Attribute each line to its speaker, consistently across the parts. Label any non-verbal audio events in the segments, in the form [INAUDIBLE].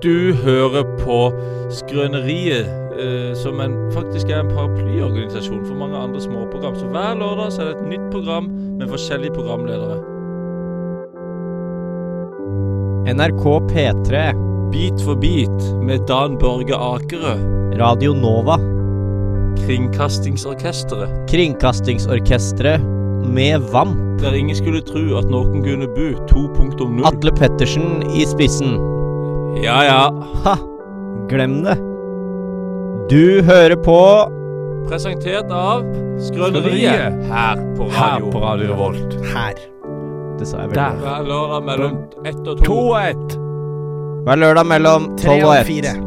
Speaker 1: Du hører på Skrøneriet, eh, som en, faktisk er en paraplyorganisasjon for mange andre småprogram. Så hver lørdag så er det et nytt program med forskjellige programledere.
Speaker 2: NRK P3,
Speaker 1: Bit for bit med Dan Børge Akerø,
Speaker 2: Radio Nova,
Speaker 1: Kringkastingsorkesteret.
Speaker 2: Kringkastingsorkestret med VAMP,
Speaker 1: Der ingen skulle tru at noen kunne bu 2.0.
Speaker 2: Atle Pettersen i spissen.
Speaker 1: Ja ja.
Speaker 2: Ha! Glem det. Du hører på
Speaker 1: Presentert av Skrøneriet her på radio.
Speaker 3: Radio Revolt.
Speaker 2: Her. Det sa jeg vel.
Speaker 3: Der.
Speaker 1: Hver lørdag mellom ett og to.
Speaker 3: og ett.
Speaker 2: Hver lørdag mellom
Speaker 4: Tre
Speaker 2: 12 og
Speaker 4: og
Speaker 2: 1.
Speaker 4: fire.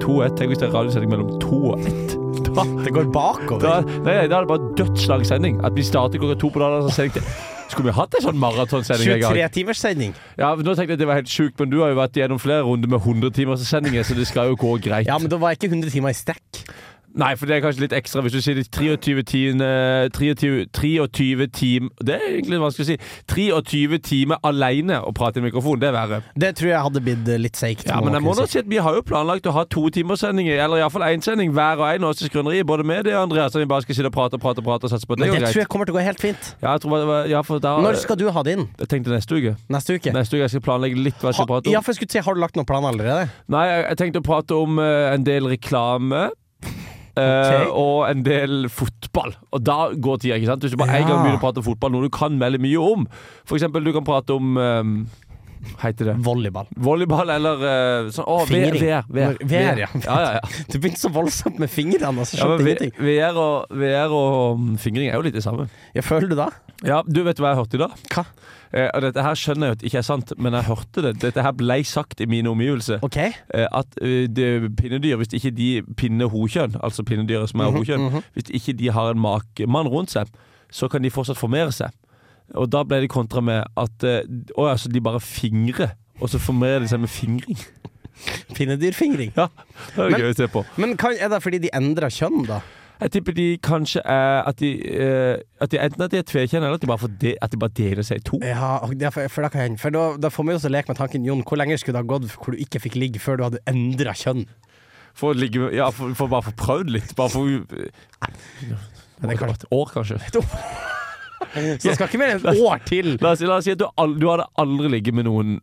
Speaker 3: To og ett. Tenk hvis det er radiosending mellom to og ett. Da,
Speaker 4: Det går bakover.
Speaker 3: da, nei, da er det bare dødslang sending. At vi starter klokka to på lørdag, så sender jeg til Skulle vi hatt en sånn maratonsending en gang?
Speaker 4: 23 timers sending.
Speaker 3: Ja, men nå tenkte jeg at det var helt sjukt, men du har jo vært gjennom flere runder med 100 timers sendinger, så det skal jo gå greit.
Speaker 4: Ja, men det var ikke 100 timer i strekk.
Speaker 3: Nei, for det er kanskje litt ekstra hvis du sier det 23 timer 23, 23 tim, Det er egentlig vanskelig å si. 23 timer aleine å prate i mikrofon, det er verre.
Speaker 4: Det tror jeg hadde blitt eh, litt seigt.
Speaker 3: Ja,
Speaker 4: må
Speaker 3: men
Speaker 4: man
Speaker 3: jeg må
Speaker 4: kunne
Speaker 3: nå
Speaker 4: si.
Speaker 3: si at vi har jo planlagt å ha to timersendinger, eller iallfall én sending hver og en av oss i Skrøneriet. Både med det og Andreas, at vi bare skal sitte og prate og prate og prate og satse på at det
Speaker 4: Men
Speaker 3: går
Speaker 4: det tror
Speaker 3: greit.
Speaker 4: jeg kommer til å gå helt fint.
Speaker 3: Ja, jeg tror bare det var, ja, for da,
Speaker 4: Når skal du ha det inn?
Speaker 3: Jeg tenkte neste uke.
Speaker 4: Neste uke?
Speaker 3: Neste uke jeg skal planlegge litt hva jeg
Speaker 4: Ha,
Speaker 3: skal prate om.
Speaker 4: ja, for jeg skulle si, har du lagt noen plan allerede?
Speaker 3: Nei, jeg, jeg tenkte å prate om eh, en del reklame. eh, og en del fotball. Og da går tida, ikke sant? Hvis du bare en
Speaker 4: Ja.
Speaker 3: gang begynner å prate om fotball, noe du kan veldig mye om. For eksempel, du kan prate om eh, Heter det
Speaker 4: Volleyball.
Speaker 3: volleyball eller eh, sånn Å, VR.
Speaker 4: Fingring.
Speaker 3: VR, VR,
Speaker 4: VR, ja.
Speaker 3: ja, ja, ja.
Speaker 4: Du begynte så voldsomt med fingrene. Altså,
Speaker 3: Ja, men
Speaker 4: skjønte
Speaker 3: vi-
Speaker 4: ingenting.
Speaker 3: VR og, VR og um, fingring er jo litt det samme.
Speaker 4: Ja, føler du da?
Speaker 3: Ja, Du vet hva jeg hørte i dag?
Speaker 4: Hva?
Speaker 3: Eh, og dette her skjønner jeg jo at ikke er sant, men jeg hørte det. Dette her blei sagt i mine omgivelser.
Speaker 4: OK?
Speaker 3: Eh, at eh, det, pinnedyr, hvis ikke de pinner hokjønn, altså pinnedyret som er hokjønn, hvis ikke de har en makemann rundt seg, så kan de fortsatt formere seg. Og da ble det kontra med at eh, Å ja, så de bare fingrer. Og så formerer de seg med fingring.
Speaker 4: Pinnedyrfingring.
Speaker 3: [LAUGHS] Ja, det er jo
Speaker 4: Men-
Speaker 3: gøy å se på.
Speaker 4: Men kan, er det fordi de endrer kjønn, da?
Speaker 3: Jeg tipper de kanskje er at de, eh, at de enten at de er tvekjønne, eller at de bare, får de, at de bare deler seg i to.
Speaker 4: Ja, og det- for, for, da kan, for da, da får vi jo også leke med tanken Jon, hvor lenge skulle det ha gått hvor du ikke fikk ligge før du hadde endra kjønn?
Speaker 3: For, å ligge, ja, for, for bare å få prøvd litt. Bare for
Speaker 4: det er klart.
Speaker 3: Et år, kanskje.
Speaker 4: Så det skal ikke mer enn et år til!
Speaker 3: La oss, si- la oss si at du, al- du hadde aldri ligget med noen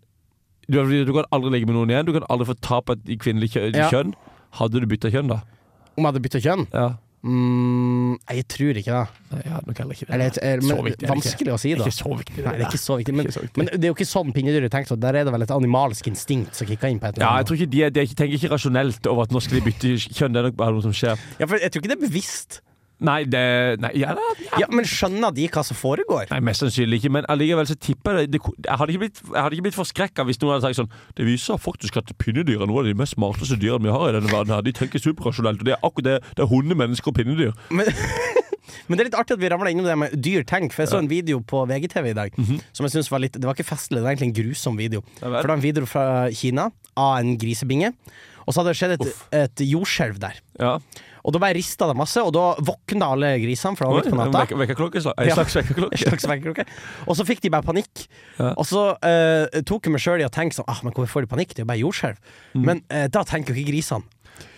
Speaker 3: du, hadde- du kan aldri ligge med noen igjen. Du kan aldri få tap av et kvinnelig kjø,
Speaker 4: Ja.
Speaker 3: kjønn. Hadde du bytta kjønn, da?
Speaker 4: Om jeg hadde bytta kjønn?
Speaker 3: Ja.
Speaker 4: Mm, jeg tror ikke det.
Speaker 3: Nei, jeg hadde nok heller ikke det.
Speaker 4: Eller, jeg-
Speaker 3: Så
Speaker 4: men,
Speaker 3: viktig er det ikke.
Speaker 4: vanskelig å si,
Speaker 3: Det
Speaker 4: da.
Speaker 3: er ikke så viktig.
Speaker 4: Nei, det er
Speaker 3: der.
Speaker 4: ikke så viktig. Men,
Speaker 3: Ikke så viktig.
Speaker 4: men det er jo ikke sånn pinnedyr er tenkt, så der er det vel et animalsk instinkt som kicker inn på
Speaker 3: Ja,
Speaker 4: et eller
Speaker 3: jeg
Speaker 4: annet.
Speaker 3: tror ikke de, er- de er ikke- tenker ikke rasjonelt over at nå skal de bytte kjønn. Det er nok bare noe som skjer.
Speaker 4: Ja, for jeg tror ikke det er bevisst.
Speaker 3: Nei, det Nei, ja, det er-
Speaker 4: Ja, Men skjønner de hva som foregår?
Speaker 3: Nei, Mest sannsynlig ikke, men allikevel så tipper jeg det, det Jeg hadde ikke blitt, jeg hadde ikke blitt forskrekka hvis noen hadde sagt sånn Det viser faktisk at pinnedyr er noen av de mest smarteste dyrene vi har i denne verden. her De tenker superrasjonelt. Og det er akkurat det. Det er hunder, mennesker og pinnedyr.
Speaker 4: Men, men det er litt artig at vi ramla innom det med dyr tenk, for jeg så en video på VGTV i dag som jeg synes var litt Det var ikke festlig, det var egentlig en grusom video.
Speaker 3: Mhm. Ja
Speaker 4: For
Speaker 3: vel.
Speaker 4: det var en video fra Kina av en grisebinge, og så hadde det skjedd et, et jordskjelv der.
Speaker 3: Ja.
Speaker 4: Og da bare rista det masse, og da våkna alle grisene, for det var midt på natta.
Speaker 3: Vek- Vekkerklokke? sla-
Speaker 4: Ja.
Speaker 3: En slags
Speaker 4: En
Speaker 3: vekkerklokke?
Speaker 4: [LAUGHS] slags vekkerklokke. Og så fikk de bare panikk.
Speaker 3: Ja.
Speaker 4: Og så eh, tok jeg meg sjøl i å tenke sånn ah, Men hvorfor får de panikk? Det er jo bare jordskjelv.
Speaker 3: Mm.
Speaker 4: Men eh, da tenker jo ikke grisene.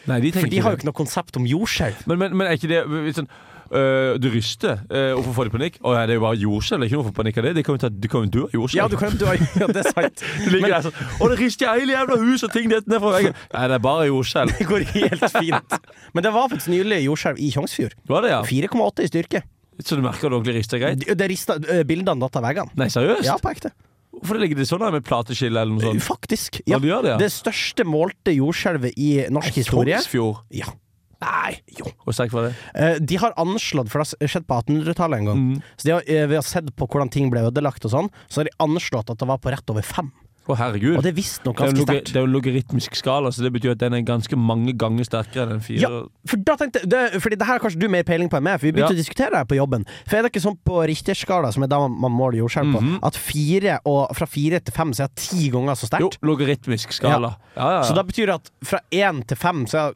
Speaker 3: Nei, de
Speaker 4: For de har jo
Speaker 3: det.
Speaker 4: ikke noe konsept om jordskjelv.
Speaker 3: Men, men, men er ikke det litt sånn øh, Du ryster. øh, hvorfor får de panikk? Å ja, det er jo bare jordskjelv. Det er ikke noe for panikk av det. De kan jo ta, de kan jo dø av jordskjelv.
Speaker 4: Ja, du kan, du har, ja, det er
Speaker 3: [LAUGHS]
Speaker 4: sant.
Speaker 3: Det [LAUGHS] ligger der sånn Å, det rister i hele jævla huset, og ting detter ned fra veggen. Nei, det er bare jordskjelv.
Speaker 4: Det går helt [LAUGHS] fint. Men det var faktisk nylig jordskjelv i Tjongsfjord.
Speaker 3: Det var det, ja.
Speaker 4: 4,8 i styrke.
Speaker 3: Så du merker at det ordentlig rister greit?
Speaker 4: Det det rista eh, bildene datt av veggene.
Speaker 3: Nei, seriøst?
Speaker 4: Ja, på ekte.
Speaker 3: Hvorfor ligger det sånn her med plateskille eller noe sånt?
Speaker 4: Faktisk.
Speaker 3: Sånn. Ja,
Speaker 4: Ja.
Speaker 3: du gjør det, ja.
Speaker 4: Det største målte jordskjelvet i norsk historie.
Speaker 3: Tjongsfjord.
Speaker 4: Ja.
Speaker 3: Nei! Jo. Og sterk var det.
Speaker 4: Eh, De har anslått, for det har skjedd på 1800-tallet en gang
Speaker 3: Mm.
Speaker 4: Så de har, eh, Vi har sett på hvordan ting ble ødelagt og sånn, så har de anslått at det var på rett over fem.
Speaker 3: Å, herregud.
Speaker 4: Og det er visstnok
Speaker 3: Det er jo
Speaker 4: ganske
Speaker 3: en logi-
Speaker 4: sterkt.
Speaker 3: det er jo en logaritmisk skala, så det betyr at den er ganske mange ganger sterkere enn en fire.
Speaker 4: Ja, for da tenkte jeg det, Fordi det her har kanskje du mer peiling på enn meg, for vi
Speaker 3: Ja.
Speaker 4: begynte å diskutere det her på jobben. For er det ikke sånn på Richterskala, som er da man- man måler jordskjelv på, at fire og, fra fire til fem så er det ti ganger så
Speaker 3: Jo,
Speaker 4: sterkt?
Speaker 3: logaritmisk skala. Ja, ja, ja.
Speaker 4: Så da betyr det at fra én til fem så er det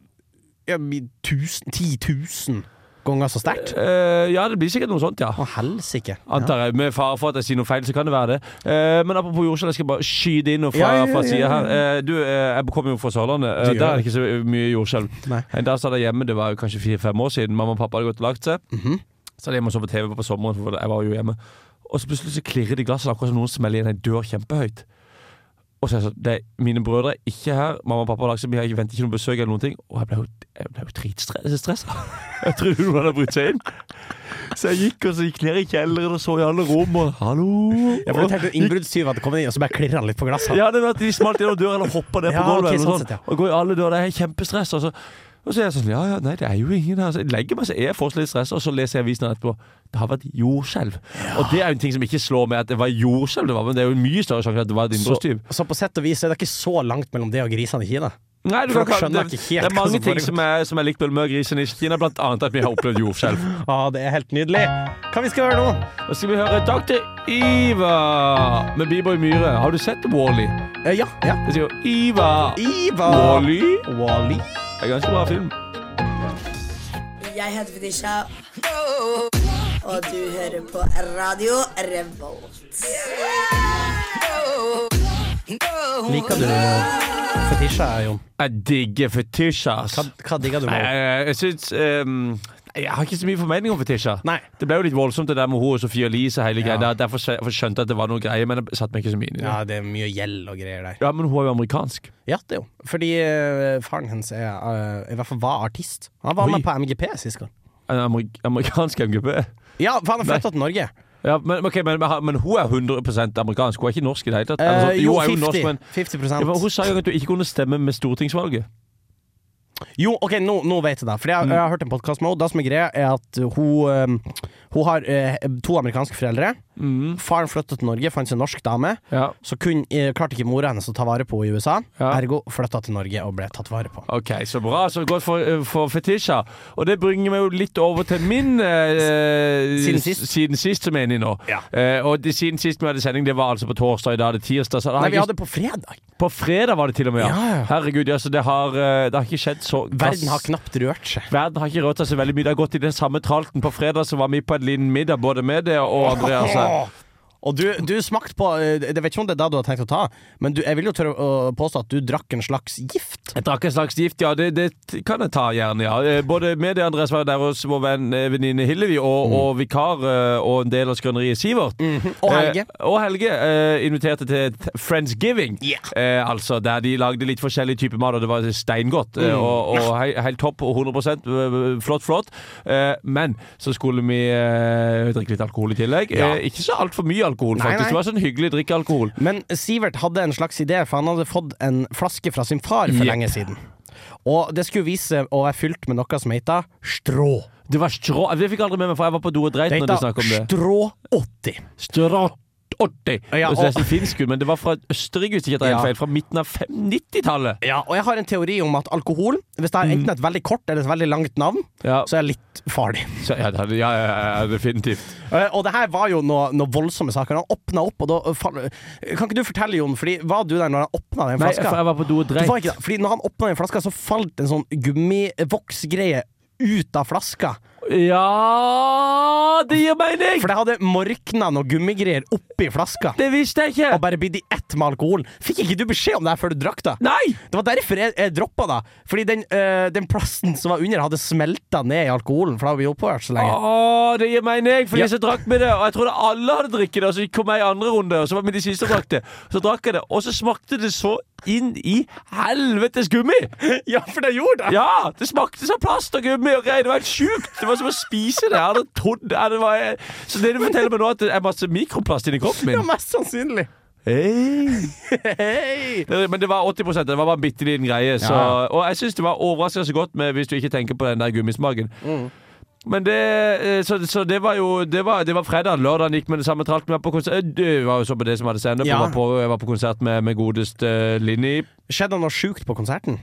Speaker 4: ja, mi- tusen- ti tusen ganger så sterkt?
Speaker 3: Eh, ja, det blir sikkert noe sånt, ja.
Speaker 4: Å helsike. Eh, Ja.
Speaker 3: Antar jeg. Med fare for at jeg sier noe feil, så kan det være det. Eh, men apropos jordskjelv, jeg skal bare skyte inn noe fra,
Speaker 4: Ja, ja, ja,
Speaker 3: fra
Speaker 4: ja,
Speaker 3: sida
Speaker 4: ja.
Speaker 3: her. Eh, du, eh, jeg kommer jo fra Sørlandet. Eh,
Speaker 4: Du gjør
Speaker 3: der er det ikke så mye jordskjelv.
Speaker 4: Nei.
Speaker 3: En dag satt jeg hjemme, det var jo kanskje fire-fem år siden. Mamma og pappa hadde gått og lagt seg.
Speaker 4: Mhm.
Speaker 3: Så hadde jeg hjemme og så på TV på sommeren, for jeg var jo hjemme. Og så plutselig så klirrer det i glasset, akkurat som noen smeller igjen ei dør kjempehøyt. Og så er jeg sånn det, Mine brødre er ikke her. Mamma og pappa har lagt seg, vi har ikke ventet ikke noe besøk eller noen ting. Og jeg ble jo, jeg ble jo dritstressa. [LAUGHS] Jeg tror noen hadde brutt seg inn. Så jeg gikk og så gikk ned i kjelleren og så i alle rom og Hallo!
Speaker 4: Ja, for du tenkte innbruddstyv hadde kommet inn, og så bare klirra han litt på glasset.
Speaker 3: Ja, det var at de smalt gjennom døra eller hoppa ned på
Speaker 4: Ja,
Speaker 3: gulvet.
Speaker 4: ok,
Speaker 3: eller
Speaker 4: sånn
Speaker 3: noe sånt.
Speaker 4: sett, ja.
Speaker 3: Og går i alle dører. Jeg er kjempestressa. Og så, og så er jeg sånn Ja, ja, nei, det er jo ingen her. Så jeg legger meg, så er jeg fortsatt litt stressa, og så leser jeg avisen etterpå. Det har vært jordskjelv. Og det er jo en ting som ikke slår meg at det var jordskjelv, det var, men det er jo en mye større sjanse at det var et
Speaker 4: Så,
Speaker 3: innbruddstyv.
Speaker 4: så på sett og vis er det ikke så langt mellom det og grisene i Kina.
Speaker 3: Nei, du
Speaker 4: For
Speaker 3: kan, kan-
Speaker 4: dere skjønner
Speaker 3: det,
Speaker 4: ikke
Speaker 3: det
Speaker 4: helt
Speaker 3: er mange
Speaker 4: hva som
Speaker 3: ting
Speaker 4: foregår.
Speaker 3: som er, som er likt mellom meg og grisen i Kina, blant annet at vi har opplevd jordskjelv.
Speaker 4: Ja, Ah, det er helt nydelig. Hva vi skal gjøre nå?
Speaker 3: Nå skal vi høre Dr. Iva med B-boy Myhre. Har du sett Wally?
Speaker 4: Eh, ja, ja.
Speaker 3: Det sier jo Iva.
Speaker 4: Iva.
Speaker 3: Wally.
Speaker 4: Wally.
Speaker 3: Det er ganske bra film.
Speaker 5: Jeg heter Fetisha, og du hører på Radio Revolt.
Speaker 4: Liker du fetisja, Jon?
Speaker 3: Jeg digger fetisjas.
Speaker 4: Hva, hva digger du
Speaker 3: Nei,
Speaker 4: med?
Speaker 3: jeg, jeg syns ehm, nei, Jeg har ikke så mye formening om fetisjer.
Speaker 4: Nei.
Speaker 3: Det ble jo litt voldsomt det der med hun og Sophie Elise og hele
Speaker 4: Ja.
Speaker 3: greia. der. Derfor skjø- jeg skjønte jeg at det var noe greier, men jeg satte meg ikke så mye inn i det.
Speaker 4: Ja, det er mye gjeld og greier der.
Speaker 3: Ja, men hun er jo amerikansk.
Speaker 4: Ja, det er jo. Fordi eh, faren hennes er, eh, i hvert fall var artist. Han var
Speaker 3: Oi.
Speaker 4: med på MGP sist gang.
Speaker 3: En amer amerikansk MGP.
Speaker 4: Ja, for han er flytta til Norge.
Speaker 3: Ja, men, ok, men, men, men hun er 100 amerikansk. Hun er ikke norsk i det hele tatt.
Speaker 4: Eh,
Speaker 3: Eller så-
Speaker 4: jo,
Speaker 3: hun er
Speaker 4: 50,
Speaker 3: norsk, men ja, men
Speaker 4: 50
Speaker 3: hun sa jo at du ikke kunne stemme med stortingsvalget.
Speaker 4: Jo, ok, nå, nå vet jeg det. For jeg, jeg har hørt en podkast med henne. Det som er greia, er at hun, eh, hun har eh, to amerikanske foreldre. Faren flytta til Norge, fant seg en norsk dame.
Speaker 3: Ja,
Speaker 4: Så kun, eh, klarte ikke mora hennes å ta vare på henne i USA.
Speaker 3: Ja.
Speaker 4: Ergo flytta til Norge og ble tatt vare på.
Speaker 3: Ok, så bra. Så godt for, eh, for fetisja. Og det bringer meg jo litt over til min eh,
Speaker 4: Siden sist.
Speaker 3: siden sist, som jeg er inne i nå.
Speaker 4: Ja.
Speaker 3: Eh, og det, siden sist vi hadde sending, det var altså på torsdag. I dag er det tirsdag. Så det har
Speaker 4: Nei, vi
Speaker 3: ikke,
Speaker 4: hadde på fredag.
Speaker 3: På fredag var det til og med, ja.
Speaker 4: Ja, ja.
Speaker 3: Herregud, ja, så det har, eh, det har ikke skjedd så
Speaker 4: Verden har knapt rørt seg.
Speaker 3: Verden har ikke rørt seg så veldig mye. Det har gått i den samme tralten. På fredag så var vi på en liten middag, både med det og Andreas. her.
Speaker 4: Og du, du smakte på eh, Jeg vet ikke om det er det du har tenkt å ta, men du, jeg vil jo tørre å påstå at du drakk en slags gift.
Speaker 3: Jeg drakk en slags gift, ja. Det, det kan jeg ta gjerne, ja. Eh, Både med det Andreas var jo der hos vår venn eh, venninne Hillevi, og, og vikar eh, og en del av skrøneriet Sivert.
Speaker 4: Mm. Mm-hmm. Og Helge.
Speaker 3: Eh, og Helge eh, inviterte til t- Friendsgiving.
Speaker 4: Ja.
Speaker 3: Eh, altså Der de lagde litt forskjellig type mat, og det var steingodt.
Speaker 4: Mm.
Speaker 3: Eh, og og hei, helt topp og 100 eh, flott, flott. Eh, men så skulle vi eh, drikke litt alkohol i tillegg.
Speaker 4: Ja.
Speaker 3: Eh, ikke så altfor mye alkohol,
Speaker 4: Nei,
Speaker 3: faktisk.
Speaker 4: nei.
Speaker 3: Det var sånn hyggelig drikkealkohol.
Speaker 4: Men Sivert hadde en slags idé, for han hadde fått en flaske fra sin far for
Speaker 3: Jepp.
Speaker 4: lenge siden. Og det skulle vise seg å være fylt med noe som heter strå.
Speaker 3: Det var strå... Det fikk jeg aldri med meg, for jeg var på do og dreit
Speaker 4: Det
Speaker 3: når de
Speaker 4: heter
Speaker 3: snakket om det.
Speaker 4: strå 80.
Speaker 3: Strått. 80.
Speaker 4: Ja,
Speaker 3: og så
Speaker 4: og-
Speaker 3: er det finsk ut, men det var fra Østerrike, hvis ikke jeg tar helt
Speaker 4: Ja.
Speaker 3: feil. Fra midten av fem- 90-tallet.
Speaker 4: Ja, og jeg har en teori om at alkohol, hvis det har enten et veldig kort eller et veldig langt navn,
Speaker 3: Ja.
Speaker 4: så er det litt farlig.
Speaker 3: Så, ja, det- ja, ja, ja, definitivt.
Speaker 4: Eh, Og det her var jo noen noe voldsomme saker. Han åpna opp, og da eh, fall- Kan ikke du fortelle, Jon, fordi var du der når han åpna den
Speaker 3: Nei,
Speaker 4: flaska?
Speaker 3: for jeg var på do og
Speaker 4: Du
Speaker 3: dreit.
Speaker 4: var ikke der. Fordi når han åpna den flaska, så falt en sånn gummivoksgreie ut av flaska.
Speaker 3: Ja Det gir mening!
Speaker 4: For det hadde morkna noe gummigreier oppi flaska.
Speaker 3: Det visste jeg
Speaker 4: Og
Speaker 3: ikke!
Speaker 4: bare blitt i ett med alkoholen. Fikk ikke du beskjed om det her før du drakk det?
Speaker 3: Nei!
Speaker 4: Det var derfor jeg, jeg droppa det. Fordi den, eh, den plasten som var under, hadde smelta ned i alkoholen. For det hadde vi opphørt så
Speaker 3: Ah.
Speaker 4: lenge.
Speaker 3: Å, det gir mening, for
Speaker 4: Ja.
Speaker 3: de som drakk med det. Og jeg trodde alle hadde drukket det, og så kom jeg i andre runde, og så var vi de siste som drakk det. Så drakk jeg det, og så smakte det så inn i helvetes gummi!
Speaker 4: Ja, for det gjorde det!
Speaker 3: Ja! Det smakte som plast og gummi og greier. Det var helt sjukt. Det var som å spise det. Jeg hadde trodd ja, det var, Så det du forteller meg nå, er at det er masse mikroplast inni kroppen
Speaker 4: Ja,
Speaker 3: min?
Speaker 4: mest sannsynlig. [LAUGHS]
Speaker 3: Hey.
Speaker 4: Hei!
Speaker 3: Det- Men det var 80 Det var bare en bitte liten greie. Så,
Speaker 4: Ja.
Speaker 3: og jeg syns det var overraskende så godt med, hvis du ikke tenker på den der gummismaken.
Speaker 4: Mm.
Speaker 3: Men det, eh, så, så det var jo Det var, det var fredag. Lørdagen gikk med det samme tralten. Vi var på konsert Du var jo så på det som hadde standup.
Speaker 4: Ja.
Speaker 3: Jeg var på- Jeg var på konsert med, med godeste eh, Linni.
Speaker 4: Skjedde det noe sjukt på konserten?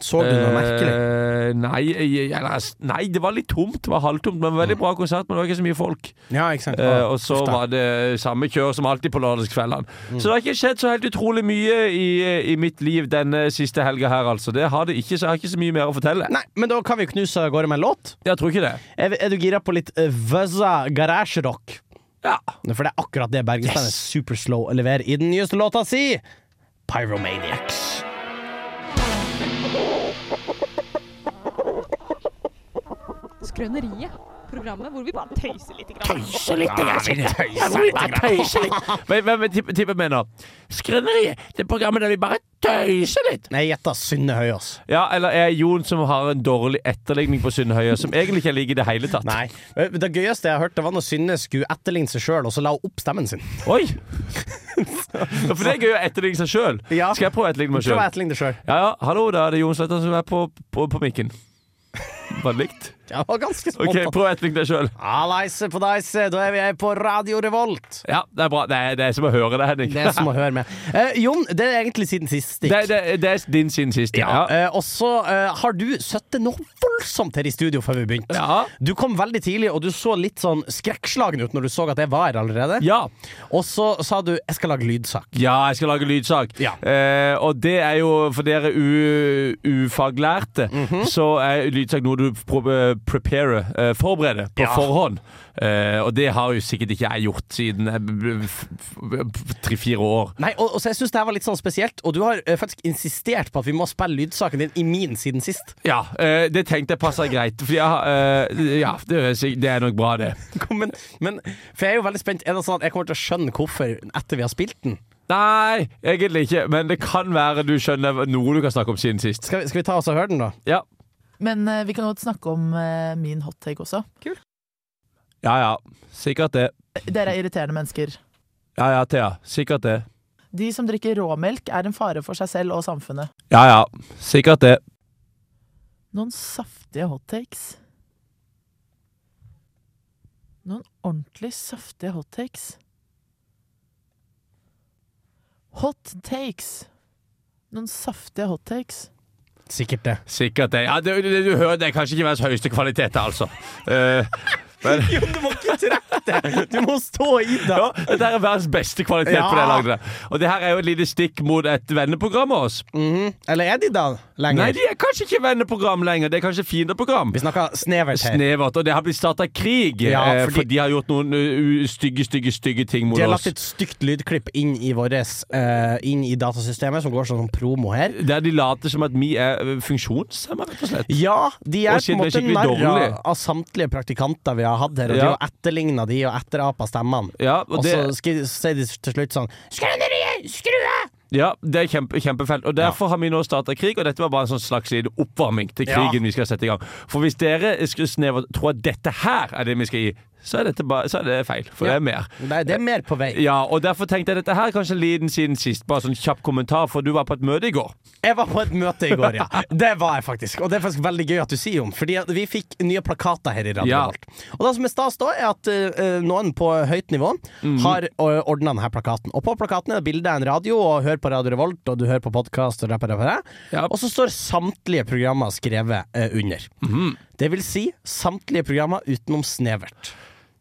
Speaker 4: Så du noe merkelig?
Speaker 3: Eh, nei, jeg- jeg- nei, nei, det var litt tomt. Det var halvtomt, men veldig bra konsert. Men det var ikke så mye folk.
Speaker 4: Ja, ikke sant?
Speaker 3: Eh, og så
Speaker 4: Uff da.
Speaker 3: var det samme kjør som alltid på lørdagskveldene. Så det har ikke skjedd så helt utrolig mye i, i mitt liv denne siste helga her, altså. Det har det ikke, så jeg har ikke så mye mer å fortelle.
Speaker 4: Nei, men da kan vi knuse av gårde med en låt.
Speaker 3: Jeg tror ikke det.
Speaker 4: Er, er du gira på litt eh, Vøzza garasjerock?
Speaker 3: Ja.
Speaker 4: For det er akkurat det Bergensbandet Superslow leverer i den nyeste låta si, Pyromaniacs.
Speaker 6: Skrøneriet. Programmet hvor vi bare tøyser litt. Grann.
Speaker 3: Tøyse litt. Men, men, men tipper tipper mener Skrøneriet. Det programmet der vi bare tøyser litt.
Speaker 4: Nei, gjetta Synne Høyås.
Speaker 3: Ja, eller er Jon som har en dårlig etterligning på Sundhøya, som egentlig ikke liker i det hele tatt?
Speaker 4: Nei. Eh, Det gøyeste jeg har hørt, det var når Synne skulle etterligne seg sjøl, og så la hun opp stemmen sin. [LAUGHS]
Speaker 3: Oi! Ja, for det er gøy å etterligne seg sjøl.
Speaker 4: Ja.
Speaker 3: Skal jeg prøve å etterligne meg
Speaker 4: Prøv
Speaker 3: sjøl?
Speaker 4: å etterligne det sjøl.
Speaker 3: Ja, ja. Hallo, da er det Jon Sletter som er på, på, på mikken. Var det likt?
Speaker 4: Det var ganske
Speaker 3: OK,
Speaker 4: spontant.
Speaker 3: prøv å etterligne deg sjøl.
Speaker 4: Alleise på deise, da er vi her på Radio Revolt.
Speaker 3: Ja, det er bra. Det er, det er som å høre det, Henning.
Speaker 4: Det
Speaker 3: [LAUGHS]
Speaker 4: er som å høre med. Eh, Jon, det er egentlig siden sist. stikk.
Speaker 3: det, det, det er din sin siste.
Speaker 4: Ja.
Speaker 3: Ja.
Speaker 4: Eh, og så eh, har du sittet noe voldsomt her i studio før vi begynte.
Speaker 3: Ja.
Speaker 4: Du kom veldig tidlig, og du så litt sånn skrekkslagen ut når du så at jeg var her allerede.
Speaker 3: ja.
Speaker 4: Og så sa du 'jeg skal lage lydsak'.
Speaker 3: Ja, jeg skal lage lydsak.
Speaker 4: Ja.
Speaker 3: Eh, og det er jo for dere u, ufaglærte, så er lydsak noe du pro- preparer, eh, forbereder på
Speaker 4: Ja.
Speaker 3: forhånd. Eh, og det har jo sikkert ikke jeg gjort siden jeg ble- f- f- tre-fire år.
Speaker 4: Nei, og, og så jeg syns det her var litt sånn spesielt, og du har eh, faktisk insistert på at vi må spille lydsaken din i min siden sist. [LAUGHS]
Speaker 3: Ja, eh, det tenkte jeg passer greit. For jeg, har, eh, ja, det, er sikk- det er nok bra, det.
Speaker 4: Men, men For jeg er jo veldig spent. Er det sånn at jeg kommer til å skjønne hvorfor etter vi har spilt den?
Speaker 3: Nei, egentlig ikke. Men det kan være du skjønner noe du kan snakke om siden sist.
Speaker 4: Skal vi, skal vi ta oss og høre den, da?
Speaker 3: Ja,
Speaker 7: Men eh, vi kan godt snakke om eh, min hot take også.
Speaker 3: ja. ja. Sikkert det.
Speaker 7: Dere er irriterende mennesker.
Speaker 3: Ja ja, Thea. Sikkert det.
Speaker 7: De som drikker råmelk, er en fare for seg selv og samfunnet.
Speaker 3: Ja ja. Sikkert det.
Speaker 7: Noen saftige hot takes. Noen ordentlig saftige hot takes. Hot takes. Noen saftige hot takes.
Speaker 4: Sikkert det.
Speaker 3: Sikkert det. Ja, det, det du hører, det er kanskje ikke verdens høyeste kvalitet, altså. Eh,
Speaker 4: [LAUGHS] Jo, du må ikke trekke det! Du må stå i det!
Speaker 3: [LAUGHS] ja, dette er verdens beste kvalitet på det jeg
Speaker 4: Ja.
Speaker 3: lagde. Og det her er jo et lite stikk mot et venneprogram av oss.
Speaker 4: Mhm. Eller er de da lenger?
Speaker 3: Nei, de er kanskje ikke venneprogram lenger. Det er kanskje fiendeprogram.
Speaker 4: Vi snakker snevert her.
Speaker 3: Snevert, og det har blitt starta krig,
Speaker 4: Ja,
Speaker 3: eh,
Speaker 4: fordi-
Speaker 3: for de har gjort noen uh, uh, stygge, stygge stygge ting mot
Speaker 4: De har
Speaker 3: oss.
Speaker 4: lagt et stygt lydklipp inn i våres eh, Inn i datasystemet, som går sånn som promo her.
Speaker 3: Der de later som at vi er eh, funksjonshemma, rett og slett.
Speaker 4: Ja, de er
Speaker 3: Og
Speaker 4: på
Speaker 3: shit, det er
Speaker 4: en måte
Speaker 3: skikkelig dårlig.
Speaker 4: narra av samtlige praktikanter vi har hatt her, og de
Speaker 3: Ja.
Speaker 4: har etterligna de og etterapa stemmene.
Speaker 3: Ja, og
Speaker 4: Og
Speaker 3: det,
Speaker 4: så skri- sier de til slutt sånn Skrøneriet! Skru av!
Speaker 3: ja, det er kjempe, kjempefelt. Og derfor har vi nå starta krig, og dette var bare en sånn slags liten oppvarming til
Speaker 4: Ja.
Speaker 3: krigen vi skal sette i gang. For hvis dere skru snevert tror at dette her er det vi skal gi, så er, dette bare, så er det feil. For
Speaker 4: Ja.
Speaker 3: det er mer.
Speaker 4: Nei, det er mer på vei.
Speaker 3: Ja, og derfor tenkte jeg dette her kanskje liden siden sist. Bare sånn kjapp kommentar, for du var på et møte i går.
Speaker 4: Jeg var på et møte i
Speaker 3: [LAUGHS]
Speaker 4: går, ja. Det var jeg faktisk. Og det er faktisk veldig gøy at du sier om, fordi at vi fikk nye plakater her i Radio
Speaker 3: Ja.
Speaker 4: Revolt. Og det som er stas da, er at eh, noen på høyt nivå
Speaker 3: Mhm.
Speaker 4: har uh, ordna denne plakaten. Og på plakaten er det bilde av en radio, og hør på Radio Revolt, og du hører på podkast, og rapp, rapp, rapp.
Speaker 3: Ja.
Speaker 4: Og så står samtlige programmer skrevet eh, under.
Speaker 3: Mhm.
Speaker 4: Det vil si samtlige programmer utenom Snevert.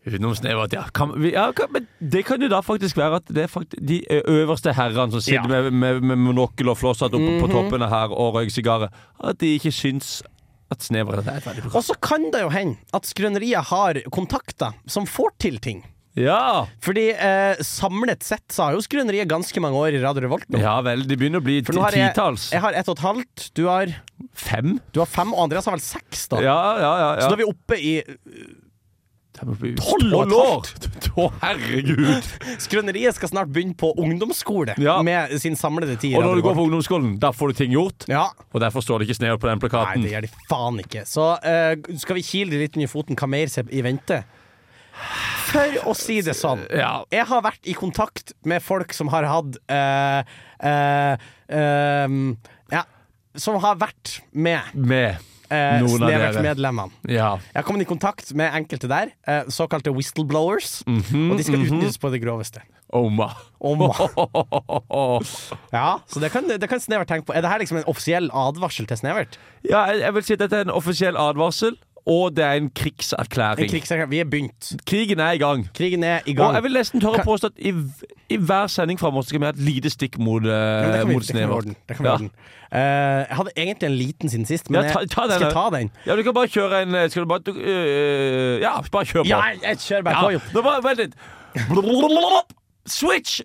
Speaker 3: Utenom snevert, ja. Kan, vi- ja kan, men det kan jo da faktisk være at det er fakt de øverste herrene som sitter med, med, med monokkel og flosshatt oppe på toppene her og røyker sigarer, at de ikke syns at snevert er et veldig bra
Speaker 4: Og så kan det jo hende at Skrøneriet har kontakter som får til ting.
Speaker 3: Ja!
Speaker 4: Fordi eh, samlet sett så har jo Skrøneriet ganske mange år i Radio Revolt nå.
Speaker 3: ja vel, de begynner å bli
Speaker 4: For nå har jeg,
Speaker 3: titalls.
Speaker 4: jeg har ett og et halvt, du har,
Speaker 3: Fem?
Speaker 4: du har fem, og Andreas har vel seks, da.
Speaker 3: Ja, ja, ja.
Speaker 4: Så
Speaker 3: ja.
Speaker 4: da er vi oppe i
Speaker 3: Tolv
Speaker 4: og et
Speaker 3: år! [LAUGHS] Å,
Speaker 4: [LAUGHS]
Speaker 3: herregud!
Speaker 4: Skrøneriet skal snart begynne på ungdomsskole
Speaker 3: Ja.
Speaker 4: med sin samlede tid. i
Speaker 3: Og når
Speaker 4: Radio
Speaker 3: du går
Speaker 4: Revolt.
Speaker 3: på ungdomsskolen, da får du ting gjort.
Speaker 4: ja.
Speaker 3: Og derfor står det ikke snevert på den
Speaker 4: Nei,
Speaker 3: plakaten.
Speaker 4: det gjør de faen ikke. Så eh, skal vi kile litt under foten hva mer som er i vente? For å si det sånn.
Speaker 3: Ja.
Speaker 4: Jeg har vært i kontakt med folk som har hatt eh, eh, eh, Ja, som har vært med
Speaker 3: Med.
Speaker 4: eh, eh,
Speaker 3: Noen av dere.
Speaker 4: Snevertmedlemmene.
Speaker 3: Ja.
Speaker 4: Jeg har kommet i kontakt med enkelte der, eh, såkalte whistleblowers,
Speaker 3: Mhm,
Speaker 4: og de skal utnyttes på det groveste.
Speaker 3: Oma. [LAUGHS]
Speaker 4: Om- ja, så det kan, det kan Snevert tenke på. Er det her liksom en offisiell advarsel til Snevert?
Speaker 3: Ja, jeg, jeg vil si at dette er en offisiell advarsel, og det er en
Speaker 4: En
Speaker 3: krigserklæring.
Speaker 4: krigserklæring? Vi er begynt.
Speaker 3: Krigen er i gang.
Speaker 4: Krigen er i
Speaker 3: Og
Speaker 4: gang.
Speaker 3: jeg vil nesten tørre
Speaker 4: Kan-
Speaker 3: å påstå at i, v- i hver sending framover skal vi ha et lite stikk mot,
Speaker 4: Ja, men
Speaker 3: uh,
Speaker 4: det kan vi-
Speaker 3: mot
Speaker 4: det kan vi
Speaker 3: Snevert.
Speaker 4: ordne. Det kan vi
Speaker 3: Ja.
Speaker 4: ordne. Eh, jeg hadde egentlig en liten siden sist, men
Speaker 3: Ja, ta-
Speaker 4: jeg-
Speaker 3: ta den,
Speaker 4: skal jeg
Speaker 3: da.
Speaker 4: ta den?
Speaker 3: Ja, du kan bare kjøre en eh, Skal du bare du, eh, Ja, bare kjør på.
Speaker 4: Ja, jeg, jeg kjører bare på, jo.
Speaker 3: Ja, Nå bare vent litt. Switch!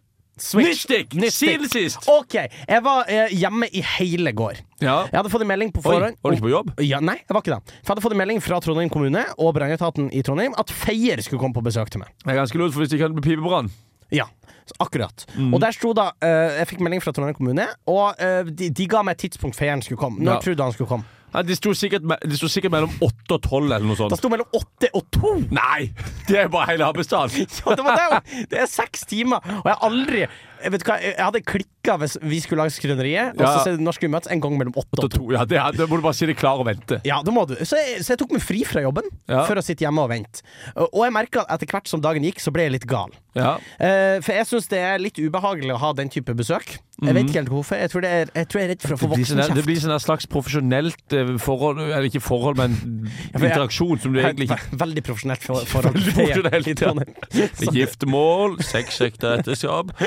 Speaker 3: Nytt stikk!
Speaker 4: Nytt stikk.
Speaker 3: Siden sist.
Speaker 4: OK. Jeg var eh, hjemme i hele går.
Speaker 3: Ja.
Speaker 4: Jeg hadde fått en melding på
Speaker 3: Oi,
Speaker 4: forhånd
Speaker 3: var du ikke på jobb?
Speaker 4: Ja, nei, jeg var ikke det. For jeg hadde fått en melding fra Trondheim kommune og brannetaten i Trondheim at Feier skulle komme på besøk til meg.
Speaker 3: Det er ganske lurt, for hvis det ikke hadde blitt pipebrann
Speaker 4: Ja, så akkurat.
Speaker 3: Mm.
Speaker 4: Og der sto da eh, Jeg fikk melding fra Trondheim kommune, og eh, de, de ga meg et tidspunkt Feieren skulle komme. Når
Speaker 3: Ja.
Speaker 4: trodde han skulle komme?
Speaker 3: Nei, De sto sikkert, me- de sto sikkert mellom åtte og tolv eller noe
Speaker 4: Da
Speaker 3: sånt.
Speaker 4: sto mellom åtte og to! [LAUGHS]
Speaker 3: Nei! Det er bare hele Habbestad.
Speaker 4: Ja, det, var det. det er seks timer, og jeg har aldri jeg vet hva, jeg hadde klikka hvis vi skulle lage Skrøneriet, og
Speaker 3: Ja.
Speaker 4: så sier det, når skulle vi møtes en gang mellom åtte og to.
Speaker 3: Ja, det, er- det må du bare si det klar og vente.
Speaker 4: Ja, det må du. Så jeg, så jeg tok meg fri fra jobben
Speaker 3: Ja.
Speaker 4: for å sitte hjemme og vente. Og og jeg merka at etter hvert som dagen gikk, så ble jeg litt gal.
Speaker 3: Ja.
Speaker 4: Eh, for jeg syns det er litt ubehagelig å ha den type besøk. Jeg vet ikke helt hvorfor. Jeg tror, det er, jeg tror jeg er redd for å få
Speaker 3: Det Mhm. blir sånn der- det
Speaker 4: voksenkjeft.
Speaker 3: blir sånn der slags profesjonelt eh, forhold Eller ikke forhold, men
Speaker 4: for jeg-
Speaker 3: interaksjon som du egentlig ikke
Speaker 4: Ve- Veldig profesjonelt
Speaker 3: [LAUGHS]
Speaker 4: for, forhold.
Speaker 3: Veldig profesjonelt,
Speaker 4: I
Speaker 3: [LAUGHS]
Speaker 4: Trondheim. Så-
Speaker 3: Giftermål, sex etter ekteskap. [LAUGHS]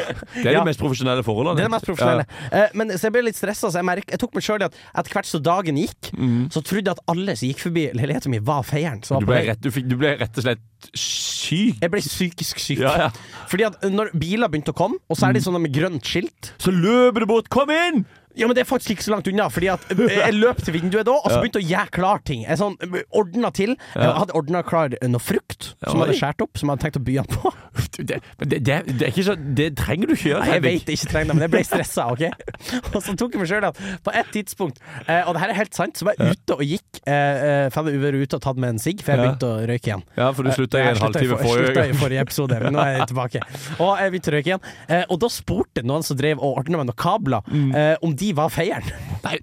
Speaker 3: Det er
Speaker 4: Ja.
Speaker 3: de mest profesjonelle forholdene.
Speaker 4: Det er det mest profesjonelle. Eh, men, så jeg ble litt stressa, så jeg, merk- jeg tok meg sjøl i at etter hvert som dagen gikk, så trodde jeg at alle som gikk forbi leiligheten min, var feieren. som var
Speaker 3: Mhm. Du
Speaker 4: på
Speaker 3: ble,
Speaker 4: vei.
Speaker 3: rett, du, fikk, du ble rett og slett syk.
Speaker 4: Jeg ble psykisk syk.
Speaker 3: Ja, Mhm. ja.
Speaker 4: Fordi at når biler begynte å komme, og så er sånn de sånne med grønt skilt
Speaker 3: Så løper du bort. Kom inn!
Speaker 4: Ja, men det er faktisk ikke så langt unna, fordi at eh, jeg løp til vinduet da, og så begynte jeg å gjøre klar ting. Jeg sånn, eh, ordna til. Jeg hadde ordna klar eh, noe frukt
Speaker 3: Oi.
Speaker 4: som jeg hadde skåret opp, som jeg hadde tenkt å by
Speaker 3: [LAUGHS]
Speaker 4: han på.
Speaker 3: Du, Det, men det, det, det er ikke så Det trenger du ikke gjøre.
Speaker 4: Nei, jeg
Speaker 3: Henrik.
Speaker 4: vet det ikke trenger det, men jeg ble stressa, OK? [LAUGHS] Og så tok jeg meg sjøl at på et tidspunkt, eh, og det her er helt sant, så var jeg ute og gikk, eh, eh, for jeg hadde vært ute og tatt meg en sigg, for jeg
Speaker 3: Ja.
Speaker 4: begynte å røyke igjen.
Speaker 3: Ja, for du slutta i
Speaker 4: Jeg
Speaker 3: en
Speaker 4: slutta
Speaker 3: halvtime
Speaker 4: for-
Speaker 3: forrige
Speaker 4: slutta i
Speaker 3: gang.
Speaker 4: forrige episode, men nå er jeg tilbake. Og jeg begynte å røyke igjen. Eh, Og da spurte noen som drev og ordna med noen kabler,
Speaker 3: Mm.
Speaker 4: eh, om de var feieren. [LAUGHS]
Speaker 3: Nei.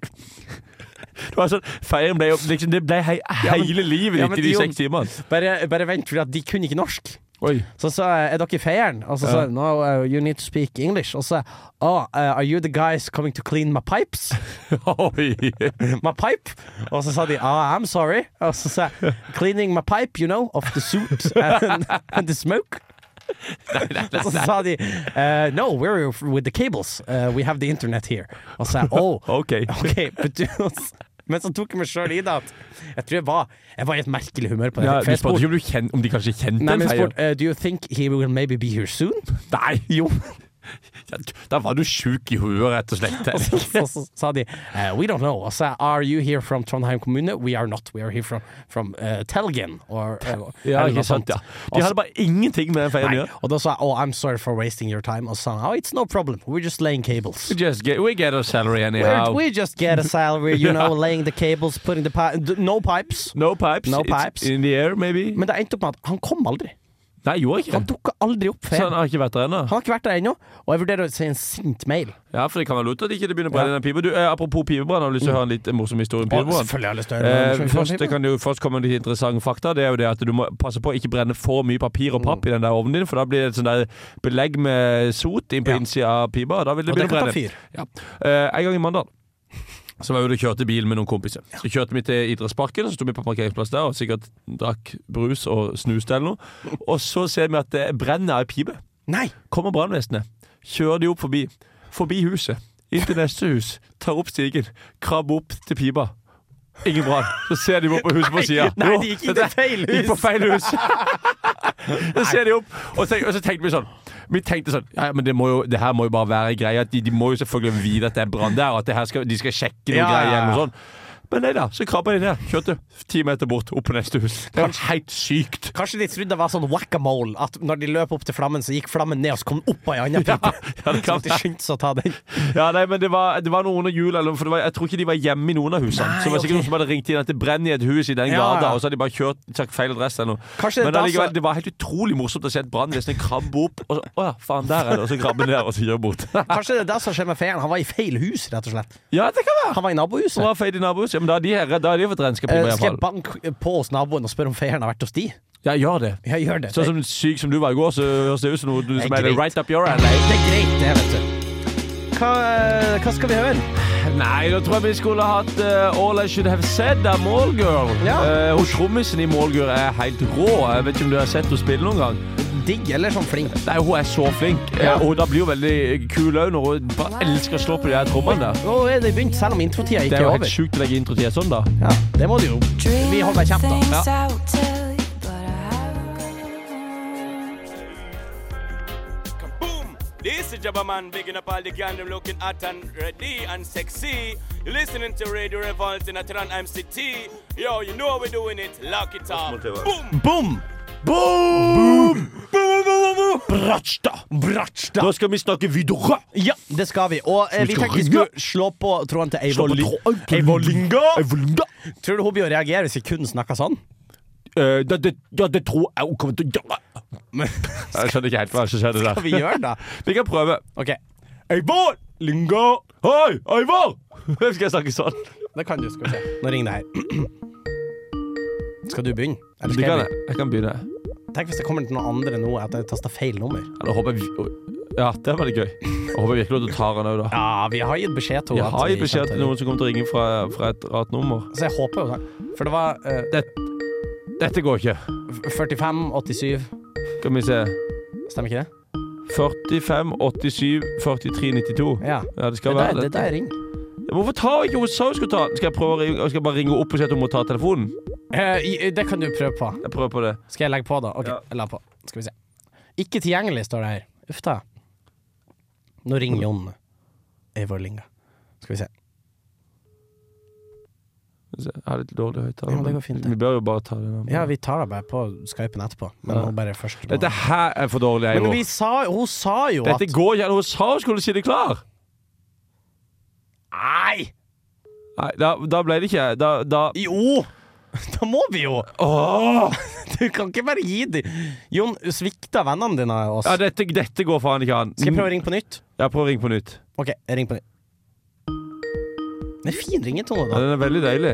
Speaker 3: Det var sånn, Feiren ble jo liksom, Det ble hei,
Speaker 4: men-
Speaker 3: hele livet
Speaker 4: ja,
Speaker 3: ditt
Speaker 4: men
Speaker 3: i de
Speaker 4: jo-
Speaker 3: seks timene.
Speaker 4: Bare, bare vent, for de kunne ikke norsk.
Speaker 3: Oi.
Speaker 4: Så sa jeg, er dere feieren? Og så sa jeg, no, uh, you need to speak English. Og så sa jeg, oh, uh, are you the guys coming to clean my pipes?
Speaker 3: Oi.
Speaker 4: My pipe? Og så sa de, ah, I'm sorry. Og så sa jeg, cleaning my pipe, you know, of the soot and, [LAUGHS] and the smoke. Og så sa de, uh, no, we're with the cables. Uh, we have the internet here. Og så sa jeg, oh,
Speaker 3: [LAUGHS] OK.
Speaker 4: ok, but du... Men så tok jeg meg selv i det at Jeg tror jeg var Jeg var i et merkelig humør på det
Speaker 3: Ja,
Speaker 4: For
Speaker 3: du
Speaker 4: jeg
Speaker 3: spurte
Speaker 4: spurte-
Speaker 3: ikke om, du kjen, om de kanskje kjente
Speaker 4: Nei,
Speaker 3: en
Speaker 4: men jeg
Speaker 3: feier?
Speaker 4: spurte, uh, do you think he will maybe be here soon?
Speaker 3: Nei!
Speaker 4: Jo,
Speaker 3: [LAUGHS] Ja, Da var du sjuk i huet, rett og [LAUGHS] slett.
Speaker 4: Og så, så, så sa de eh, We don't know. Og så Are you here from Trondheim kommune? We are not. We are here from, from eh, Telgen. Or, eh,
Speaker 3: Ja,
Speaker 4: eller noe
Speaker 3: ikke sant,
Speaker 4: sånt.
Speaker 3: ja. De hadde bare ingenting med den feiren å
Speaker 4: Nei.
Speaker 3: gjøre.
Speaker 4: Og da sa jeg Oh, I'm sorry for wasting your time. Og så sa han Oh, it's no problem. We're just laying cables.
Speaker 3: We just get, we get our salary anyhow.
Speaker 4: We're, we just get a salary, you
Speaker 3: [LAUGHS]
Speaker 4: know, laying the cables, putting the pi d- No pipes.
Speaker 3: No pipes.
Speaker 4: No
Speaker 3: It's
Speaker 4: pipes.
Speaker 3: in the air, maybe.
Speaker 4: Men det endte opp med at han kom aldri.
Speaker 3: Nei, gjorde ikke
Speaker 4: Han
Speaker 3: det.
Speaker 4: dukka aldri opp.
Speaker 3: Så
Speaker 4: Før.
Speaker 3: han har ikke vært der ennå?
Speaker 4: Han har ikke vært der ennå, og jeg vurderer å sende en sint mail.
Speaker 3: Ja, for det kan være lurt at ikke det begynner å brenne den pipa. Du, eh, apropos pipebrann, har du lyst til å høre en litt morsom historie om
Speaker 4: Og
Speaker 3: pipebrann?
Speaker 4: Mm. selvfølgelig har jeg lyst til å høre
Speaker 3: Eh,
Speaker 4: om-
Speaker 3: først, det kan jo først komme litt interessante fakta. Det er jo det at Du må passe på å ikke brenne for mye papir og
Speaker 4: Mm.
Speaker 3: papp i den der ovnen din, for da blir det et sånn der belegg med sot inn på
Speaker 4: Ja.
Speaker 3: innsida av pipa. og Da vil det
Speaker 4: Og det
Speaker 3: begynne å
Speaker 4: kan ta
Speaker 3: brenne.
Speaker 4: fyr.
Speaker 3: Ja. Eh, en gang i Mandal så var jeg ute og kjørte bil med noen kompiser. Så kjørte vi til idrettsparken, så sto vi på parkeringsplass der og sikkert drakk brus og snuste eller noe. Og så ser vi at det brenner ei pipe.
Speaker 4: Nei!
Speaker 3: Kommer brannvesenet, kjører de opp forbi. Forbi huset, inn til neste hus, tar opp stigen, krabber opp til pipa. Ingen brann. Så ser de opp på huset på sida.
Speaker 4: Nei, de gikk inn i feil
Speaker 3: Gikk på
Speaker 4: hus!
Speaker 3: feil
Speaker 4: [LAUGHS]
Speaker 3: hus. så ser de opp, og, tenk, og så tenkte vi sånn. Vi tenkte sånn Ja, ja, men det, må jo, det her må jo bare være greia. De, de må jo selvfølgelig vite at det er brann der, og at det her skal, de skal sjekke noe
Speaker 4: Ja, ja,
Speaker 3: greier.
Speaker 4: ja.
Speaker 3: eller noe sånt. Men nei da, så krabba de ned. Kjørte ti meter bort, opp på neste hus. Det var helt sykt.
Speaker 4: Kanskje de trodde det var sånn whack-a-mole, at når de løp opp til flammen, så gikk flammen ned og så kom den opp av ei anna pipe.
Speaker 3: ja, det
Speaker 4: så
Speaker 3: kan
Speaker 4: de skyndte seg å ta den.
Speaker 3: Ja, nei, men det var, det var noen under jul eller, for det var, Jeg tror ikke de var hjemme i noen av husene
Speaker 4: Nei,
Speaker 3: Så det var sikkert
Speaker 4: ok.
Speaker 3: noen som hadde ringt inn at det brenner i et hus i den
Speaker 4: Ja,
Speaker 3: gata
Speaker 4: ja.
Speaker 3: Og så hadde de bare kjørt, sagt feil adresse eller noe
Speaker 4: Kanskje
Speaker 3: Men
Speaker 4: da
Speaker 3: allikevel,
Speaker 4: så-
Speaker 3: det var helt utrolig morsomt å se et brannvesen krabbe opp Og så, åja, faen, der er det Og så krabbe ned og så
Speaker 4: [LAUGHS]
Speaker 3: gjøre bort
Speaker 4: Kanskje det er det som skjer med feieren. Han var i feil hus, rett og slett.
Speaker 3: Ja, det kan være
Speaker 4: Han var i nabohuset.
Speaker 3: Han var feil i nabohuset Ja, men da har de, her- da har de fått regnskap i
Speaker 4: Eh,
Speaker 3: meg,
Speaker 4: skal jeg
Speaker 3: iallfall.
Speaker 4: banke på hos naboen og spørre om ferien har vært hos de?
Speaker 3: Ja, gjør det.
Speaker 4: Ja, gjør det.
Speaker 3: Sånn som syk som du var i går, så høres det ut som noe du, som
Speaker 4: Det er
Speaker 3: er
Speaker 4: greit.
Speaker 3: right up your
Speaker 4: Nei,
Speaker 3: alley.
Speaker 4: det er greit, det, vet du. Hva, eh, hva skal vi høre?
Speaker 3: Nei, da tror jeg vi skulle hatt eh, All I Should Have Said av Mallgirl.
Speaker 4: Ja.
Speaker 3: Eh, hun trommisen i Mallgirl er helt rå. Jeg vet ikke om du har sett henne spille noen gang.
Speaker 4: Digg eller sånn flink?
Speaker 3: Nei, hun er så flink. Eh, og da blir hun veldig kul òg, når hun bare elsker å slå på de her trommene.
Speaker 4: Nå er det begynt, selv om introtida
Speaker 3: Det er
Speaker 4: ikke er
Speaker 3: jo helt
Speaker 4: over.
Speaker 3: sjukt å legge introtid sånn, da.
Speaker 4: Ja, det må du jo. Vi holder kjeft, da.
Speaker 8: Things
Speaker 3: Ja.
Speaker 8: I would tell you, but I haven't got one.
Speaker 9: Boom! This is Jabba Man, bigging up all the gang, them looking hot and ready and sexy. You're listening to Radio Revolt in Atlanta MCT. Yo, you know how we're doing it. Lock it up. Boom!
Speaker 4: Boom!
Speaker 3: Boom!
Speaker 4: Bratsjta! Bratsjta!
Speaker 3: Nå skal vi snakke videre.
Speaker 4: Ja, det skal vi. Og eh,
Speaker 3: vi
Speaker 4: vi
Speaker 3: skal
Speaker 4: tenkte vi
Speaker 3: ringe.
Speaker 4: skulle slå på tråden til Eivor.
Speaker 3: Slå
Speaker 4: på
Speaker 3: li-
Speaker 4: tråden.
Speaker 3: Eivor Linga.
Speaker 4: Tror du hun begynner å reagere hvis vi kun snakker sånn?
Speaker 3: Eh, det, det, ja, det tror jeg hun kommer til å gjøre.
Speaker 4: sånn?
Speaker 3: [LAUGHS] Jeg skjønner ikke helt hva som skjedde
Speaker 4: Hva [LAUGHS] vi
Speaker 3: der.
Speaker 4: gjør da?
Speaker 3: Vi kan prøve.
Speaker 4: OK,
Speaker 3: Eivor! Linga! Hei, Eivor! [LAUGHS] Skal jeg snakke sånn?
Speaker 4: det kan du. Skal vi se. Nå ringer det her. [CLEARS THROAT] Skal du begynne? Eller
Speaker 3: Du
Speaker 4: skal
Speaker 3: kan
Speaker 4: jeg
Speaker 3: det.
Speaker 4: begynne?
Speaker 3: Jeg kan begynne.
Speaker 4: Tenk hvis det kommer til noen andre nå, at jeg tasta feil nummer.
Speaker 3: Eller håper jeg Ja, det var litt gøy. Jeg håper virkelig at du tar den òg, da.
Speaker 4: Ja, vi har gitt beskjed til
Speaker 3: Jeg
Speaker 4: henne. at
Speaker 3: har
Speaker 4: vi
Speaker 3: gitt beskjed
Speaker 4: kommer
Speaker 3: til noen som kommer til å ringe fra, fra et rart nummer.
Speaker 4: Så jeg håper jo det. For det var eh,
Speaker 3: Dette går ikke.
Speaker 4: 45, 87
Speaker 3: Skal vi se.
Speaker 4: Stemmer ikke det?
Speaker 3: 45, 87, 43, 92.
Speaker 4: Ja.
Speaker 3: Ja, det
Speaker 4: Det
Speaker 3: skal
Speaker 4: er
Speaker 3: være
Speaker 4: der, det
Speaker 3: det.
Speaker 4: er der jeg ringer.
Speaker 3: Hvorfor tar ikke hun sa hun skulle ta den? Skal jeg prøve å ringe, skal jeg bare ringe opp og si at hun må ta telefonen?
Speaker 4: Eh, i- det kan du prøve på.
Speaker 3: Jeg prøver på det.
Speaker 4: Skal jeg legge på, da? OK,
Speaker 3: Ja.
Speaker 4: jeg la på. Skal vi se. Ikke tilgjengelig, står det her. Uff da. Nå ringer Jon Eivor Linga. Skal vi se.
Speaker 3: Jeg har litt dårlig høyttaler.
Speaker 4: Ja, men det
Speaker 3: men
Speaker 4: går fint, det.
Speaker 3: Vi bør jo bare ta det. nå.
Speaker 4: Ja, vi tar det bare på Skypen etterpå, men
Speaker 3: Ja.
Speaker 4: nå bare først nå.
Speaker 3: Dette her er for dårlig,
Speaker 4: Men
Speaker 3: Eivor.
Speaker 4: vi sa, hun sa jo
Speaker 3: Dette
Speaker 4: at
Speaker 3: går ikke. an. Hun sa hun skulle si det klar.
Speaker 4: Nei!
Speaker 3: Nei, da, da ble det ikke Da, da
Speaker 4: Jo! [LAUGHS] Da må vi jo!
Speaker 3: Åh!
Speaker 4: [LAUGHS] Du kan ikke bare gi dem Jon, svikta vennene dine oss?
Speaker 3: Ja, dette, dette går faen ikke an.
Speaker 4: Skal jeg prøve å ringe på nytt?
Speaker 3: Ja, prøv å ringe på nytt.
Speaker 4: OK, jeg ringer på nytt. Det er fin ringetone,
Speaker 3: Ja,
Speaker 4: da.
Speaker 3: den er veldig deilig.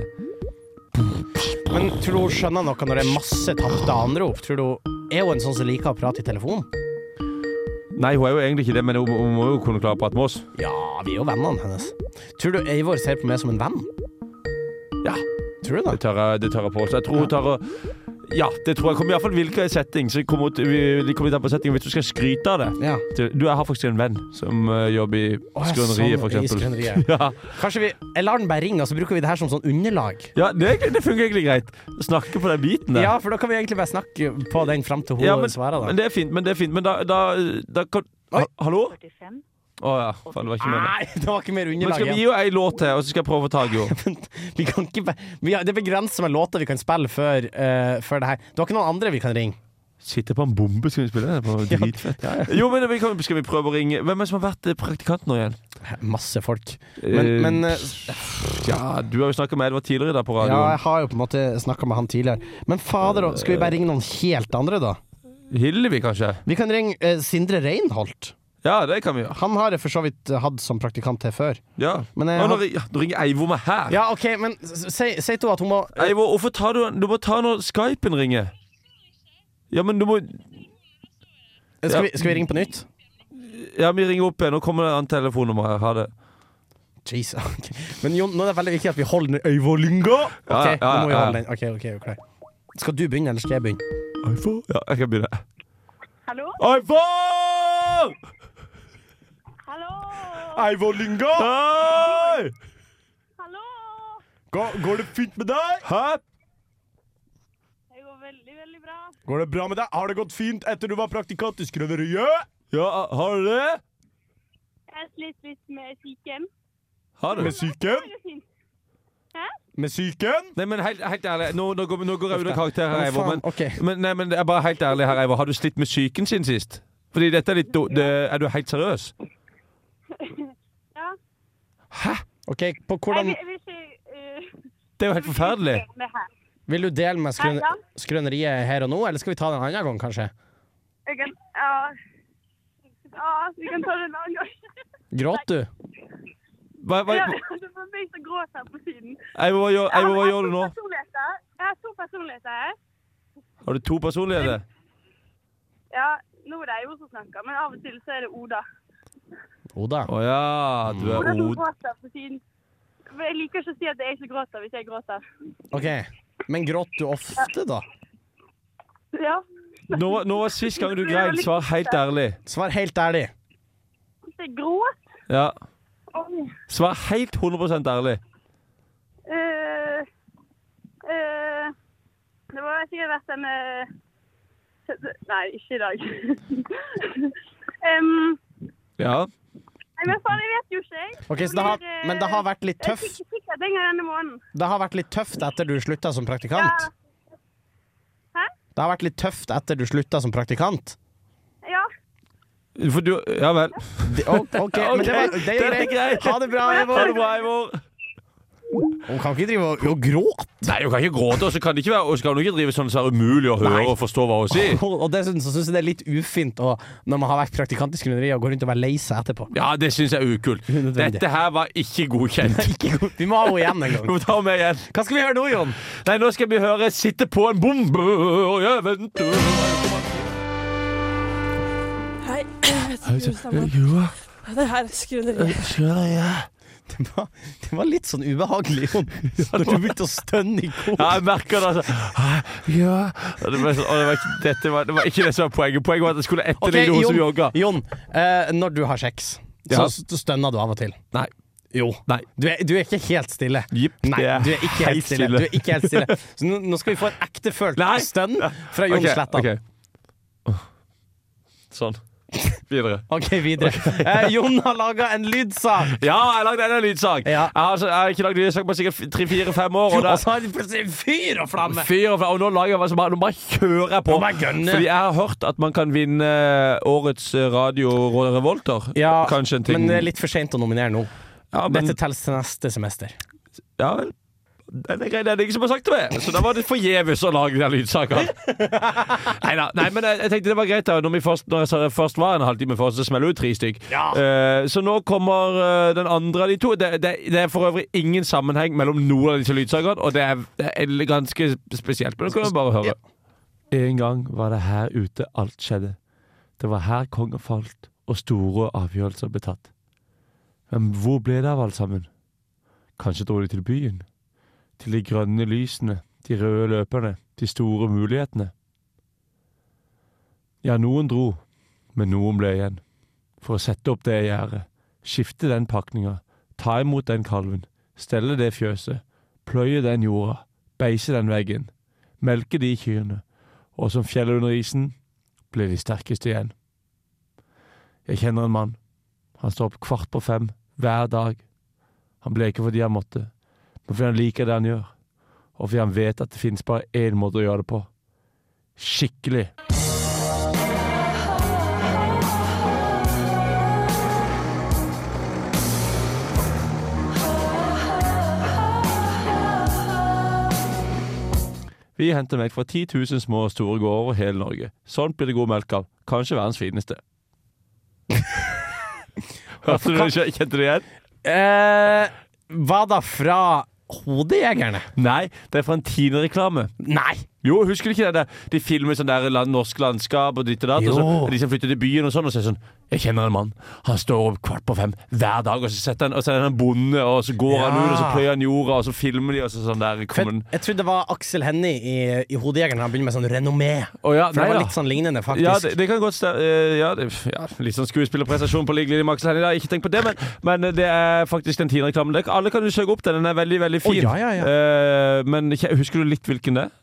Speaker 4: Men tror du hun skjønner noe når det er masse tapte anrop? Tror du Er hun en sånn som liker å prate i telefonen?
Speaker 3: Nei, hun er jo egentlig ikke det, men hun, hun må jo kunne klare å prate med oss.
Speaker 4: Ja, vi er jo vennene hennes. Tror du Eivor ser på meg som en venn?
Speaker 3: Ja.
Speaker 4: Tror du
Speaker 3: Det
Speaker 4: det?
Speaker 3: tør jeg, det tør jeg påstå. Jeg tror hun tar å Ja, det tror jeg. Kommer iallfall hvilken setting. Så kommer hun til, vi, de kommer til å ta på setting Hvis du skal skryte av det
Speaker 4: Ja.
Speaker 3: til- Du, jeg har faktisk en venn som eh, jobber i
Speaker 4: ja,
Speaker 3: skrøneriet,
Speaker 4: sånn,
Speaker 3: for
Speaker 4: i
Speaker 3: eksempel. [LAUGHS]
Speaker 4: skrøneriet.
Speaker 3: Ja.
Speaker 4: Kanskje vi Jeg lar den bare ringe, og så bruker vi det her som sånn underlag.
Speaker 3: ja, det, er egentlig- det funker egentlig greit. Snakke på den biten der.
Speaker 4: Ja, for da kan vi egentlig bare snakke på den fram til hun
Speaker 3: Ja, men,
Speaker 4: svarer, da.
Speaker 3: men det er fint. Men det er fint Men da, da, da kan ha, Hallo? Å ja. Faen, det var ikke meningen.
Speaker 4: Nei, det var ikke mer
Speaker 3: Men
Speaker 4: underlag
Speaker 3: skal vi gi
Speaker 4: igjen.
Speaker 3: henne ei låt til, og så skal jeg prøve å ta i [LAUGHS] henne?
Speaker 4: Vi kan ikke bare vi har, Det er begrenset med låter vi kan spille før, eh, før det her. Du har ikke noen andre vi kan ringe?
Speaker 3: Sitte på en bombe, skal vi spille det? [LAUGHS] På dritfett. Jo, men vi kan, skal vi prøve å ringe Hvem er det som har vært eh, praktikant nå igjen?
Speaker 4: Masse folk. Men,
Speaker 3: Eh,
Speaker 4: men eh,
Speaker 3: Ja, du har jo snakka med Edvard tidligere der på
Speaker 4: Ja, jeg
Speaker 3: radioen.
Speaker 4: har jo på en måte snakka med han tidligere. Men fader, skal vi bare ringe noen helt andre, da?
Speaker 3: Hillevi, kanskje?
Speaker 4: Vi kan ringe eh, Sindre Reinholt.
Speaker 3: Ja, det kan vi gjøre.
Speaker 4: Han har jeg for så vidt hatt som praktikant her før.
Speaker 3: Ja.
Speaker 4: Men jeg
Speaker 3: Å, nå,
Speaker 4: har-
Speaker 3: ri- ja, nå ringer Eivor meg her.
Speaker 4: Ja, OK, men s- si si til henne at hun må
Speaker 3: Eivor, hvorfor tar du den? Du må ta når Skypen ringer. Ja, men du må
Speaker 4: skal, vi, skal vi ringe på nytt?
Speaker 3: Ja, vi ringer opp igjen. Nå kommer det et annet telefonnummer her. Ha det.
Speaker 4: Jesus. ok. Men Jon, nå er det veldig viktig at vi holder den øyvålinga. OK,
Speaker 3: Ja, ja,
Speaker 4: nå må vi
Speaker 3: ja, ja.
Speaker 4: holde den. OK, ok, er du klar. Skal du begynne, eller skal jeg begynne?
Speaker 3: Eivor? Ja, jeg kan begynne.
Speaker 6: Hallo?
Speaker 3: Eivor!
Speaker 6: Hallo?
Speaker 3: Eivor Lynga! Hei!
Speaker 6: Hallo?
Speaker 4: Går, det fint med deg?
Speaker 3: Hæ?
Speaker 6: Det går veldig, veldig bra.
Speaker 4: Går det bra med deg? Har det gått fint etter du var praktikant i skrøveriet?
Speaker 3: Ja, har du det?
Speaker 6: Jeg har slitt litt med psyken.
Speaker 3: Har du?
Speaker 6: Det
Speaker 4: syken?
Speaker 6: går fint.
Speaker 4: Med syken?
Speaker 3: Nei, men helt, helt ærlig, nå, nå, går, nå går jeg ut av karakter her,
Speaker 4: Å,
Speaker 3: Eivor. Men,
Speaker 4: faen, ok.
Speaker 3: men, nei, men jeg er bare helt ærlig her, Eivor. Har du slitt med psyken siden sist? Fordi dette er litt do, det, Er du helt seriøs?
Speaker 6: Ja.
Speaker 4: OK, på
Speaker 6: Jeg
Speaker 4: hvordan
Speaker 6: vil- jeg vil ikke... Uh,
Speaker 3: Det er jo helt
Speaker 6: [LAUGHS]
Speaker 3: forferdelig.
Speaker 6: Det her.
Speaker 4: Vil du dele med skrøn
Speaker 6: Hei, ja.
Speaker 4: skrøneriet her og nå, eller skal vi ta det en annen gang, kanskje?
Speaker 6: Jeg kan... Ja. Ja, vi kan ta det en annen gang.
Speaker 4: Gråt du?
Speaker 3: Hva, hva,
Speaker 6: altså, Ja, det var meg som gråter her på siden.
Speaker 3: Eivind, hva gjør, Eivind,
Speaker 6: Jeg
Speaker 3: hva
Speaker 6: har
Speaker 3: gjør
Speaker 6: to
Speaker 3: du nå?
Speaker 6: personligheter. Jeg har to personligheter.
Speaker 3: Har du to personligheter?
Speaker 6: Ja, nå er det jo som snakker, men av og til så er det Oda.
Speaker 4: Oda.
Speaker 3: Å ja, du er
Speaker 6: Oda som
Speaker 3: od...
Speaker 6: gråter på siden. For Jeg liker ikke å si at det er jeg som gråter hvis jeg gråter.
Speaker 4: OK. Men gråt du ofte, da?
Speaker 6: Ja,
Speaker 3: Nå, var- nå var sist gang du grein. Svar helt ærlig.
Speaker 4: Svar helt ærlig.
Speaker 6: hvis jeg gråter.
Speaker 3: Ja.
Speaker 6: Oi.
Speaker 3: Svar helt 100 ærlig.
Speaker 6: Eh, eh, det må sikkert vært en eh, Nei, ikke i dag. [LAUGHS] Em,
Speaker 3: Ja.
Speaker 6: nei, men faen, jeg vet jo ikke, jeg. eh,
Speaker 4: Ok, så det har, Men det har vært litt
Speaker 6: Jeg er
Speaker 4: tøft
Speaker 6: sikkert- Sikkert en gang denne måneden.
Speaker 4: Det har vært litt tøft etter du slutta som praktikant?
Speaker 6: Hæ?
Speaker 4: Det har vært litt tøft etter du slutta som praktikant?
Speaker 6: Ja.
Speaker 3: For du Ja vel.
Speaker 4: Det, o- [LAUGHS] OK, men det, var, det
Speaker 3: Den er
Speaker 4: er greit.
Speaker 3: grei.
Speaker 4: Ha det bra,
Speaker 3: Ha det
Speaker 4: Eivor.
Speaker 3: bra, Eivor.
Speaker 4: Hun kan ikke drive og, og gråte.
Speaker 3: Nei, hun kan ikke gråte, og så kan det ikke være, og så kan hun ikke drive sånn så er det umulig å høre
Speaker 4: Nei.
Speaker 3: og forstå hva hun sier. [LAUGHS]
Speaker 4: Og og dessuten så syns jeg det er litt ufint å, når man har vært praktikant i skrøneriet, å gå rundt og være lei seg etterpå. [LAUGHS]
Speaker 3: Ja, det syns jeg er ukult.
Speaker 4: Unødvendig.
Speaker 3: Dette her var ikke [LAUGHS] godkjent.
Speaker 4: Ikke god- Vi må ha henne igjen en gang.
Speaker 3: Nå tar vi igjen.
Speaker 4: Hva skal vi gjøre nå, Jon?
Speaker 3: Nei, nå skal vi høre 'Sitte på en bombe' og jeg venter
Speaker 10: Hei, jeg heter Stammen.
Speaker 3: Joa,
Speaker 10: Det her er skrøneriet.
Speaker 3: skjønner jeg.
Speaker 4: Det var, det var litt sånn ubehagelig, Jon. Når du begynte å stønne i kor.
Speaker 3: Ja, jeg merker det, altså. Hæ? Ja. Og Det, var, så- og det, var, ikke- dette var, det var ikke det som var poenget. Poenget var at jeg skulle etterligne
Speaker 4: Ok,
Speaker 3: hun som
Speaker 4: Jon.
Speaker 3: jogga.
Speaker 4: Jon, eh, når du har sex,
Speaker 3: Ja.
Speaker 4: så så stønner du av og til.
Speaker 3: Nei.
Speaker 4: Jo.
Speaker 3: Nei.
Speaker 4: Du er, du er ikke helt stille.
Speaker 3: Jipp,
Speaker 4: Nei,
Speaker 3: det er
Speaker 4: du er ikke helt
Speaker 3: helt
Speaker 4: stille.
Speaker 3: stille.
Speaker 4: Du er ikke helt stille. Så nå, nå skal vi få et ektefølt
Speaker 3: Nei.
Speaker 4: stønn [LAUGHS] fra Jon
Speaker 3: Ok,
Speaker 4: Slettan.
Speaker 3: ok.
Speaker 4: [LAUGHS]
Speaker 3: Sånn. Videre.
Speaker 4: OK, videre. [LAUGHS] Eh, Jon har laga en lydsak.
Speaker 3: Ja, jeg har lagd enda en lydsang.
Speaker 4: Ja.
Speaker 3: Jeg, har, altså- jeg har ikke lagd lydsang på sikkert tre-fire-fem år. Og
Speaker 4: Og
Speaker 3: da,
Speaker 4: så har de plutselig fyr og flamme.
Speaker 3: Fyr og flamme. Og nå lager jeg hva som bare, nå bare kjører jeg på.
Speaker 4: Nå bare gønner.
Speaker 3: Fordi jeg har hørt at man kan vinne eh, årets radio Råd Revolter.
Speaker 4: Ja,
Speaker 3: Kanskje en ting.
Speaker 4: Men det er litt for seint å nominere nå.
Speaker 3: ja, men,
Speaker 4: Dette telles til neste semester.
Speaker 3: ja, vel. Den er grei, det er det ingen som har sagt til meg. Så da var det forgjeves å lage den [LAUGHS] lydsaken. Neida. Nei, men jeg, jeg tenkte det var greit, da. Når, vi først, når jeg sa det først var en halvtime for oss, så smeller det ut tre stykk. Eh, så nå kommer eh, den andre av de to. Det, det, det er for øvrig ingen sammenheng mellom noen av disse lydsakene, og det er, det er ganske spesielt. Men nå kan vi bare høre. En gang var det her ute alt skjedde. Det var her kongen falt, og store avgjørelser ble tatt. Men hvor ble det av alt sammen? Kanskje dro de til byen? Til de grønne lysene, de røde løperne, de store mulighetene? Ja, noen dro, men noen ble igjen. For å sette opp det gjerdet, skifte den pakninga, ta imot den kalven, stelle det fjøset, pløye den jorda, beise den veggen, melke de kyrne, og som fjellet under isen ble de sterkeste igjen. Jeg kjenner en mann. Han står opp kvart på fem hver dag. Han ble ikke fordi han måtte, men fordi han liker det han gjør, og fordi han vet at det finnes bare én måte å gjøre det på. Skikkelig. Vi henter melk fra 10 000 små og store gårder over hele Norge. Sånn blir det god melk av. Kanskje verdens fineste. [LAUGHS] Hørte du det? ikke? Kjente du det igjen?
Speaker 4: Eh, hva da fra Hodejegerne?
Speaker 3: Nei, det er fra en Tine-reklame.
Speaker 4: Nei!
Speaker 3: Jo, husker du ikke det? der? De filmer sånn der land, norsk landskap og ditt og datt. Og så
Speaker 4: Jo.
Speaker 3: og de som flytter til byen og sånn, og så er det sånn Jeg kjenner en mann. Han står opp kvart på fem hver dag, og så setter han, og så er han en bonde, og så går han
Speaker 4: Ja.
Speaker 3: ut, og så pløyer han jorda, og så filmer de, og så sånn der
Speaker 4: For
Speaker 3: kommer
Speaker 4: jeg,
Speaker 3: den
Speaker 4: jeg trodde det var Aksel Hennie i, i Hodejegerne. Han begynner med sånn renommé.
Speaker 3: Å ja,
Speaker 4: For det
Speaker 3: nei
Speaker 4: var
Speaker 3: da.
Speaker 4: litt sånn lignende, faktisk.
Speaker 3: Ja, det, det kan godt stemme. ja, det, ja, litt sånn skuespillerprestasjon på lik linje med Aksel Hennie. da. Ikke tenk på det, men, men det er faktisk den Tina-reklamen. Det- Alle kan jo søke opp den. Den er veldig, veldig fin.
Speaker 4: Å, ja, ja, ja.
Speaker 3: Eh, men kje- husker du litt hvilken det er?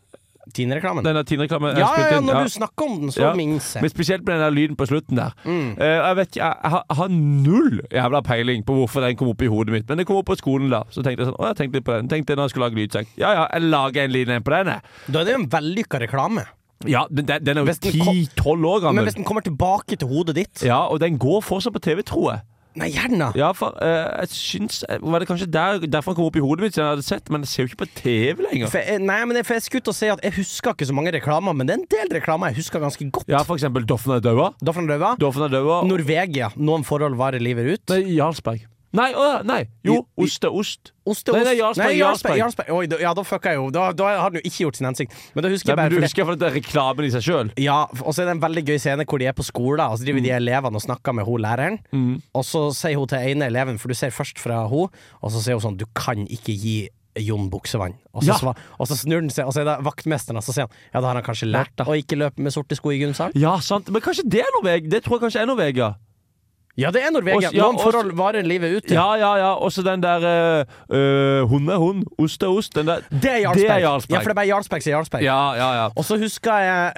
Speaker 4: Tine-reklamen.
Speaker 3: Den der Tina-reklamen? er
Speaker 4: Ja, ja,
Speaker 3: spilt
Speaker 4: ja,
Speaker 3: inn,
Speaker 4: når du snakker om den, så
Speaker 3: Ja.
Speaker 4: ja. minnes
Speaker 3: Men
Speaker 4: jeg.
Speaker 3: spesielt med den der lyden på slutten der.
Speaker 4: Mm.
Speaker 3: Eh, jeg vet ikke, jeg, jeg, har- jeg har null jævla peiling på hvorfor den kom opp i hodet mitt. Men den kom opp på skolen da. Så tenkte jeg sånn, å, jeg tenkte litt på den. Tenkte når jeg skulle lage lydsang. Ja ja, jeg lager en liten en på den, jeg.
Speaker 4: Da er det jo en vellykka reklame.
Speaker 3: Ja, men den, den er jo
Speaker 4: Hvis den kom-
Speaker 3: 10-12 år
Speaker 4: Men
Speaker 3: gammel.
Speaker 4: hvis den kommer tilbake til hodet ditt
Speaker 3: Ja, og den går fortsatt på TV, tror jeg.
Speaker 4: Nei, gjerne!
Speaker 3: Ja, for eh, jeg syns eh, Var det kanskje der, derfor han kom opp i hodet mitt, siden jeg hadde sett, men jeg ser jo ikke på TV lenger.
Speaker 4: For jeg, eh, nei, men jeg, for jeg skulle til å si at jeg husker ikke så mange reklamer, men det er en del reklamer jeg husker ganske godt.
Speaker 3: Ja, for eksempel Doffen er daua.
Speaker 4: Doffen Røva,
Speaker 3: Doffen er daua.
Speaker 4: Norvegia, noen forhold varer livet ut.
Speaker 3: Nei, Jarlsberg. Nei, å, nei. Jo, ost er ost.
Speaker 4: Ost er
Speaker 3: Nei,
Speaker 4: ost.
Speaker 3: nei, Jarlsberg, Jarlsberg.
Speaker 4: Oi, da, ja, da fucka jeg jo. Da, da har den jo ikke gjort sin hensikt. Men da
Speaker 3: Nei,
Speaker 4: husker jeg bare
Speaker 3: men du
Speaker 4: for det-
Speaker 3: husker for at det er reklamen i seg sjøl.
Speaker 4: Ja, og så er det en veldig gøy scene hvor de er på skolen, og så driver
Speaker 3: Mm.
Speaker 4: de elevene og snakker med hun læreren. Og så sier hun til ene eleven, for du ser først fra hun, og så sier hun sånn Du kan ikke gi Jon buksevann. Og
Speaker 3: Ja.
Speaker 4: så, sva- og så snur den seg, og så er det vaktmesteren, og så sier han ja, da har han kanskje lært da, å ikke løpe med sorte sko i Gunsalen.
Speaker 3: Ja, sant. Men kanskje det er Norvegia? Det tror jeg kanskje er Norvegia.
Speaker 4: Ja, det er Norvegia.
Speaker 3: Og s- ja,
Speaker 4: Noen
Speaker 3: og s-
Speaker 4: forhold varer livet ut.
Speaker 3: Ja, ja, ja. Også den der eh, eh, Hund er hund, ost er ost. Den der.
Speaker 4: Det er Jarlsberg.
Speaker 3: Det er Jarlsberg.
Speaker 4: Ja, for det er bare Jarlsberg sier Jarlsberg.
Speaker 3: Ja, ja, ja.
Speaker 4: Og så husker jeg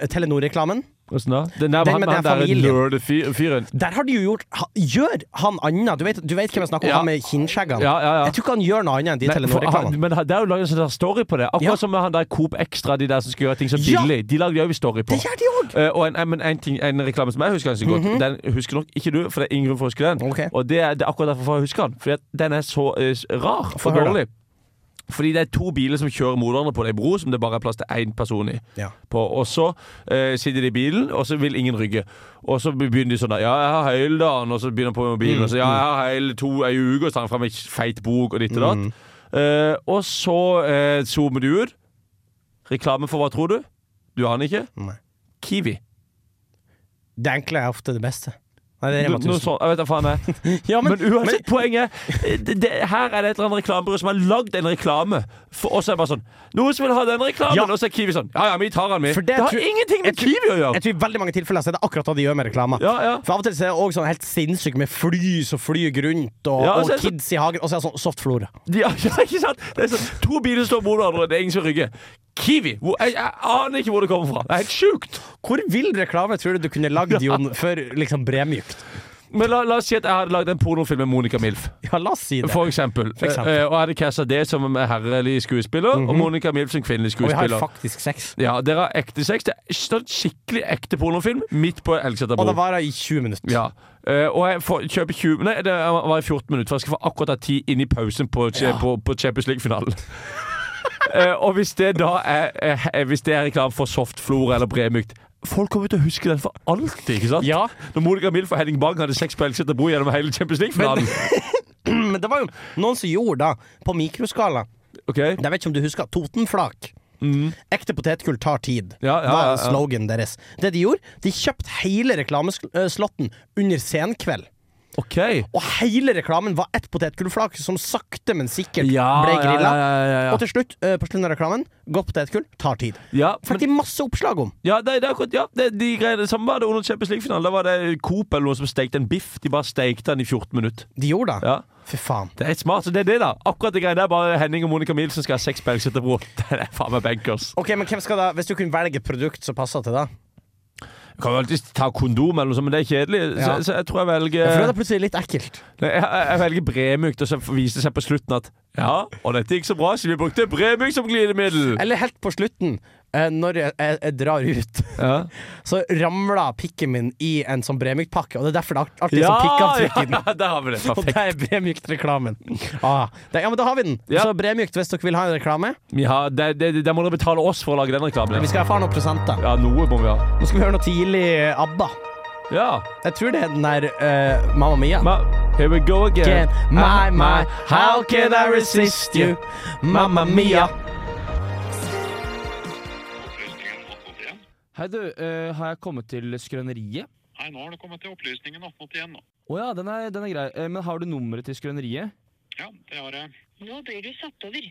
Speaker 4: eh, Telenor-reklamen.
Speaker 3: Åssen da? Den der
Speaker 4: Den
Speaker 3: han
Speaker 4: med
Speaker 3: med han
Speaker 4: den
Speaker 3: derre
Speaker 4: familien.
Speaker 3: nerd-fyren.
Speaker 4: Der har de jo gjort ha, Gjør han anna? Du vet, du vet hvem jeg snakker om?
Speaker 3: Ja.
Speaker 4: Han med kinnskjeggene?
Speaker 3: Ja, ja, ja.
Speaker 4: Jeg tror ikke han gjør noe annet enn de
Speaker 3: Nei, for han-
Speaker 4: Telenor-reklamene.
Speaker 3: Men han- det er jo laget en sånn der story på det. Akkurat
Speaker 4: Ja.
Speaker 3: som med han der Coop Extra, de der som skulle gjøre ting så
Speaker 4: Ja.
Speaker 3: billig. De lagde jo story på.
Speaker 4: Det gjør de òg!
Speaker 3: Eh, og en, men en, ting, en reklame som jeg husker ganske godt, den husker nok ikke du, for det er ingen grunn for å huske den.
Speaker 4: Mhm. Ok.
Speaker 3: Og det er, det er akkurat derfor jeg husker den, fordi at den er så eh, s- rar
Speaker 4: Få
Speaker 3: og
Speaker 4: høre, da.
Speaker 3: dårlig. Fordi det er to biler som kjører mot hverandre på ei bro som det bare er plass til én person i.
Speaker 4: Ja.
Speaker 3: På. Og så eh, sitter de i bilen, og så vil ingen rygge. Og så begynner de sånn der, Ja, jeg har Heildagen, og så begynner de på mobilen.
Speaker 4: Mm,
Speaker 3: Og så ja, jeg har heil to ei uke, og så tar han fram ei feit bok og ditt og
Speaker 4: Mm.
Speaker 3: datt. Eh, og så eh, zoomer du ut. Reklame for hva tror du? Du aner ikke?
Speaker 4: Nei.
Speaker 3: Kiwi.
Speaker 4: Det enkle er ofte det beste. Nei, det er
Speaker 3: Nå-
Speaker 4: Rema
Speaker 3: nå
Speaker 4: 1000.
Speaker 3: så- jeg vet da faen jeg.
Speaker 4: [LAUGHS] Ja,
Speaker 3: Men uansett, poenget eh, det, det, Her er det et eller annet reklamebyrå som har lagd en reklame. For oss er det bare sånn Noen som vil ha den reklamen,
Speaker 4: Ja.
Speaker 3: og så er Kiwi sånn. Ja ja, vi tar den, vi.
Speaker 4: For
Speaker 3: Det,
Speaker 4: det
Speaker 3: har
Speaker 4: tror-
Speaker 3: ingenting med
Speaker 4: jeg tror-
Speaker 3: Kiwi å gjøre.
Speaker 4: Jeg tror i veldig mange tilfeller så er det akkurat hva de gjør med reklamer.
Speaker 3: Ja, ja.
Speaker 4: For av og til så er det også sånn helt sinnssykt med fly som flyr rundt, og,
Speaker 3: Ja, og så er
Speaker 4: og
Speaker 3: det så-
Speaker 4: kids i hagen, og så er det sånn soft flora.
Speaker 3: De, [LAUGHS] ja, ikke sant? Det er sånn, to biler står mot hverandre, og det er ingen som rygger. Kiwi! Hvor, jeg, jeg aner ikke hvor det kommer fra. Det er helt sjukt.
Speaker 4: Hvor vill reklame tror du du kunne lagd,
Speaker 3: [LAUGHS]
Speaker 4: Jon, for liksom bremjukt?
Speaker 3: Men la, la oss si at jeg hadde lagd en pornofilm med Monica Milf.
Speaker 4: Ja, la oss si det.
Speaker 3: For eksempel.
Speaker 4: For eksempel. Mhm.
Speaker 3: Eh, og jeg hadde casta det som en herrelig skuespiller, og Monica Milf som kvinnelig
Speaker 4: og vi har
Speaker 3: skuespiller.
Speaker 4: faktisk sex.
Speaker 3: Ja, dere har ekte sex. Det er sånn skikkelig ekte pornofilm midt på Elgseter
Speaker 4: Og det
Speaker 3: bro.
Speaker 4: varer i 20 minutter.
Speaker 3: Ja. Eh, og jeg får, kjøper 20 Nei, det var i 14 minutter, for jeg skal få akkurat ha tid inn i pausen på, på, på Champions League-finalen. [LAUGHS] Eh, og hvis det da er, eh, Hvis det er reklame for soft flora eller bremykt Folk kommer til å huske den for alltid, ikke sant?
Speaker 4: Ja.
Speaker 3: Når Monica Milf og Henning Bang hadde sex på Elgseter bro gjennom hele Champions League-finalen.
Speaker 4: [CLEARS THROAT] Men det var jo noen som gjorde da, på mikroskala
Speaker 3: Ok?
Speaker 4: Jeg vet ikke om du husker Totenflak. Ekte potetgull tar tid,
Speaker 3: Mm. Ja, ja,
Speaker 4: var
Speaker 3: ja, ja.
Speaker 4: slogan deres. Det de gjorde, de kjøpte hele reklameslotten under senkveld.
Speaker 3: Ok.
Speaker 4: Og hele reklamen var ett potetgullflak som sakte, men sikkert
Speaker 3: Ja,
Speaker 4: ble
Speaker 3: ja,
Speaker 4: grilla.
Speaker 3: ja, ja, ja.
Speaker 4: Og til slutt, eh, på slutten av reklamen, godt potetgull tar tid.
Speaker 3: Ja,
Speaker 4: Fikk
Speaker 3: men,
Speaker 4: de masse oppslag om.
Speaker 3: ja, det, det er akkurat, ja det, de greiene, det samme var det under Champions League-finalen. Da var det Coop eller noen som stekte en biff. De bare stekte den i 14 minutter.
Speaker 4: De gjorde det.
Speaker 3: Ja.
Speaker 4: Fy faen.
Speaker 3: Det er helt smart. Så det er det, da. Akkurat det greia der. Bare Henning og Monica Milsen skal ha seks på Elgseterbro. [LAUGHS] Det er faen meg bankers.
Speaker 4: Ok, men hvem skal da, Hvis du kunne velge et produkt som passer til deg
Speaker 3: Du kan jo alltid ta kondom eller noe sånt, men det er kjedelig. Så,
Speaker 4: Ja.
Speaker 3: så jeg tror jeg velger
Speaker 4: For da er
Speaker 3: jeg,
Speaker 4: det plutselig litt ekkelt.
Speaker 3: jeg, jeg velger Bremykt, og så viser det seg på slutten at ja, og dette gikk så bra, så vi brukte Bremykt som glidemiddel.
Speaker 4: Eller helt på slutten, eh, når jeg, jeg, jeg drar ut,
Speaker 3: Ja,
Speaker 4: så ramla pikken min i en sånn Bremyk-pakke. Og det er derfor det er alltid
Speaker 3: ja,
Speaker 4: sånn pikkavtrykk i
Speaker 3: [LAUGHS]
Speaker 4: den.
Speaker 3: ja, der har vi det.
Speaker 4: Og
Speaker 3: Perfekt.
Speaker 4: det er Bremykt-reklamen. Ah, det, ja, men da har vi den.
Speaker 3: Ja.
Speaker 4: Så Bremykt, hvis dere vil ha en reklame
Speaker 3: Vi har- det, det, det, der må dere betale oss for å lage den reklamen.
Speaker 4: Vi skal erfare noen prosenter.
Speaker 3: Ja, noe må vi ha.
Speaker 4: Nå skal vi høre noe tidlig ABBA.
Speaker 3: Ja.
Speaker 4: Jeg tror det er den der eh, Mamma Mia.
Speaker 3: Ma, here we go again.
Speaker 4: My, Ah, my, how can I resist you? Mamma Mia.
Speaker 11: Hei, du. eh, har jeg kommet til Skrøneriet?
Speaker 9: Hei, nå har du kommet til opplysningen 1881 nå.
Speaker 11: Å ja, den er, den er grei. Eh, men har du nummeret til Skrøneriet?
Speaker 9: Ja, det har jeg.
Speaker 8: Nå blir du satt over.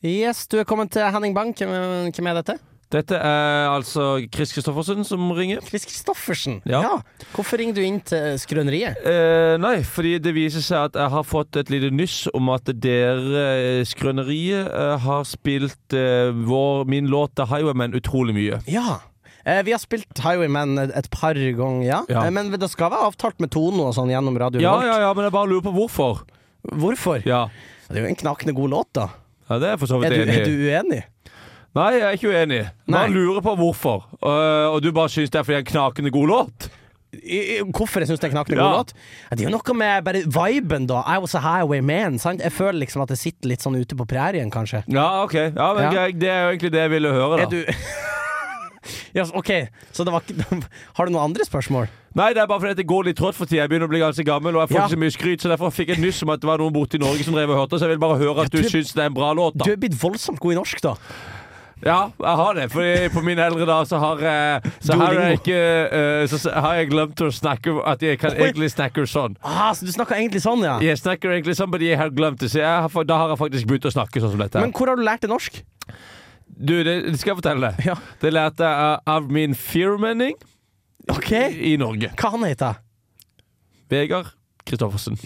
Speaker 4: Yes, du er kommet til Henning Bang. Hvem, hvem er dette?
Speaker 3: Dette er altså Chris Kristoffersen som ringer.
Speaker 4: Chris Kristoffersen.
Speaker 3: Ja.
Speaker 4: Hvorfor ringer du inn til Skrøneriet?
Speaker 3: Eh, nei, fordi det viser seg at jeg har fått et lite nyss om at dere, eh, Skrøneriet, eh, har spilt eh, vår, min låt The Highwayman utrolig mye.
Speaker 4: Ja. Eh, vi har spilt Highwayman et, et par ganger, ja.
Speaker 3: Ja.
Speaker 4: Eh, men det skal være avtalt med Tono og sånn gjennom radioen
Speaker 3: Ja, ja, ja, men jeg bare lurer på hvorfor.
Speaker 4: Hvorfor?
Speaker 3: Ja,
Speaker 4: Det er jo en knakende god låt, da.
Speaker 3: ja det er jeg for så
Speaker 4: Er
Speaker 3: vidt
Speaker 4: du,
Speaker 3: enig
Speaker 4: er
Speaker 3: i.
Speaker 4: du uenig?
Speaker 3: Nei, jeg er ikke uenig.
Speaker 4: Nei.
Speaker 3: Bare lurer på hvorfor. Eh, og du bare syns det er fordi jeg er en knakende god låt?
Speaker 4: I- i- Hvorfor jeg syns det er en knakende
Speaker 3: Ja.
Speaker 4: god låt? Ja, Det er jo noe med bare viben, da. I was a highwayman. Sant? Jeg føler liksom at jeg sitter litt sånn ute på prærien, kanskje.
Speaker 3: Ja, OK. Ja, men
Speaker 4: Ja.
Speaker 3: greit, Det er jo egentlig det jeg ville høre, da.
Speaker 4: Er du [LAUGHS] Ja, så- ok, så det var ikke [LAUGHS] Har du noen andre spørsmål?
Speaker 3: Nei, det er bare fordi at det går litt trått for tida. Jeg begynner å bli ganske gammel, og jeg får
Speaker 4: Ja.
Speaker 3: ikke så mye skryt, så derfor fikk jeg nyss om at det var noen borte i Norge som drev og hørte, så jeg vil bare høre at
Speaker 4: Ja,
Speaker 3: du
Speaker 4: du-
Speaker 3: syns det er en bra låt, da.
Speaker 4: Du er blitt voldsomt god i norsk, da.
Speaker 3: Ja, jeg har det, for på mine eldre dager så har eh, Så har jeg
Speaker 4: Duolingo.
Speaker 3: ikke eh, Så s- har jeg glemt å snakke At jeg kan
Speaker 4: Oi.
Speaker 3: egentlig snakke sånn.
Speaker 4: Ah, så du snakker egentlig sånn,
Speaker 3: [LAUGHS]
Speaker 4: ja?
Speaker 3: Jeg snakker egentlig sånn, men jeg har glemt det, så jeg har, fa- da har jeg faktisk begynt å snakke sånn som dette.
Speaker 4: Men hvor har du lært det norsk?
Speaker 3: Du, det, det skal jeg fortelle deg.
Speaker 4: Ja.
Speaker 3: Det lærte jeg av- av min firmenning
Speaker 4: Ok,
Speaker 3: i Norge.
Speaker 4: Hva han heter [LAUGHS] han?
Speaker 3: Vegard Kristoffersen.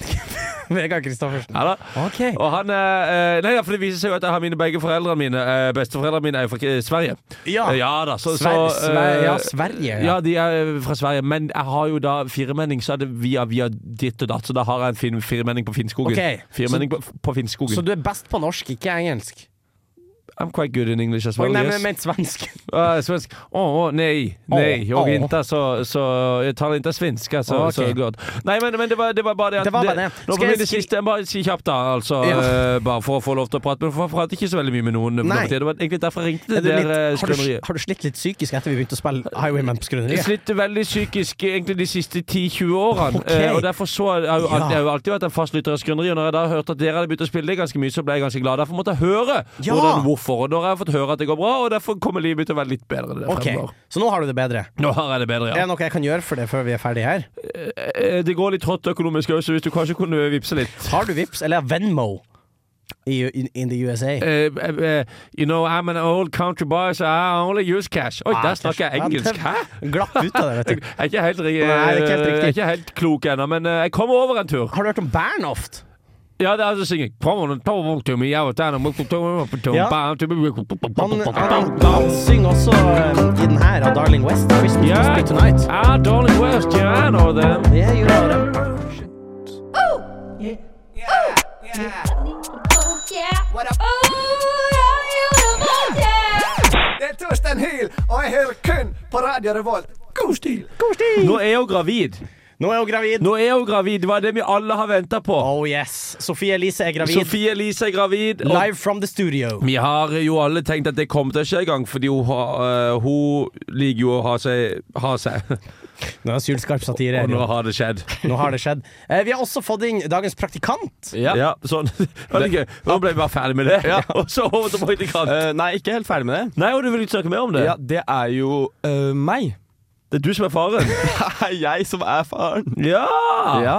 Speaker 4: Vegard Kristoffersen.
Speaker 3: Ja da.
Speaker 4: Ok.
Speaker 3: Og han eh, eh, Nei, ja, for det viser seg jo at jeg har mine begge foreldrene mine eh, Besteforeldrene mine er jo fra eh, Sverige.
Speaker 4: Ja.
Speaker 3: Eh, ja da, så,
Speaker 4: Sver-
Speaker 3: så,
Speaker 4: Sver-
Speaker 3: eh,
Speaker 4: ja, Sverige, ja.
Speaker 3: Ja, de er fra Sverige. Men jeg har jo da firmenning, så er det via, via ditt og datt. Så da har jeg en fin, firmenning på Finnskogen.
Speaker 4: Ok.
Speaker 3: Firmenning på, på Finnskogen.
Speaker 4: Så du er best på norsk, ikke engelsk?
Speaker 3: I'm quite good in English as
Speaker 4: Oi,
Speaker 3: well.
Speaker 4: nei,
Speaker 3: yes.
Speaker 4: men jeg mente
Speaker 3: [LAUGHS]
Speaker 4: svensk.
Speaker 3: Ah, svensk. Åh, åh, nej, nej.
Speaker 4: Åh,
Speaker 3: Jag, är
Speaker 4: åh.
Speaker 3: inte så, så, jag talar inte svenska så,
Speaker 4: Åh, okej.
Speaker 3: så gott. Nej, men, men det, var, det var bare det at
Speaker 4: Det var bare det.
Speaker 3: Nå
Speaker 4: Skal
Speaker 3: får vi
Speaker 4: jeg
Speaker 3: det
Speaker 4: skri-
Speaker 3: siste. Jeg Bare si kjapt, da. Altså,
Speaker 4: Ja.
Speaker 3: eh, bare for å få lov til å prate. Men for jeg prater ikke så veldig mye med noen. for
Speaker 4: Nei.
Speaker 3: nå for tiden. Det var egentlig derfor jeg ringte
Speaker 4: Er
Speaker 3: det
Speaker 4: du litt,
Speaker 3: der eh,
Speaker 4: har, du,
Speaker 3: skrøneriet.
Speaker 4: har du slitt litt psykisk etter vi begynte å spille Highwayman på
Speaker 3: Jeg
Speaker 4: Skrøneriet?
Speaker 3: sliter veldig psykisk egentlig de siste 10-20 årene.
Speaker 4: Ok.
Speaker 3: eh, Og derfor så har jeg, jo alltid,
Speaker 4: Ja.
Speaker 3: jeg har jo alltid vært en fast lytter av Skrøneriet. Og når jeg da hørte at dere hadde begynt å spille det ganske mye, så ble jeg ganske glad. Derfor måtte jeg høre
Speaker 4: Ja.
Speaker 3: hvordan, hvorfor. Og da har jeg fått høre at det går bra, og derfor kommer livet mitt til å være litt bedre. Det
Speaker 4: Ok,
Speaker 3: fremover.
Speaker 4: så nå har du det bedre.
Speaker 3: Nå har jeg det bedre,
Speaker 4: Er
Speaker 3: ja.
Speaker 4: det noe jeg kan gjøre for det før vi er ferdige her?
Speaker 3: Eh, Det går litt trått økonomisk òg, så hvis du kanskje kunne vippse litt.
Speaker 4: Har du Vips eller Venmo i, in, in the USA?
Speaker 3: Eh, eh, eh, you know, I'm an old country boy, so I only use cash. Oi, der snakker jeg
Speaker 4: Ah, Ja, det-
Speaker 3: engelsk. Hæ?
Speaker 4: Glapp ut av det, vet
Speaker 3: Jeg [LAUGHS]
Speaker 4: du.
Speaker 3: er ikke helt, ri-
Speaker 4: Nei, det er ikke helt riktig.
Speaker 3: jeg er ikke helt klok ennå, men eh, jeg kommer over en tur.
Speaker 4: Har du hørt om Bernhoft?
Speaker 3: Ja, det er altså synging.
Speaker 4: Han, han, han synger også eh, i den her av Darling West. Christmas
Speaker 3: Yeah.
Speaker 4: must be tonight.
Speaker 3: Ah, darling West, yeah, I know them.
Speaker 4: Det gjør det.
Speaker 12: Det er Torsten Hyl, og jeg hører kun på Radio Revolt. God stil!
Speaker 3: Nå er hun gravid.
Speaker 4: Nå er hun gravid.
Speaker 3: Nå er hun gravid. Det var det vi alle har venta på.
Speaker 4: Oh yes. Sofie Elise er gravid.
Speaker 3: Sofie Elise er gravid. og-
Speaker 4: Live from the studio.
Speaker 3: Vi har jo alle tenkt at det kommer til å skje en gang, fordi hun, har, eh, hun liker jo å ha seg, ha [LAUGHS] seg.
Speaker 4: [LAUGHS] Nå er det sylskarp satire.
Speaker 3: og
Speaker 4: her,
Speaker 3: nå
Speaker 4: jo.
Speaker 3: har det skjedd.
Speaker 4: Nå har det skjedd. Eh, Vi har også fått inn dagens praktikant.
Speaker 3: [LAUGHS] Ja, sånn. Det var litt gøy. Nå ble vi bare ferdig med det. [LAUGHS] Og så over til praktikant.
Speaker 13: Eh, nei, ikke helt ferdig med det.
Speaker 3: Nei, og du vil ikke snakke mer om det?
Speaker 13: Ja, Det er jo eh, meg. [LAUGHS]
Speaker 3: Det er du som er [LAUGHS] faren?
Speaker 13: Det er jeg som er faren.
Speaker 3: Ja!
Speaker 13: Ja,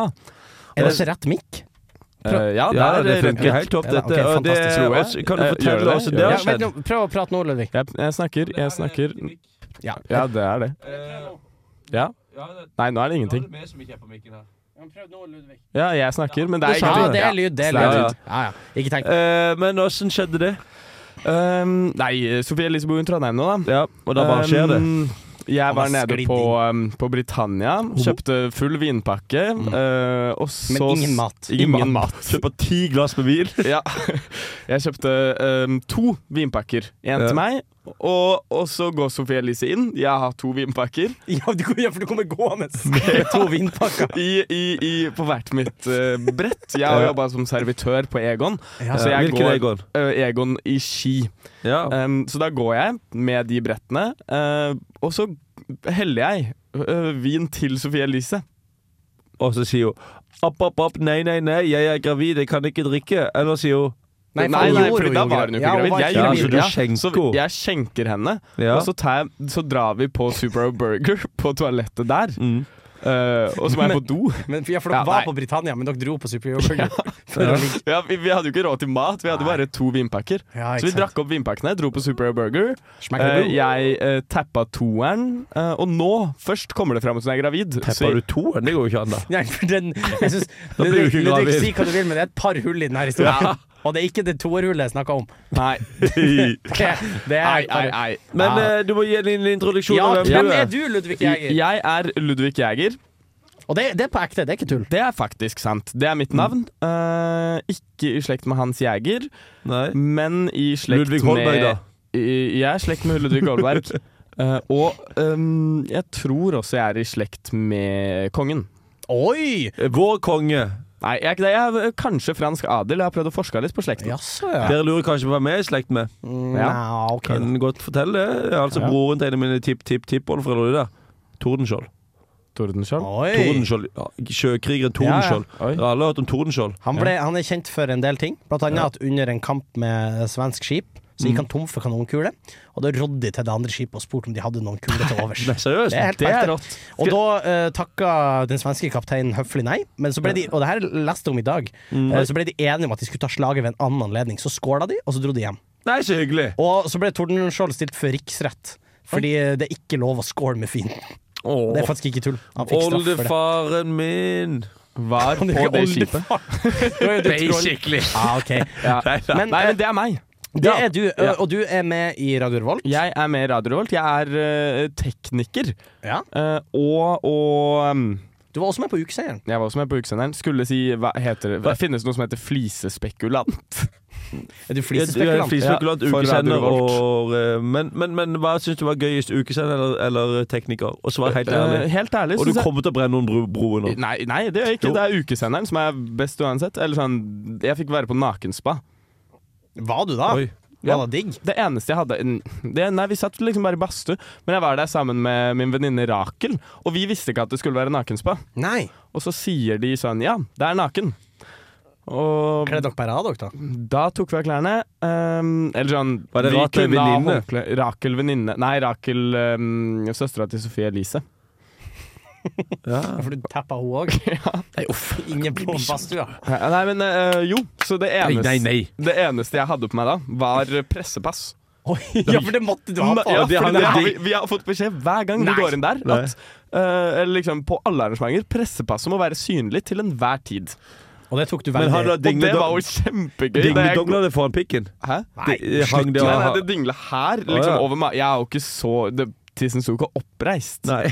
Speaker 4: Er det ikke rett mikk?
Speaker 13: Eh, ja,
Speaker 3: Ja,
Speaker 13: der er
Speaker 3: det
Speaker 13: rett.
Speaker 3: funker helt topp,
Speaker 4: Ja, da,
Speaker 3: dette.
Speaker 4: ok,
Speaker 3: og det,
Speaker 4: fantastisk,
Speaker 13: tror jeg.
Speaker 3: også- kan du
Speaker 13: Eh, gjør
Speaker 3: fortelle
Speaker 13: det,
Speaker 3: oss
Speaker 13: gjør
Speaker 3: det
Speaker 13: det.
Speaker 3: har
Speaker 4: Ja, vent
Speaker 3: skjedd?
Speaker 4: nå, prøv å prate nå, Ludvig.
Speaker 13: Jeg, jeg snakker, jeg snakker
Speaker 4: Ja.
Speaker 13: Ja, det er det. Ja. Nei, nå er det ingenting.
Speaker 4: Prøv nå, Ludvig.
Speaker 13: Ja, jeg snakker, men det er
Speaker 4: Ja,
Speaker 13: ingenting.
Speaker 4: det er lyd. Det er
Speaker 13: Ja,
Speaker 4: lyd.
Speaker 13: så
Speaker 4: Ja, ja. Ikke tenk [LAUGHS]
Speaker 3: Eh, men åssen skjedde det?
Speaker 13: Um, nei, Sofie Elise bor i Trondheim nå, da.
Speaker 3: Ja, Og da bare skjer det?
Speaker 13: Um, jeg var
Speaker 4: er
Speaker 13: nede
Speaker 4: sklidd
Speaker 13: på, um, på Britannia, kjøpte full vinpakke,
Speaker 3: Mm.
Speaker 13: uh, og så
Speaker 4: Men ingen mat.
Speaker 13: Ingen mat.
Speaker 3: Kjøper ti glass med vin.
Speaker 13: [LAUGHS] Ja. Jeg kjøpte um, to vinpakker. En
Speaker 3: Ja.
Speaker 13: til meg, og, og så går Sofie Elise inn. Jeg har to vinpakker
Speaker 4: Ja, du, ja, for du kommer gående med to vinpakker.
Speaker 13: i, i, i, på hvert mitt uh, brett. Jeg har
Speaker 3: Ja.
Speaker 13: jobba som servitør på Egon,
Speaker 4: Ja.
Speaker 13: så jeg
Speaker 3: Hvilken
Speaker 13: går
Speaker 3: Egon?
Speaker 13: uh, Egon i Ski.
Speaker 3: [LAUGHS] Ja.
Speaker 13: Um, så da går jeg med de brettene, eh, og så heller jeg eh, vin til Sofie Elise.
Speaker 3: Og så sier hun opp, opp, opp, nei, nei, nei, jeg er gravid, jeg kan ikke drikke. Eller sier hun
Speaker 4: Nei, for
Speaker 13: nei,
Speaker 4: hun
Speaker 13: nei,
Speaker 4: gjorde
Speaker 13: fordi
Speaker 4: jo
Speaker 13: da
Speaker 4: gravid.
Speaker 13: var hun jo
Speaker 4: Ja,
Speaker 13: ikke
Speaker 4: hun
Speaker 13: gravid.
Speaker 4: var
Speaker 13: Jeg
Speaker 4: ikke
Speaker 13: gjør
Speaker 4: gravid.
Speaker 13: det.
Speaker 3: Ja, så du skjenker.
Speaker 13: så jeg skjenker henne,
Speaker 3: Ja.
Speaker 13: og så, tar jeg, så drar vi på Super O Burger [LAUGHS] på toalettet der.
Speaker 3: Mm.
Speaker 13: Eh, og så må jeg på do. [LAUGHS]
Speaker 4: Men, ja, for dere
Speaker 13: Ja,
Speaker 4: var
Speaker 13: nei.
Speaker 4: på Britannia, men dere dro på Super Burger.
Speaker 13: Ja, vi, vi hadde jo ikke råd til mat, vi hadde bare to vinpakker.
Speaker 4: Ja,
Speaker 13: så vi
Speaker 4: ikke sant.
Speaker 13: drakk opp vinpakkene, dro på Super O Burger.
Speaker 4: Smack
Speaker 13: Eh,
Speaker 4: the
Speaker 13: jeg uh, tappa toeren, eh, og nå først kommer det fram at hun er gravid. Så-
Speaker 3: Tepper du toeren? Det går jo ikke an, da.
Speaker 4: Nei, for den Jeg syns
Speaker 3: Da blir du ikke
Speaker 4: Ludvig,
Speaker 3: gravid.
Speaker 4: si hva du vil, men det er et par hull i denne historien. Og det er ikke det toerhullet jeg snakka om. [LAUGHS]
Speaker 13: Nei.
Speaker 4: Det, det er
Speaker 13: Ei, ei, ei.
Speaker 3: [LAUGHS] Men
Speaker 4: Ja.
Speaker 3: eh, du må gi en liten introduksjon
Speaker 4: Ja,
Speaker 3: av hvem
Speaker 4: hvem
Speaker 3: du
Speaker 4: er
Speaker 3: er.
Speaker 4: du, Ludvig Jæger?
Speaker 13: Jeg er Ludvig Jæger.
Speaker 4: Og det, det er på ekte, det er ikke tull.
Speaker 13: Det er faktisk sant. Det er mitt
Speaker 3: Mm.
Speaker 13: navn. Eh, ikke i slekt med Hans Jæger,
Speaker 3: Nei.
Speaker 13: men i Mm. slekt
Speaker 3: Ludvig Holberg,
Speaker 13: med
Speaker 3: da.
Speaker 13: I- Jeg er i slekt med Ludvig Holberg.
Speaker 3: [LAUGHS]
Speaker 13: Eh, og ehm, jeg tror også jeg er i slekt med kongen.
Speaker 4: Oi!
Speaker 3: Vår konge.
Speaker 13: Nei, jeg er ikke det. Jeg er kanskje fransk adel. Jeg har prøvd å forske litt på slekten.
Speaker 3: ja. Dere lurer kanskje på hvem jeg er i slekt med?
Speaker 13: Ja.
Speaker 3: kan godt fortelle det. Altså
Speaker 13: Ja.
Speaker 3: broren til en av mine tipp-tipp-tippoldefedre. det der. Tordenskjold.
Speaker 13: Tordenskjold?
Speaker 3: Tordenskjold. ja, Sjøkrigeren Tordenskjold.
Speaker 4: Ja, ja.
Speaker 3: Dere har alle hørt om Tordenskjold?
Speaker 4: Han, ble, han er kjent for en del ting, blant annet at under en kamp med svensk skip så
Speaker 3: Mm.
Speaker 4: gikk han tom for kanonkuler, og da rådde de til det andre skipet og spurte om de hadde noen kuler til overs.
Speaker 3: [LAUGHS] Nei, seriøst?
Speaker 4: Det er helt
Speaker 3: Det er
Speaker 4: perfekt. Og da uh, takka den svenske kapteinen høflig nei, men så ble de, og det her leste jeg om i dag,
Speaker 3: Mm.
Speaker 4: eh, så ble de enige om at de skulle ta slaget ved en annen anledning. Så skåla de, og så dro de hjem.
Speaker 3: Nei, så hyggelig.
Speaker 4: Og så ble Tordenskjold stilt for riksrett, fordi det er ikke lov å skåle med fienden.
Speaker 3: Åh.
Speaker 4: Det er faktisk ikke tull. Han fikk straff for det.
Speaker 3: Oldefaren min
Speaker 13: var
Speaker 4: Han er
Speaker 13: på
Speaker 4: ikke
Speaker 13: det
Speaker 4: oldefar.
Speaker 13: skipet.
Speaker 4: Da er du troll.
Speaker 3: Basically.
Speaker 4: Ah, ok. eh,
Speaker 13: Ja.
Speaker 3: Nei, da.
Speaker 13: Men, Nei, men det er meg.
Speaker 4: Det er du,
Speaker 13: Ja.
Speaker 4: og du er med i Radio Revolt?
Speaker 13: Jeg er med i Radio Revolt. Jeg er eh, tekniker.
Speaker 4: Ja.
Speaker 13: Eh, og og um,
Speaker 4: Du var også med på Ukesenderen.
Speaker 13: Jeg var også med på Ukesenderen. Skulle si hva heter det? Det finnes noe som heter flisespekulant.
Speaker 4: Er
Speaker 3: Ja, du
Speaker 4: du
Speaker 3: er flisespekulant,
Speaker 13: Ja, for
Speaker 3: ukesender
Speaker 13: Radio Revolt.
Speaker 3: og eh, men, men, men hva syns du var gøyest, ukesender eller, eller tekniker? Og svar helt ærlig.
Speaker 13: Eh, helt ærlig,
Speaker 3: og
Speaker 13: synes
Speaker 3: du
Speaker 13: jeg-
Speaker 3: kommer til å brenne noen bro broer nå.
Speaker 13: Nei, nei, det gjør jeg ikke.
Speaker 3: Jo.
Speaker 13: Det er ukesenderen som er best uansett. Eller sånn, jeg fikk være på nakenspa.
Speaker 4: Var du da?
Speaker 13: Oi.
Speaker 4: Var det digg?
Speaker 13: Det eneste jeg hadde det, Nei, vi satt liksom bare i badstue, men jeg var der sammen med min venninne Rakel, og vi visste ikke at det skulle være nakenspa.
Speaker 4: Nei.
Speaker 13: Og så sier de sånn Ja, det er naken. Og
Speaker 4: Kledde dere bare av dere, da?
Speaker 13: Da tok vi av klærne. ehm, eller sånn
Speaker 3: Var det
Speaker 13: vi
Speaker 3: Rakel
Speaker 13: kunne ha
Speaker 3: venninne?
Speaker 13: håndkle- Rakel venninne Nei, Rakel um, søstera til Sofie Elise.
Speaker 4: Ja, For du tappa hun òg?
Speaker 13: [LAUGHS]
Speaker 4: Nei, uff. Inne på badstua.
Speaker 13: Nei, men eh, jo. Så det
Speaker 4: Nei,
Speaker 13: eneste,
Speaker 4: nei, nei.
Speaker 13: det eneste jeg hadde på meg da, var pressepass.
Speaker 4: Ja, for det måtte du ha
Speaker 13: Nei,
Speaker 4: på.
Speaker 13: ja,
Speaker 4: fordi
Speaker 13: for
Speaker 4: det
Speaker 13: det
Speaker 4: har
Speaker 13: har
Speaker 4: vi-
Speaker 13: vi, vi har fått beskjed hver gang
Speaker 4: Nei.
Speaker 13: vi går inn der,
Speaker 4: Nei.
Speaker 13: at eh, eller liksom på alle arrangementer pressepasset må være synlig til enhver tid.
Speaker 4: Og det tok du
Speaker 3: Men har du
Speaker 13: Og det var jo kjempegøy. Det er-
Speaker 3: Dingle-donglene foran pikken?
Speaker 13: Hæ?
Speaker 3: Nei, det, hang det,
Speaker 13: Nei, nei, det dingler her.
Speaker 3: Å,
Speaker 13: Liksom
Speaker 3: ja.
Speaker 13: over meg. Jeg er jo ikke så det, Tissen sto ikke oppreist. [LAUGHS]
Speaker 3: Nei.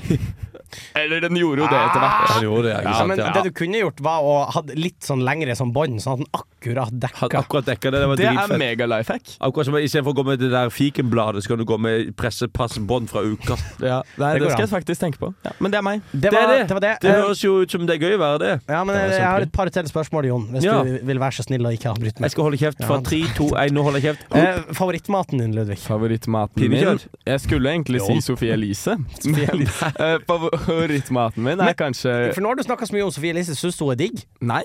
Speaker 13: Eller den gjorde jo det etter hvert.
Speaker 3: Ah! Den gjorde det, ikke
Speaker 4: Ja,
Speaker 3: sant,
Speaker 4: men
Speaker 3: ja.
Speaker 4: det du kunne gjort, var å ha litt sånn lengre sånn bånd, sånn at den akkurat dekka.
Speaker 3: Akkurat dekka det. Det, var
Speaker 4: Det er
Speaker 3: dritfett.
Speaker 13: mega life hack.
Speaker 3: Akkurat som Istedenfor å gå med det der fikenbladet, så kan du gå med pressepassbånd fra uka.
Speaker 13: [LAUGHS] Ja, nei,
Speaker 3: Det
Speaker 13: det,
Speaker 3: går
Speaker 13: skal
Speaker 3: an.
Speaker 13: jeg faktisk tenke på. Ja, men det er meg.
Speaker 4: Det var det. var det.
Speaker 3: Det
Speaker 4: Eh,
Speaker 3: høres jo ut som det er gøy å være det.
Speaker 4: Ja, men
Speaker 3: Det er
Speaker 4: jeg, jeg har
Speaker 3: kjempegøy.
Speaker 4: et par til spørsmål, Jon, hvis
Speaker 3: Ja.
Speaker 4: du vil være så snill og ikke avbryte meg.
Speaker 3: Jeg skal holde kjeft fra
Speaker 4: Ja.
Speaker 3: tre, to, én. Nå holder jeg kjeft.
Speaker 4: Eh, favorittmaten din, Ludvig?
Speaker 13: Favorittmaten min
Speaker 4: Pinnekjøtt?
Speaker 13: Jeg skulle egentlig
Speaker 4: Jo.
Speaker 13: si [LAUGHS] Sofie Elise.
Speaker 4: Sophie Elise.
Speaker 13: Eh, Favorittmaten min er
Speaker 4: Men-
Speaker 13: kanskje
Speaker 4: For nå har du snakka så mye om Sofie Elise. Syns du hun er digg?
Speaker 13: Nei.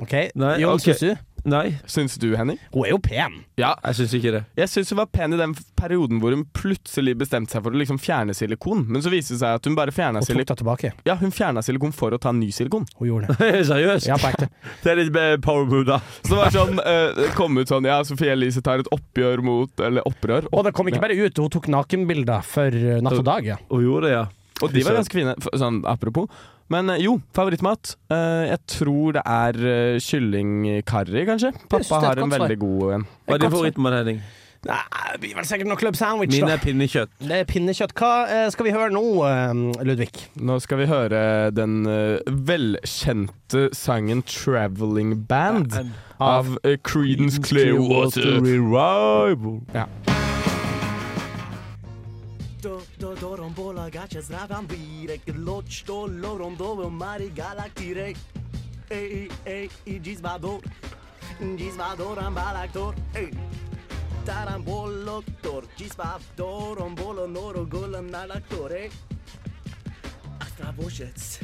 Speaker 4: OK. Jon,
Speaker 13: ok.
Speaker 4: syns du?
Speaker 3: Nei.
Speaker 13: Syns du, Henning?
Speaker 4: Hun er jo pen.
Speaker 13: Ja.
Speaker 3: Jeg syns ikke det.
Speaker 13: Jeg syns hun var pen i den perioden hvor hun plutselig bestemte seg for å liksom fjerne silikon. Men så viste det seg at hun bare fjerna
Speaker 4: Og tok
Speaker 13: silikon.
Speaker 4: det tilbake.
Speaker 13: Ja, hun fjerna silikon for å ta ny silikon.
Speaker 4: Hun gjorde det.
Speaker 3: Seriøst?
Speaker 4: Ja, på ekte.
Speaker 13: [LAUGHS]
Speaker 3: Det er litt eh, power move, da.
Speaker 13: Så det var
Speaker 4: [LAUGHS]
Speaker 13: sånn, eh, det kom ut sånn Ja, Sofie Elise tar et oppgjør mot Eller opprør.
Speaker 4: Og det kom ikke bare ut, hun tok nakenbilder for eh, Natt og dag. Ja.
Speaker 3: Hun gjorde det, ja.
Speaker 13: Og de var ganske fine. f- Sånn apropos. Men eh, jo, favorittmat. Eh, jeg tror det er eh, kylling curry, kanskje.
Speaker 4: Jeg synes det er
Speaker 13: Pappa
Speaker 4: et
Speaker 13: har en
Speaker 4: godt svar.
Speaker 13: veldig god en.
Speaker 3: Hva er din favorittmat, Henning?
Speaker 4: Nei, det blir vel sikkert noe club sandwich,
Speaker 3: Min
Speaker 4: da.
Speaker 3: er pinnekjøtt.
Speaker 4: Det er pinnekjøtt. Hva eh, skal vi høre nå, eh, Ludvig?
Speaker 13: Nå skal vi høre den eh, velkjente sangen 'Traveling Band'
Speaker 3: Ja, en-
Speaker 13: av eh, Creedence Clearwater Revival. Ja.
Speaker 14: To, to, to rombola gaće zdravam direk Loč to lovrom doveo mari galaktirek Ej, ej, i džizvador Džizvador ambalaktor Ej, taramboloktor Džizvador ombolo noro golem nalaktor Ej, astravožec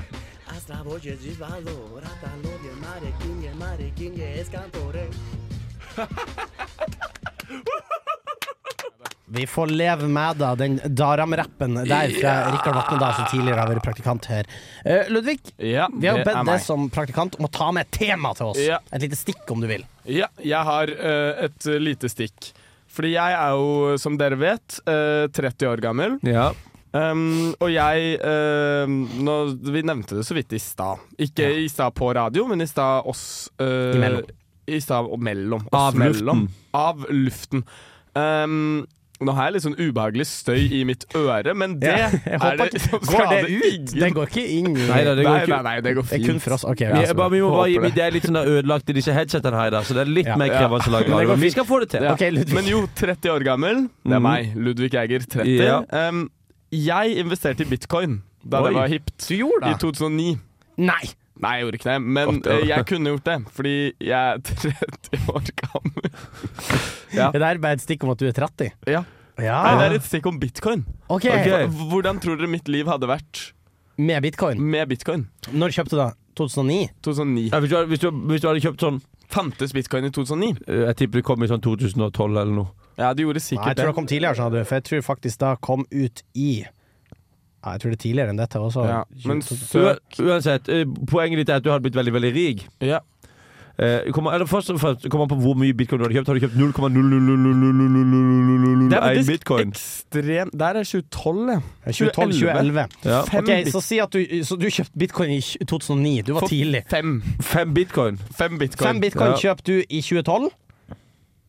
Speaker 14: Astravožec džizvador Atalor je mare kinje, mare kinje eskantor Ej
Speaker 4: Vi får leve med da, den Daram-rappen der fra Rikard Vatnedal, som tidligere har vært praktikant her. Eh, Ludvig,
Speaker 13: Ja,
Speaker 4: vi har
Speaker 13: det er
Speaker 4: bedt
Speaker 13: meg.
Speaker 4: deg som praktikant om å ta med et tema til oss.
Speaker 13: Ja.
Speaker 4: Et lite stikk, om du vil.
Speaker 13: Ja, jeg har eh, et eh, lite stikk. Fordi jeg er jo, som dere vet, eh, 30 år gammel.
Speaker 3: Ja.
Speaker 13: Um, og jeg eh, nå, Vi nevnte det så vidt i stad. Ikke i stad på radio, men i stad oss eh,
Speaker 3: Imellom.
Speaker 13: I stad og mellom. Oss
Speaker 3: Av luften.
Speaker 13: mellom. Av luften. Um, nå har jeg litt sånn ubehagelig støy i mitt øre, men det
Speaker 4: Ja, [LAUGHS] jeg
Speaker 13: er
Speaker 4: håper
Speaker 13: det
Speaker 4: ikke- Går
Speaker 13: som
Speaker 4: det
Speaker 13: skader
Speaker 4: ut?
Speaker 13: ingen.
Speaker 4: Den går ikke inn i
Speaker 3: Nei, da, det går
Speaker 13: nei,
Speaker 3: ikke-
Speaker 13: nei, nei, det går
Speaker 4: Det er
Speaker 13: fint.
Speaker 4: kun for oss. Ok,
Speaker 3: Vi,
Speaker 4: ja, så bra.
Speaker 3: bare, vi, må bare,
Speaker 13: Håper det.
Speaker 3: det er litt sånn der ødelagt i disse headsetene her i dag, så det er litt mer krevende å lage radio.
Speaker 13: Men det går
Speaker 3: Men vi
Speaker 13: fint.
Speaker 3: skal få det til.
Speaker 13: Ja. Men jo, 30 år gammel, det
Speaker 3: Mhm.
Speaker 4: Mm.
Speaker 13: er meg, Ludvig Eiger, 30.
Speaker 3: Ja.
Speaker 13: Um, jeg investerte i bitcoin da
Speaker 3: Oi.
Speaker 13: det var hipt.
Speaker 4: Du gjorde det?
Speaker 13: I 2009.
Speaker 4: Nei!
Speaker 13: Nei, jeg gjorde ikke det, men
Speaker 3: Åtte år.
Speaker 13: eh, jeg kunne gjort det, fordi jeg er 30 år gammel.
Speaker 4: Det der er bare et stikk om at du er 30.
Speaker 13: Ja.
Speaker 4: ja.
Speaker 13: Nei, det er et stikk om bitcoin.
Speaker 4: Ok.
Speaker 13: H- Hvordan tror dere mitt liv hadde vært
Speaker 4: Med bitcoin?
Speaker 13: med bitcoin?
Speaker 4: Når kjøpte du da? 2009?
Speaker 13: 2009.
Speaker 3: hvis, du, hadde- hvis, du, hvis du hadde kjøpt sånn
Speaker 13: Fantes bitcoin i 2009?
Speaker 3: eh, Jeg tipper det kom i sånn 2012 eller noe.
Speaker 13: Ja, det gjorde sikkert
Speaker 4: Nei, jeg tror det
Speaker 13: det.
Speaker 4: kom tidligere, sa du. For jeg tror faktisk da kom ut i Nei, jeg tror det er tidligere enn dette også.
Speaker 13: Ja, men
Speaker 3: Ua- Uansett, eh, poenget ditt er at du hadde blitt veldig, veldig rik.
Speaker 13: Ja.
Speaker 3: Eh, kommer, eller først og fremst kommer an på hvor mye bitcoin du hadde kjøpt. Har du kjøpt 0,00001
Speaker 13: Det er faktisk
Speaker 3: bitcoin?
Speaker 13: ekstremt Der er 2012, ja.
Speaker 4: 2012, 2011.
Speaker 3: Ja.
Speaker 4: Ok, så si at du, så du kjøpte bitcoin i 2009. Du var
Speaker 13: For
Speaker 4: tidlig.
Speaker 13: Fem.
Speaker 3: Fem bitcoin.
Speaker 13: Fem bitcoin.
Speaker 4: Fem bitcoin
Speaker 13: Ja.
Speaker 4: kjøpte du i 2012.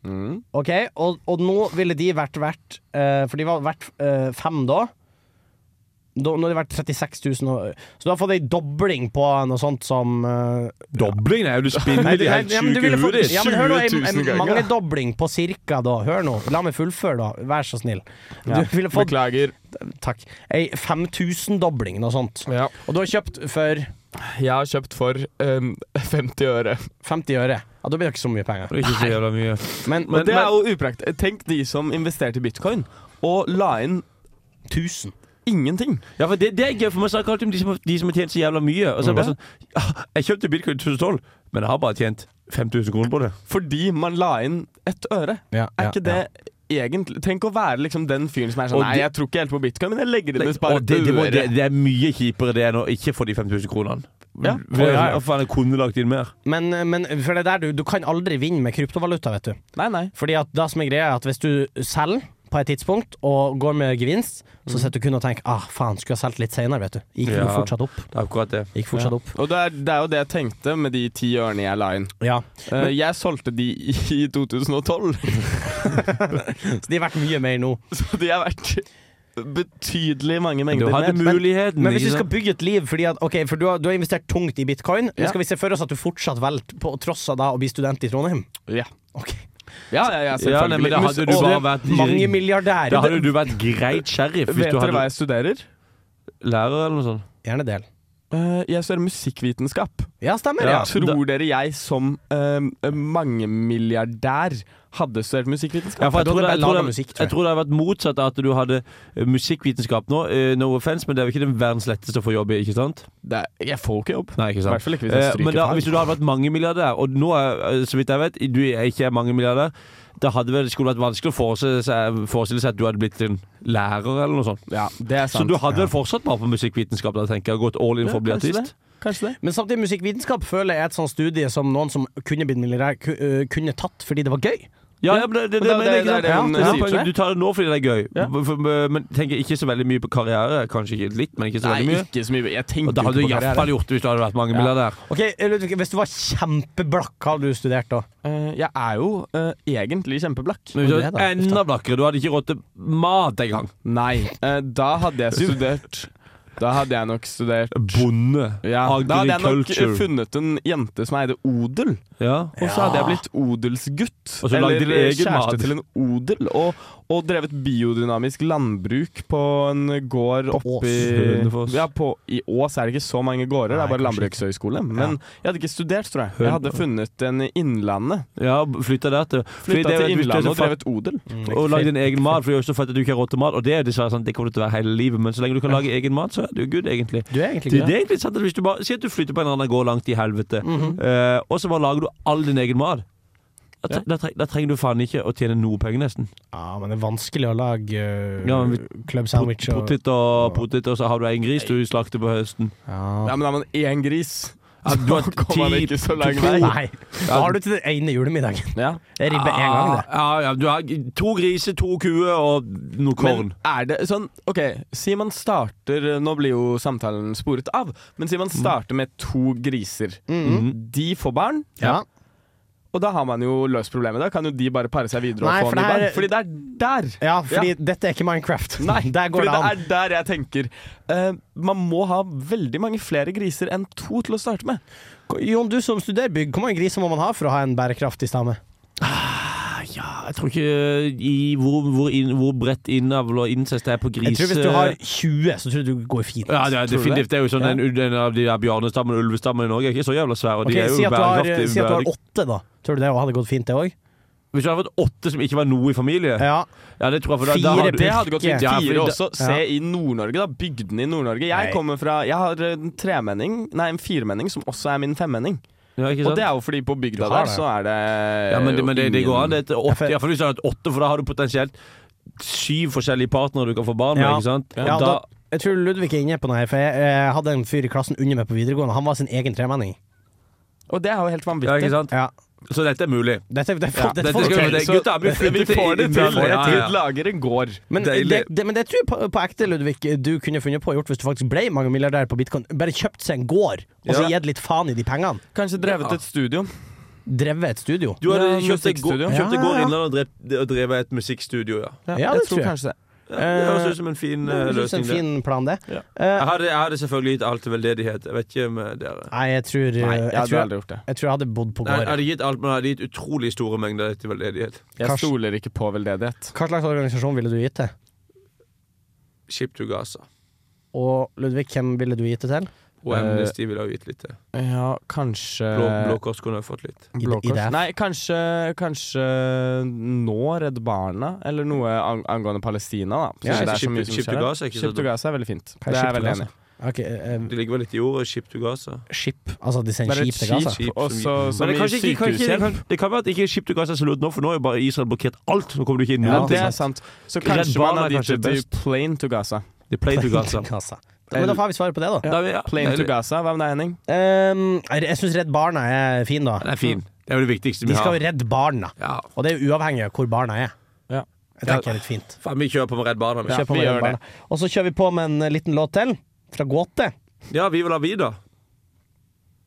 Speaker 13: Mm.
Speaker 4: Ok, og, og nå ville de vært verdt eh, For de var verdt eh, fem da. da. Nå har de vært 36 000. Og, så du har fått ei dobling på noe sånt som eh,
Speaker 3: Dobling? Nei,
Speaker 13: [LAUGHS]
Speaker 3: du spinner
Speaker 4: Nei,
Speaker 3: i de helt
Speaker 4: nei, men du
Speaker 3: sjuke
Speaker 4: ville fått-
Speaker 3: huet ditt.
Speaker 4: Ja, men hør nå, en,
Speaker 13: 20 000
Speaker 4: en
Speaker 13: ganger.
Speaker 4: mangedobling på cirka da. Hør nå, la meg fullføre da, vær så snill. Du
Speaker 13: Ja,
Speaker 4: ville fått
Speaker 13: Beklager.
Speaker 4: Takk. Ei 5000-dobling, noe sånt.
Speaker 13: Ja.
Speaker 4: Og du har kjøpt for
Speaker 13: Jeg har kjøpt for [LAUGHS] um, 50 øre.
Speaker 4: 50 øre. Ja, Da blir det ikke så mye penger.
Speaker 3: Det er ikke så jævla mye.
Speaker 4: Men,
Speaker 13: Men, det er
Speaker 4: men-
Speaker 13: jo upraktisk. Tenk de som investerte i bitcoin og la inn
Speaker 4: 1000.
Speaker 13: Ingenting.
Speaker 3: Ja, for det, det er gøy, for man snakker alltid om de som, har- de som har tjent så jævla mye. Og så er det bare
Speaker 13: Mhm.
Speaker 3: sånn «Ah, Jeg kjøpte bitcoin i 2012, men jeg har bare tjent 5000 kroner på det.
Speaker 13: Fordi man la inn ett øre.
Speaker 4: Ja,
Speaker 13: Er
Speaker 4: ja,
Speaker 13: ikke det egentlig Tenk å være liksom den fyren som er
Speaker 3: Og
Speaker 13: sånn Nei,
Speaker 3: det-
Speaker 13: jeg tror ikke helt på bitcoin, men jeg legger inn et par
Speaker 3: Og det, det, må,
Speaker 13: øre.
Speaker 3: det, det er mye kjipere det enn å ikke få de 5000 kronene.
Speaker 13: Ja.
Speaker 3: For det er sånn, «Å, faen, jeg kunne lagt inn mer.
Speaker 4: Men, eh, men for det der, du, du kan aldri vinne med kryptovaluta, vet du.
Speaker 13: Nei, nei.
Speaker 4: Fordi at det som er greia, er at hvis du selger på et tidspunkt og går med gevinst, så sitter du kun og tenker ah, faen, skulle jeg solgt litt senere, vet du. Gikk jo
Speaker 3: Ja.
Speaker 4: fortsatt opp.
Speaker 3: Det er akkurat det.
Speaker 4: Gikk fortsatt
Speaker 13: Ja.
Speaker 4: opp.
Speaker 13: Og det er, det er jo det jeg tenkte med de ti ørene jeg la inn.
Speaker 4: Ja.
Speaker 13: Eh, jeg solgte de i 2012,
Speaker 4: Så de er verdt mye mer nå.
Speaker 13: [LAUGHS] så de er verdt betydelig mange
Speaker 3: Du
Speaker 13: mengder
Speaker 3: hadde
Speaker 13: mer.
Speaker 3: muligheten.
Speaker 4: Men hvis
Speaker 3: ikke
Speaker 4: du
Speaker 3: sant?
Speaker 4: skal bygge et liv fordi at, Ok, for du har, du har investert tungt i bitcoin.
Speaker 13: Ja.
Speaker 4: Men skal vi se for oss at du fortsatt velger på tross av da å bli student i Trondheim?
Speaker 13: Ja.
Speaker 4: Ok.
Speaker 13: Ja, ja, ja, selvfølgelig.
Speaker 3: Ja, nei, men da hadde du
Speaker 13: Og
Speaker 3: bare
Speaker 13: det-
Speaker 3: vært
Speaker 4: Mange milliardærer.
Speaker 3: Da hadde du vært greit sheriff hvis
Speaker 13: Vet
Speaker 3: du
Speaker 13: dere
Speaker 3: hadde
Speaker 13: hva jeg studerer?
Speaker 3: lærer eller noe sånt.
Speaker 4: Gjerne del.
Speaker 13: Eh, jeg studerer musikkvitenskap.
Speaker 4: Ja, stemmer, ja.
Speaker 13: Tror dere jeg som eh, mangemilliardær hadde studert musikkvitenskap?
Speaker 3: Ja, for jeg,
Speaker 4: Da
Speaker 3: tror det,
Speaker 4: hadde det
Speaker 3: jeg,
Speaker 4: bare
Speaker 3: tror
Speaker 4: laget
Speaker 3: det,
Speaker 4: musikk, tror jeg.
Speaker 3: jeg tror det hadde vært motsatt av at du hadde eh, musikkvitenskap nå. Eh, No offense, men det er jo ikke den verdens letteste å få jobb i, ikke sant?
Speaker 13: Det er, jeg får jo ikke jobb.
Speaker 3: Nei, ikke sant?
Speaker 13: I hvert fall ikke hvis jeg
Speaker 3: Eh,
Speaker 13: stryker
Speaker 3: Men da,
Speaker 13: på.
Speaker 3: hvis du hadde vært mangemilliardær, og nå er, eh, så vidt jeg vet, du er ikke mangemilliardær, da hadde vel skulle vært vanskelig å forestille seg, forestille seg at du hadde blitt en lærer eller noe sånt.
Speaker 13: Ja, det er
Speaker 3: Så
Speaker 13: sant.
Speaker 3: du hadde vel fortsatt bare på musikkvitenskap, da, tenker jeg, og gått all in for å bli
Speaker 13: kanskje
Speaker 3: artist?
Speaker 13: Det. Kanskje det.
Speaker 4: Men samtidig, musikkvitenskap føler jeg er et sånt studie som noen som kunne blitt milliardær, ku- øh, kunne tatt fordi det var gøy.
Speaker 3: Ja, ja, men det, det,
Speaker 13: Men det-
Speaker 3: mener jeg,
Speaker 13: det-
Speaker 3: ikke
Speaker 13: det er det
Speaker 3: sant?
Speaker 13: hun
Speaker 3: Ja,
Speaker 13: sier, tror jeg.
Speaker 3: Du tar det nå fordi det er gøy,
Speaker 13: Ja.
Speaker 3: For- for- men tenker ikke så veldig mye på karriere. Kanskje ikke litt, men ikke så
Speaker 13: Nei,
Speaker 3: veldig mye.
Speaker 13: ikke så mye. Jeg tenker
Speaker 3: Og det hadde
Speaker 13: jo
Speaker 3: du
Speaker 13: ikke på karriere.
Speaker 3: iallfall gjort hvis du hadde vært mangemilliardær.
Speaker 4: Ok, Ludvig, Hvis du var kjempeblakk, hva hadde du studert da?
Speaker 13: Eh, jeg er jo eh, egentlig kjempeblakk.
Speaker 3: Men hvis du
Speaker 4: det
Speaker 3: hadde
Speaker 4: da?
Speaker 3: vært enda blakkere. Du hadde ikke råd til mat engang.
Speaker 13: Nei, eh, da hadde jeg studert Da hadde jeg nok studert
Speaker 3: Bonde.
Speaker 13: ja, Da hadde jeg nok eh,
Speaker 3: Agriculture.
Speaker 13: funnet en jente som eide odel,
Speaker 3: Ja.
Speaker 13: og så hadde jeg blitt odelsgutt. eh,
Speaker 3: Og så lagde din egen
Speaker 13: kjæreste
Speaker 3: mat.
Speaker 13: til en odel, og, og drevet biodynamisk landbruk på en gård
Speaker 4: Ås.
Speaker 13: oppi
Speaker 3: Hønefoss.
Speaker 13: ja, på, I Ås er det ikke så mange gårder, det
Speaker 4: Nei,
Speaker 13: er bare
Speaker 4: kanskje
Speaker 13: landbrukshøyskole. Men jeg hadde ikke studert, tror jeg. Jeg hadde funnet en i Innlandet.
Speaker 3: Ja, flytta der til. Fordi
Speaker 13: Flytta
Speaker 3: det er jo-
Speaker 13: til
Speaker 3: hvis du er så
Speaker 13: Innlandet og
Speaker 3: fattig-
Speaker 13: drevet odel.
Speaker 3: Og lagd din egen mat, for jeg har også fått at du ikke har råd til mat. Og det er dessverre sant, det kommer du til å være hele livet, men så lenge du kan lage egen mat, så er du good, egentlig.
Speaker 4: Du er
Speaker 3: Det,
Speaker 4: egentlig
Speaker 3: det
Speaker 4: glad.
Speaker 3: er egentlig sant at hvis du bare Si at du flytter på en eller annen gård langt i helvete,
Speaker 13: Mhm.
Speaker 3: eh, og så bare lager du all din egen mat. Da, tre, da, tre, da trenger du faen ikke å tjene noe penger, nesten.
Speaker 4: Ja, men det er vanskelig å lage øh,
Speaker 3: Ja, men vi-
Speaker 4: club
Speaker 3: Pot-
Speaker 4: sandwich og
Speaker 3: Potet og potet, og så har du en gris du slakter på høsten.
Speaker 4: ja.
Speaker 13: Ja, men da har man én gris.
Speaker 3: Ja, du har
Speaker 13: [LAUGHS] Da kommer man
Speaker 3: ti-
Speaker 13: ikke så lang
Speaker 3: to-
Speaker 13: vei.
Speaker 4: Nei. Da har du til den ene julemiddagen.
Speaker 13: Ja.
Speaker 4: Det er ribbe én gang, det.
Speaker 3: Ja, ja, du har to griser, to kuer og noe korn.
Speaker 13: Men er det sånn OK, si man starter eh, Nå blir jo samtalen sporet av, men si man
Speaker 3: Mm.
Speaker 13: starter med to griser.
Speaker 4: Mm.
Speaker 13: De får barn,
Speaker 4: Ja.
Speaker 13: og da har man jo løst problemet. Da kan jo de bare pare seg videre
Speaker 4: Nei,
Speaker 13: og
Speaker 4: for
Speaker 13: få nye
Speaker 4: det
Speaker 13: barn.
Speaker 4: er-
Speaker 13: Fordi det er der!
Speaker 4: Ja, fordi dette er ikke Minecraft.
Speaker 3: [LAUGHS]
Speaker 13: Nei,
Speaker 4: [LAUGHS] Der går
Speaker 13: fordi
Speaker 4: det
Speaker 13: det,
Speaker 4: an.
Speaker 13: er der jeg tenker. eh, man må ha veldig mange flere griser enn to til å starte med.
Speaker 4: Jon, du som studerer bygg, hvor mange griser må man ha for å ha en bærekraftig stamme?
Speaker 13: Eh,
Speaker 3: Ah, jeg tror ikke i hvor, hvor, inn, hvor bredt innavl og incest det er på gris eh,
Speaker 4: Jeg tror Hvis du har 20, så tror jeg du går fint.
Speaker 3: Ja, det er
Speaker 4: Tror du
Speaker 3: definitivt. Det er jo sånn en, en av de der bjørnestammen og ulvestammen i Norge er ikke så jævla svær. Og
Speaker 4: Ok,
Speaker 3: de er jo
Speaker 4: si, at du har, eh,
Speaker 3: bærekraftige-
Speaker 4: si at du har
Speaker 3: bærekraftige.
Speaker 4: åtte, da. Tror du det hadde gått fint, det òg?
Speaker 3: Hvis du hadde fått åtte som ikke var noe i familie
Speaker 4: Ja.
Speaker 3: det tror jeg for da,
Speaker 13: Fire
Speaker 3: da har du-
Speaker 13: Det hadde gått fint.
Speaker 3: Ja, fordi
Speaker 13: Fire
Speaker 3: da-
Speaker 13: også. Se i Nord-Norge, da. Bygdene i Nord-Norge. Jeg
Speaker 3: Nei.
Speaker 13: kommer fra Jeg har en tremenning, nei, en firemenning, som også er min femmenning.
Speaker 3: Ja, ikke
Speaker 13: Og
Speaker 3: sant?
Speaker 13: det er jo fordi på
Speaker 3: Du
Speaker 13: bygda
Speaker 3: har
Speaker 13: der
Speaker 3: det.
Speaker 13: så er det
Speaker 3: Ja, men, det, men det, det går an. Det er et
Speaker 13: Ja, for-
Speaker 3: åtte, ja, for hvis du har et åtte, for da har du potensielt syv forskjellige partnere du kan få barn med.
Speaker 4: Ja.
Speaker 3: ikke sant?
Speaker 4: Ja,
Speaker 3: Og
Speaker 4: da,
Speaker 3: da,
Speaker 4: jeg tror Ludvig er inne på noe, her, for jeg, eh, hadde en fyr i klassen under meg på videregående. Han var sin egen tremenning.
Speaker 13: Og det er jo helt
Speaker 3: ja,
Speaker 13: vanvittig.
Speaker 3: ikke sant? Så dette er mulig.
Speaker 4: Dette, det,
Speaker 3: Ja,
Speaker 4: dette
Speaker 3: dette
Speaker 4: får vi
Speaker 3: skal vi-
Speaker 4: til.
Speaker 3: det- gutta er blitt flinke
Speaker 13: Vi får det
Speaker 3: til-
Speaker 13: til.
Speaker 3: Ja, ja, ja.
Speaker 13: Vi lager en gård.
Speaker 4: Men det, det, men det tror jeg på, på ekte, Ludvig, du kunne funnet på å gjort hvis du faktisk ble mangemilliardær på bitcoin. Bare kjøpt seg en gård, og så
Speaker 13: Ja.
Speaker 4: gitt litt faen i de pengene.
Speaker 13: Kanskje drevet et studio.
Speaker 4: Drevet et studio.
Speaker 3: Du hadde kjøpt et gå- kjøpt et gård
Speaker 4: Ja, ja.
Speaker 3: innland og drev- og drevet et musikkstudio, ja.
Speaker 4: Ja, det tror jeg.
Speaker 3: Ja, det høres ut som en fin eh,
Speaker 4: Det høres ut som
Speaker 3: løsning.
Speaker 4: en
Speaker 3: det.
Speaker 4: fin plan, det.
Speaker 3: Jeg hadde, jeg hadde selvfølgelig gitt alt til veldedighet. Jeg vet ikke med dere.
Speaker 4: Nei, jeg tror
Speaker 3: Nei, jeg hadde
Speaker 4: tror,
Speaker 3: aldri gjort det.
Speaker 4: Jeg tror jeg hadde bodd på
Speaker 3: Jeg
Speaker 4: gård.
Speaker 3: hadde gitt alt, men jeg hadde gitt utrolig store mengder til veldedighet.
Speaker 13: Jeg
Speaker 4: Kanskje-
Speaker 13: stoler ikke på veldedighet.
Speaker 4: Hva slags organisasjon ville du gitt til?
Speaker 3: Ship to Gaza.
Speaker 4: Og Ludvig, hvem ville du gitt det til?
Speaker 3: Og
Speaker 13: Eh,
Speaker 3: Amnesty ville jeg jo gitt litt til.
Speaker 13: Ja, kanskje
Speaker 3: Blå, Blå Kors kunne jeg fått litt.
Speaker 13: Blå
Speaker 4: I- i
Speaker 13: Kors?
Speaker 4: det.
Speaker 13: Nei, kanskje, kanskje nå Redd Barna, eller noe ang angående Palestina, da.
Speaker 3: Ja,
Speaker 13: Siden det er så
Speaker 3: Ship-
Speaker 13: mye som
Speaker 3: Ship to
Speaker 13: skjer.
Speaker 3: Gaza er ikke så
Speaker 13: Ship to
Speaker 3: dumt.
Speaker 13: Gaza er veldig fint.
Speaker 4: Hva er
Speaker 13: Det er
Speaker 4: Ship
Speaker 13: jeg
Speaker 4: to
Speaker 13: veldig
Speaker 4: Gaza?
Speaker 13: enig i.
Speaker 4: Ok, eh,
Speaker 3: Det ligger vel litt i ordet. Ship to Gaza.
Speaker 4: Skip. Altså, de sender
Speaker 13: Bare et
Speaker 4: skip til Gaza?
Speaker 13: skip.
Speaker 3: Også,
Speaker 13: Også som
Speaker 3: men det,
Speaker 13: i
Speaker 3: kanskje ikke, kan ikke, det, kan,
Speaker 13: sykehushjelp.
Speaker 3: det kan være at ikke Ship to Gaza er så lurt nå, for nå er jo bare Israel blokkert alt. Nå kommer du ikke inn
Speaker 13: Ja,
Speaker 3: noen
Speaker 13: det
Speaker 3: ting.
Speaker 13: er sant. Så
Speaker 3: altså. Redd
Speaker 13: kanskje
Speaker 3: Barna er
Speaker 13: man har
Speaker 3: kanskje
Speaker 13: ditchet to
Speaker 3: best.
Speaker 13: Plane to Gaza.
Speaker 3: Det er Play to
Speaker 4: [LAUGHS]
Speaker 3: Gaza.
Speaker 4: Ja, men da får vi svar på det, da.
Speaker 3: Da er vi- ja.
Speaker 13: Plane to
Speaker 3: Deilig.
Speaker 13: Gaza, hva med deg, Henning?
Speaker 4: Um, jeg syns Redd Barna er fin, da.
Speaker 3: Den er fin. Det er jo det viktigste
Speaker 4: De
Speaker 3: vi
Speaker 4: skal
Speaker 3: har.
Speaker 4: jo redde barna,
Speaker 3: Ja.
Speaker 4: og det er jo uavhengig av hvor barna er.
Speaker 13: Ja.
Speaker 4: Jeg tenker det er litt fint.
Speaker 3: Faen, vi kjører på med Redd Barna.
Speaker 4: Kjør på med Redd Barna. Og så kjører vi på med en eh, liten låt til, fra Gåte.
Speaker 3: Ja, vi vil ha vi, da.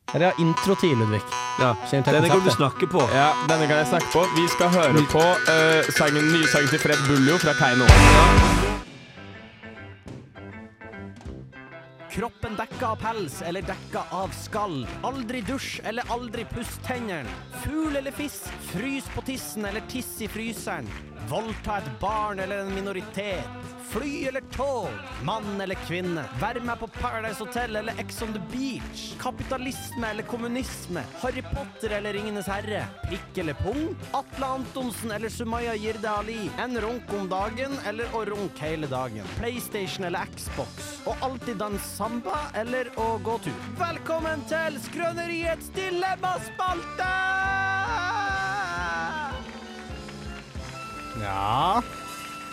Speaker 4: Her er intro til, Ludvig.
Speaker 3: Ja.
Speaker 4: Kjenner til
Speaker 3: Denne kan du
Speaker 4: konseptet.
Speaker 3: snakke på.
Speaker 13: Ja, denne kan jeg snakke på. Vi skal høre på eh, sangen, nye sangen til Fred Buljo fra Keiino. Ja.
Speaker 14: Kroppen dekka av pels eller dekka av skall. Aldri dusj eller aldri puss tennene. Fugl eller fisk, frys på tissen eller tiss i fryseren. Voldta et barn eller en minoritet. Fly eller tog, mann eller kvinne. Vær med på Paradise Hotel eller Ex on the Beach. Kapitalisme eller kommunisme. Harry Potter eller Ringenes herre. Prikk eller pung. Atle Antonsen eller Sumaya Jirde Ali. En runk om dagen eller å runke hele dagen. PlayStation eller Xbox. Og alltid danse samba eller å gå tur. Velkommen til Skrøneriets dilemmaspalte!
Speaker 4: Ja